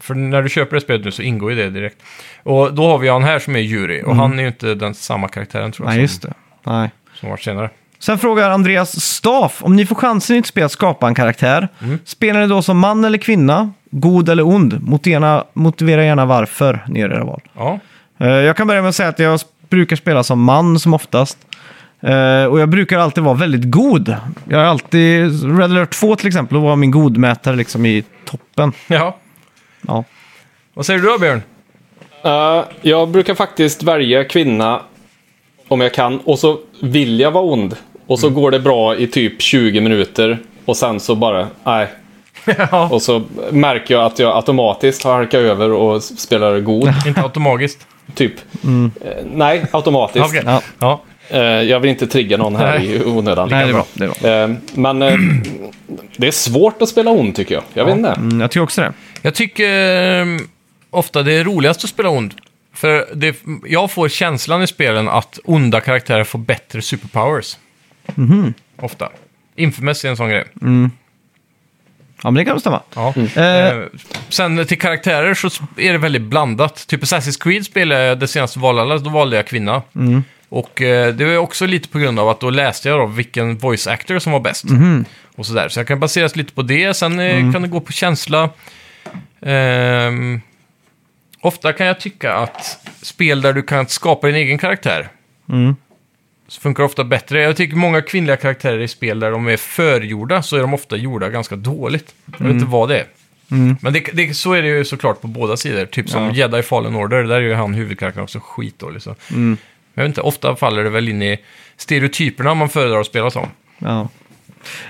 Speaker 2: För när du köper det spelet nu så ingår ju det direkt. Och då har vi han här som är Yuri. Och han är ju inte den samma karaktären tror jag
Speaker 1: Mm. Nej,
Speaker 2: som,
Speaker 1: just det. Nej.
Speaker 2: som varit senare.
Speaker 1: Sen frågar Andreas Staff, om ni får chansen i ett spel att skapa en karaktär, spelar ni då som man eller kvinna, god eller ond? Motena, motivera gärna varför ni gör era val.
Speaker 2: Ja,
Speaker 1: Eh, Jag kan börja med att säga att jag s- brukar spela som man som oftast. Eh, Och jag brukar alltid vara väldigt god. Jag är alltid, Red Alert 2 till exempel, och var min godmätare liksom i toppen.
Speaker 2: ja.
Speaker 1: Ja.
Speaker 2: Vad säger du då Björn?
Speaker 3: Eh, jag brukar faktiskt välja kvinna om jag kan och så vill jag vara ond. Och
Speaker 1: Mm.
Speaker 3: så går det bra i typ 20 minuter och sen så bara, nej.
Speaker 2: Ja.
Speaker 3: Och så märker jag att jag automatiskt halkar över och s- spelar god,
Speaker 2: Inte automatiskt.
Speaker 3: typ.
Speaker 1: Mm.
Speaker 3: Eh, nej, automatiskt.
Speaker 2: Okej.
Speaker 1: Ja.
Speaker 2: Ja.
Speaker 3: Eh, jag vill inte trigga någon här
Speaker 2: Nej.
Speaker 3: i onödan.
Speaker 1: Nej, det är bra. Det är bra.
Speaker 3: Eh, men eh, det är svårt att spela ond tycker jag. Jag vet inte.
Speaker 1: Mm, Jag tycker också det.
Speaker 2: Jag tycker eh, ofta det är roligast att spela ond. För det, jag får känslan i spelen att onda karaktärer får bättre superpowers. Ofta. Infamous är en sån grej.
Speaker 1: Ja, men det kan nog stämma.
Speaker 2: Ja.
Speaker 1: Eh,
Speaker 2: Eh, sen till karaktärer så är det väldigt blandat. Typ Assassin's Creed spelade jag det senaste Valhalla, då valde jag kvinna. Och eh, det var ju också lite på grund av att då läste jag då vilken voice actor som var bäst. Och sådär. Så jag kan baseras lite på det, sen eh, kan det gå på känsla. Ehm, ofta kan jag tycka att spel där du kan skapa din egen karaktär så funkar ofta bättre. Jag tycker många kvinnliga karaktärer i spel där de är förgjorda så är de ofta gjorda ganska dåligt. Jag vet
Speaker 1: Mm.
Speaker 2: inte vad det är. Men det, det, så är det ju såklart på båda sidor. Typ som Jedi Fallen Order, där är ju han huvudkaraktären också skitdålig. Så.
Speaker 1: Mm.
Speaker 2: Jag vet inte, ofta faller det väl in i stereotyperna man föredrar att spela som.
Speaker 1: Ja.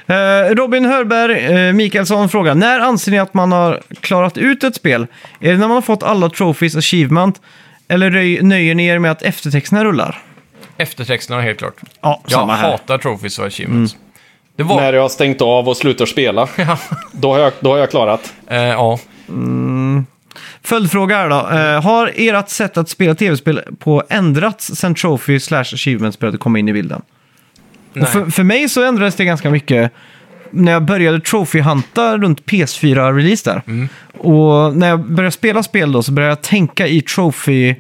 Speaker 1: Eh, Robin Hörberg eh, Mikaelsson frågar, när anser ni att man har klarat ut ett spel? Är det när man har fått alla trophies achievement? Eller röj- nöjer ni er med att eftertexterna rullar?
Speaker 2: Eftertexterna helt klart.
Speaker 1: Ja,
Speaker 2: Jag
Speaker 1: samma här. Mm.
Speaker 2: hatar Trophies och Achievements. Det var...
Speaker 3: När jag har stängt av och slutar spela,
Speaker 2: Ja.
Speaker 3: då har jag, då har jag klarat.
Speaker 2: Eh, ja.
Speaker 1: Följdfråga här då. Eh, har ert sätt att spela tv-spel på ändrats sen Trophy slash Achievement-spelet kom in i bilden?
Speaker 2: Nej.
Speaker 1: Och för, för mig så ändrades det ganska mycket när jag började Trophy-hunta runt PS4-release där.
Speaker 2: Mm.
Speaker 1: Och när jag började spela spel då så började jag tänka i Trophy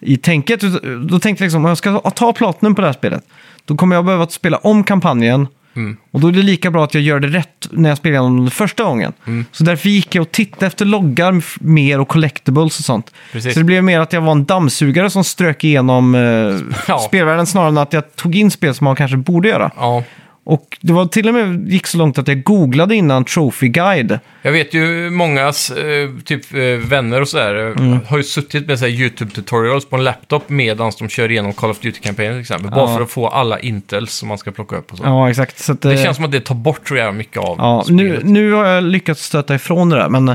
Speaker 1: i tänket. Då tänkte jag liksom, om jag ska ta Platinum på det här spelet, då kommer jag behöva att spela om kampanjen.
Speaker 2: Mm.
Speaker 1: Och då är det lika bra att jag gör det rätt när jag spelar igenom den första gången.
Speaker 2: Mm.
Speaker 1: Så därför gick jag och tittade efter loggar f- mer och collectibles och sånt.
Speaker 2: Precis.
Speaker 1: Så det blev mer att jag var en dammsugare som strök igenom eh,
Speaker 2: Ja.
Speaker 1: spelvärlden snarare än att jag tog in spel som man kanske borde göra.
Speaker 2: ja.
Speaker 1: Och det var till och med gick så långt att jag googlade innan Trophy Guide.
Speaker 2: Jag vet ju mångas eh, typ, eh, vänner och sådär eh,
Speaker 1: Mm.
Speaker 2: har ju suttit med så här YouTube-tutorials på en laptop medan de kör igenom Call of Duty-kampanjen till exempel. Bara
Speaker 1: Ja.
Speaker 2: för att få alla intels som man ska plocka upp och så.
Speaker 1: Ja, exakt. Så att,
Speaker 2: Det
Speaker 1: eh,
Speaker 2: känns som att det tar bort så jävla mycket av
Speaker 1: ja, nu,
Speaker 2: spelet. Mm.
Speaker 1: nu har jag lyckats stöta ifrån det där, men eh,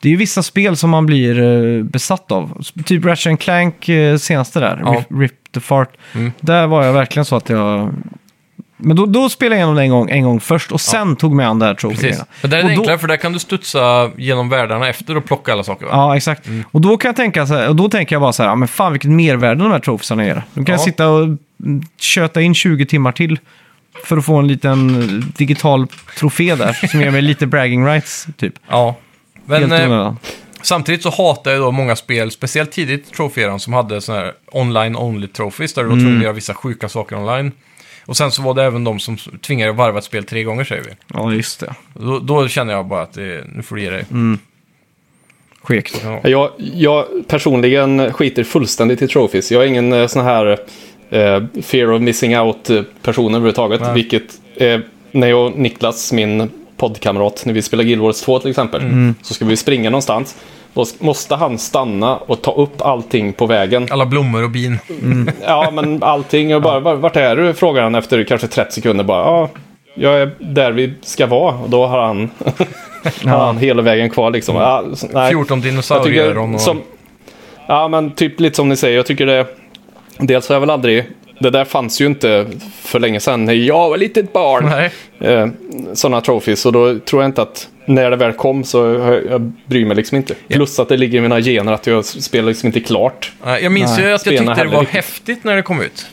Speaker 1: det är ju vissa spel som man blir eh, besatt av. S- Typ Ratchet and Clank eh, senaste där,
Speaker 2: Ja.
Speaker 1: Rip,
Speaker 2: Mm.
Speaker 1: Rip the Fart. Där var jag verkligen så att jag... Men då, då spelade jag igenom det en gång, en gång först och sen tog mig an det här Trophy.
Speaker 2: Precis. Men där är
Speaker 1: Och
Speaker 2: det
Speaker 1: då-
Speaker 2: enklare för där kan du studsa genom världarna efter och plocka alla saker. Va?
Speaker 1: Ja, exakt.
Speaker 2: Mm.
Speaker 1: Och då kan jag tänka så här, och då tänker jag bara så här, ja, men fan vilket mervärde de här trofisarna ger. Nu kan jag
Speaker 2: Ja.
Speaker 1: sitta och mm, köta in 20 timmar till för att få en liten eh, digital trofé där som ger mig lite bragging rights, typ.
Speaker 2: Ja. Men
Speaker 1: Helt
Speaker 2: eh,
Speaker 1: onödan.
Speaker 2: samtidigt så hatar jag då många spel, speciellt tidigt i troféeran, som hade sådana här online-only trophies där du var
Speaker 1: Mm.
Speaker 2: tvungen att göra vissa sjuka saker online. Och sen så var det även de som tvingade att varva ett spel tre gånger säger vi.
Speaker 1: Ja, just det.
Speaker 2: Då, då känner jag bara att det, nu får du ge dig.
Speaker 3: Mm.
Speaker 1: Skekt.
Speaker 3: Jag, jag personligen skiter fullständigt i trophies. Jag är ingen eh, sån här eh, fear of missing out-person överhuvudtaget.
Speaker 2: Nej.
Speaker 3: Vilket eh, när jag och Niklas, min poddkamrat, när vi spelar Guild Wars 2 till exempel,
Speaker 2: Mm.
Speaker 3: så ska vi springa någonstans. Då s- måste han stanna och ta upp allting på vägen.
Speaker 2: Alla blommor och bin.
Speaker 3: Ja, men allting. Och bara, "Var- vart är du? Frågar han efter kanske 30 sekunder. Bara, ja, jag är där vi ska vara. Och då har han, har han hela vägen kvar liksom.
Speaker 2: Mm.
Speaker 3: Ja, s- nej.
Speaker 2: 14
Speaker 3: Jag tycker-
Speaker 2: dinosaurier. Och...
Speaker 3: som, ja, men typ lite som ni säger. Jag tycker det... Dels har jag väl aldrig... Det där fanns ju inte för länge sedan när jag var litet barn.
Speaker 2: Nej.
Speaker 3: Eh, Sådana trophies. Och då tror jag inte att när det väl kom så har jag, jag bryr mig liksom inte. Plus att det ligger i mina gener att jag spelar liksom inte klart.
Speaker 2: Nej, Jag minns
Speaker 1: Nej,
Speaker 2: ju att jag
Speaker 3: spela
Speaker 2: tyckte det
Speaker 3: heller
Speaker 2: var
Speaker 3: riktigt.
Speaker 2: häftigt när det kom ut.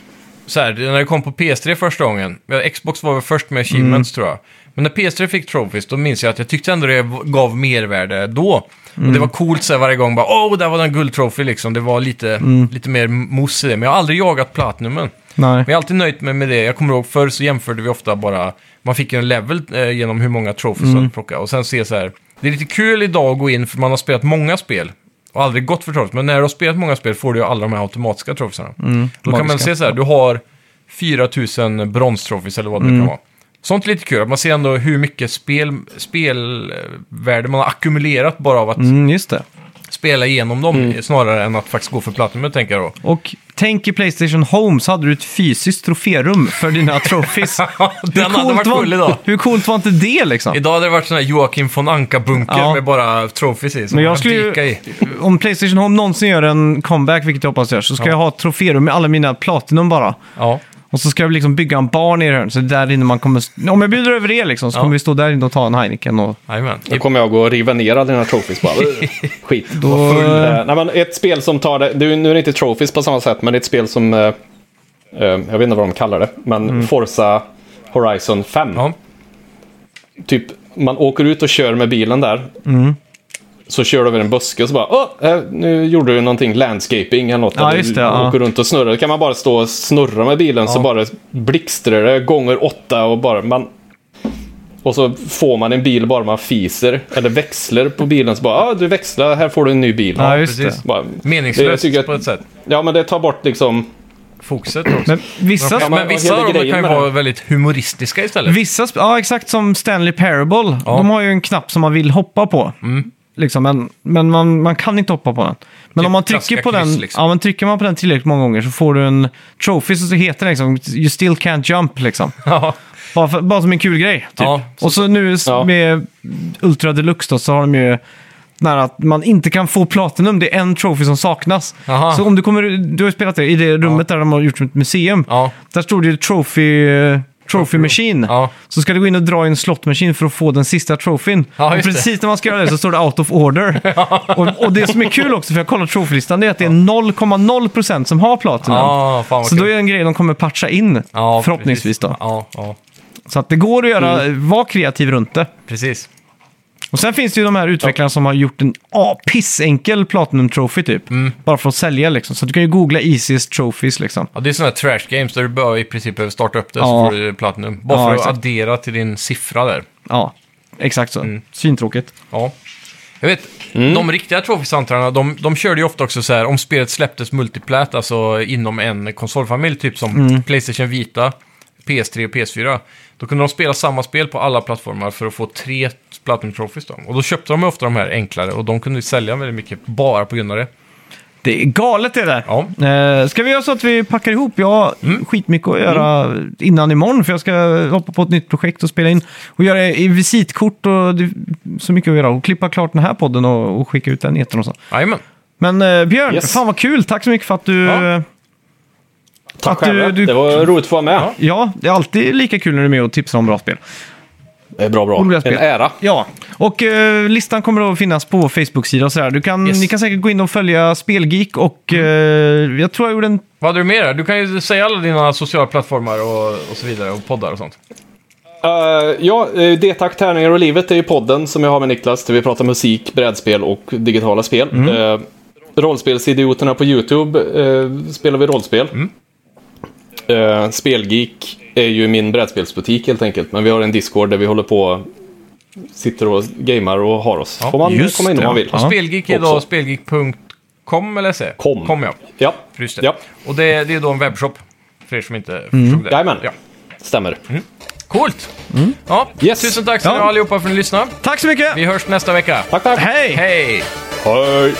Speaker 2: Så här, när det kom på PS3 första gången. Ja, Xbox var väl först med achievements
Speaker 3: Mm.
Speaker 2: tror jag. Men när PS3 fick Trophies, då minns jag att jag tyckte ändå det gav mervärde då. Och
Speaker 3: Mm.
Speaker 2: det var coolt så här, varje gång, bara åh, där var den guldtrophy liksom. Det var lite,
Speaker 3: Mm.
Speaker 2: lite mer mos i det. Men jag har aldrig jagat Platinumen.
Speaker 1: Nej.
Speaker 2: Men jag är alltid nöjt med, med det. Jag kommer ihåg förr så jämförde vi ofta bara, man fick ju en level eh, genom hur många trophies man plockade. Och sen se så här, det är lite kul idag att gå in för man har spelat många spel och aldrig gått för trophies. Men när du har spelat många spel får du ju alla de här automatiska trophiesarna.
Speaker 1: Mm.
Speaker 2: mm, Då kan man
Speaker 1: magiska.
Speaker 2: se så här, du har 4000 bronstrophies eller vad det kan vara. Sånt är lite kul, att man ser ändå hur mycket spel, spelvärde man har ackumulerat bara av att
Speaker 1: Mm, just det.
Speaker 2: spela igenom dem snarare än att faktiskt gå för platinum, tänker jag då.
Speaker 1: Och tänk i Playstation Home så hade du ett fysiskt troférum för dina trophies.
Speaker 2: Den hade varit cool idag.
Speaker 1: var, hur coolt var inte det liksom?
Speaker 2: Idag hade det varit sån här Joakim von Anka-bunker
Speaker 1: Ja.
Speaker 2: med bara trophies i. Som
Speaker 1: Men
Speaker 2: man
Speaker 1: jag skulle
Speaker 2: dyka
Speaker 1: ju,
Speaker 2: i.
Speaker 1: om Playstation Home någonsin gör en comeback, vilket jag hoppas gör, så ska jag ha ett troférum med alla mina platinum bara.
Speaker 2: Ja.
Speaker 1: Och så ska jag liksom bygga en bar nere i hörnet, så det är där inne man kommer... Om jag bjuder över er liksom, så
Speaker 2: Ja.
Speaker 1: kommer vi stå där inne och ta en Heineken och...
Speaker 2: Jajamän.
Speaker 3: Då kommer jag gå och riva ner alla dina trophies bara. Ugh, Skit.
Speaker 1: Då-
Speaker 3: Eh, nej, men ett spel som tar det, det är, ju- nu är det inte trophies på samma sätt, men det är ett spel som, eh, eh, jag vet inte vad de kallar det, men Forza Horizon 5.
Speaker 2: Ja.
Speaker 3: Typ, man åker ut och kör med bilen där.
Speaker 1: Mm.
Speaker 3: Så kör du över en buske och så bara, Åh, eh, nu gjorde du någonting, landscaping eller något.
Speaker 1: Ja,
Speaker 3: Eller
Speaker 1: just det,
Speaker 3: du
Speaker 1: ja.
Speaker 3: Åker runt och snurrar. Då kan man bara stå och snurra med bilen så bara blixtrar det gånger åtta och bara, man, och så får man en bil bara man fiser, eller växlar på bilen. Så bara, ah, du växlar, här får du en ny bil.
Speaker 1: Ja, just
Speaker 2: precis.
Speaker 1: det.
Speaker 3: Bara,
Speaker 2: Meningslöst
Speaker 3: Det tycker jag-
Speaker 2: på ett sätt.
Speaker 3: ja, men det tar bort liksom...
Speaker 2: Fokuset också.
Speaker 1: Men vissa...
Speaker 2: Men,
Speaker 3: man-
Speaker 2: men vissa
Speaker 3: hela
Speaker 2: av dem
Speaker 3: grejen
Speaker 2: kan ju
Speaker 3: med det.
Speaker 2: vara väldigt humoristiska istället.
Speaker 1: Vissa, sp- ja exakt som Stanley Parable. De har ju en knapp som man vill hoppa på. Liksom, men men man, man kan inte hoppa på den. Men
Speaker 2: Mm. Typ
Speaker 1: om man
Speaker 2: klassiska
Speaker 1: trycker på
Speaker 2: kryss,
Speaker 1: den,
Speaker 2: liksom.
Speaker 1: ja, men trycker man på den tillräckligt många gånger så får du en trophy som så heter det liksom, You still can't jump liksom.
Speaker 2: Ja.
Speaker 1: Bara, för, bara som en kul grej. Typ.
Speaker 2: Ja,
Speaker 1: och så nu s-
Speaker 3: Ja.
Speaker 1: med Ultra Deluxe då, så har de ju nära att man inte kan få Platinum. Det är en trophy som saknas.
Speaker 2: Aha.
Speaker 1: Så om du kommer, du har ju spelat det i det rummet där de har gjort som ett museum.
Speaker 2: Ja.
Speaker 1: Där stod det ju Trophy, eh, trophy Machine.
Speaker 2: Ja.
Speaker 1: Så ska du gå in och dra i en slottmaskin för att få den sista trofin.
Speaker 2: Ja,
Speaker 1: och
Speaker 2: just det.
Speaker 1: precis när man ska göra det så står det out of order. och, och det som är kul också, för jag kollar trofylistan, det är att det är 0,0% som har Platinum.
Speaker 2: Ja, Ah, fan vad
Speaker 1: så
Speaker 2: kul.
Speaker 1: då är det en grej de kommer patcha in,
Speaker 2: Ja,
Speaker 1: förhoppningsvis
Speaker 2: precis.
Speaker 1: då.
Speaker 2: Ja, ja.
Speaker 1: Så att det går att göra,
Speaker 2: Mm.
Speaker 1: var kreativ runt det.
Speaker 2: Precis.
Speaker 1: Och sen finns det ju de här utvecklarna som har gjort en ah, pissenkel Platinum Trophy typ.
Speaker 2: Mm.
Speaker 1: Bara för att sälja liksom. Så du kan ju googla Easiest Trophies liksom.
Speaker 2: Ja, det är sådana här trash games där du bara i princip behöver starta upp det så
Speaker 1: Ja.
Speaker 2: får du platinum. Bara
Speaker 1: Ja,
Speaker 2: för att
Speaker 1: exakt.
Speaker 2: addera till din siffra där.
Speaker 1: Ja, exakt så.
Speaker 2: Mm.
Speaker 1: Svintråkigt.
Speaker 2: Ja. Jag vet, de riktiga Trophy-santrarna, de, de körde ju ofta också så här, om spelet släpptes multiplat, alltså inom en konsolfamilj, typ som Playstation Vita, PS3 och PS4, då kunde de spela samma spel på alla plattformar för att få tre Platinum Trophies då. Och då köpte de ju ofta de här enklare och de kunde ju sälja väldigt mycket bara på grund av det.
Speaker 1: Det är galet det där.
Speaker 2: Ja. Mm.
Speaker 1: Eh, ska vi göra så att vi packar ihop? Jag har skitmycket att göra innan imorgon för jag ska hoppa på ett nytt projekt och spela in. Och göra i visitkort och det, är så mycket att göra. Och klippa klart den här podden och, och skicka ut den i etern och så.
Speaker 2: Jajamän.
Speaker 1: Men eh, Björn,
Speaker 3: Yes.
Speaker 1: fan vad kul! Tack så mycket för att du...
Speaker 2: Ja.
Speaker 1: eh,
Speaker 3: Tack
Speaker 1: Att du-
Speaker 3: själv.
Speaker 1: du-
Speaker 3: Det var roligt att få vara med.
Speaker 1: Ja, det är alltid lika kul när du är med och tipsar om bra spel.
Speaker 3: Det är bra, bra.
Speaker 1: Roliga spel.
Speaker 3: En ära.
Speaker 1: Ja, och eh, listan kommer att finnas på Facebook-sida och sådär. Du kan,
Speaker 2: Yes.
Speaker 1: Ni kan säkert gå in och följa Spelgeek och eh, jag tror jag gjorde en...
Speaker 2: Vad hade du mer? Du kan ju säga alla dina sociala plattformar och, och så vidare, och poddar och sånt.
Speaker 3: Eh, ja, eh, Detak, tärningar och livet är ju podden som jag har med Niklas där vi pratar musik, brädspel och digitala spel.
Speaker 2: Mm.
Speaker 3: Eh, rollspelsidioterna på YouTube eh, spelar vi rollspel.
Speaker 2: Mm.
Speaker 3: Eh, Spelgeek är ju min brädspelsbutik helt enkelt, men vi har en Discord där vi håller på sitter och gamar och har oss.
Speaker 2: Ja,
Speaker 3: Får man
Speaker 1: just
Speaker 3: komma in om
Speaker 1: det,
Speaker 3: man
Speaker 1: ja.
Speaker 3: vill.
Speaker 1: Ja.
Speaker 2: Spelgeek är då
Speaker 3: Också.
Speaker 2: spelgeek.com eller se?
Speaker 3: Kom.
Speaker 2: Kom ja.
Speaker 3: Ja,
Speaker 2: Just det.
Speaker 3: ja
Speaker 2: Och det, det är då en webbshop, för er som inte förstod det.
Speaker 3: Jajamän.
Speaker 2: Ja. Mm.
Speaker 3: stämmer.
Speaker 2: Coolt! Ja,
Speaker 3: Yes.
Speaker 2: Tusen tack så
Speaker 1: Ja.
Speaker 2: mycket allihopa för att ni lyssnade.
Speaker 1: Tack så mycket!
Speaker 2: Vi hörs nästa vecka.
Speaker 3: Tack, tack.
Speaker 1: Hej!
Speaker 2: Hej!
Speaker 3: Hej.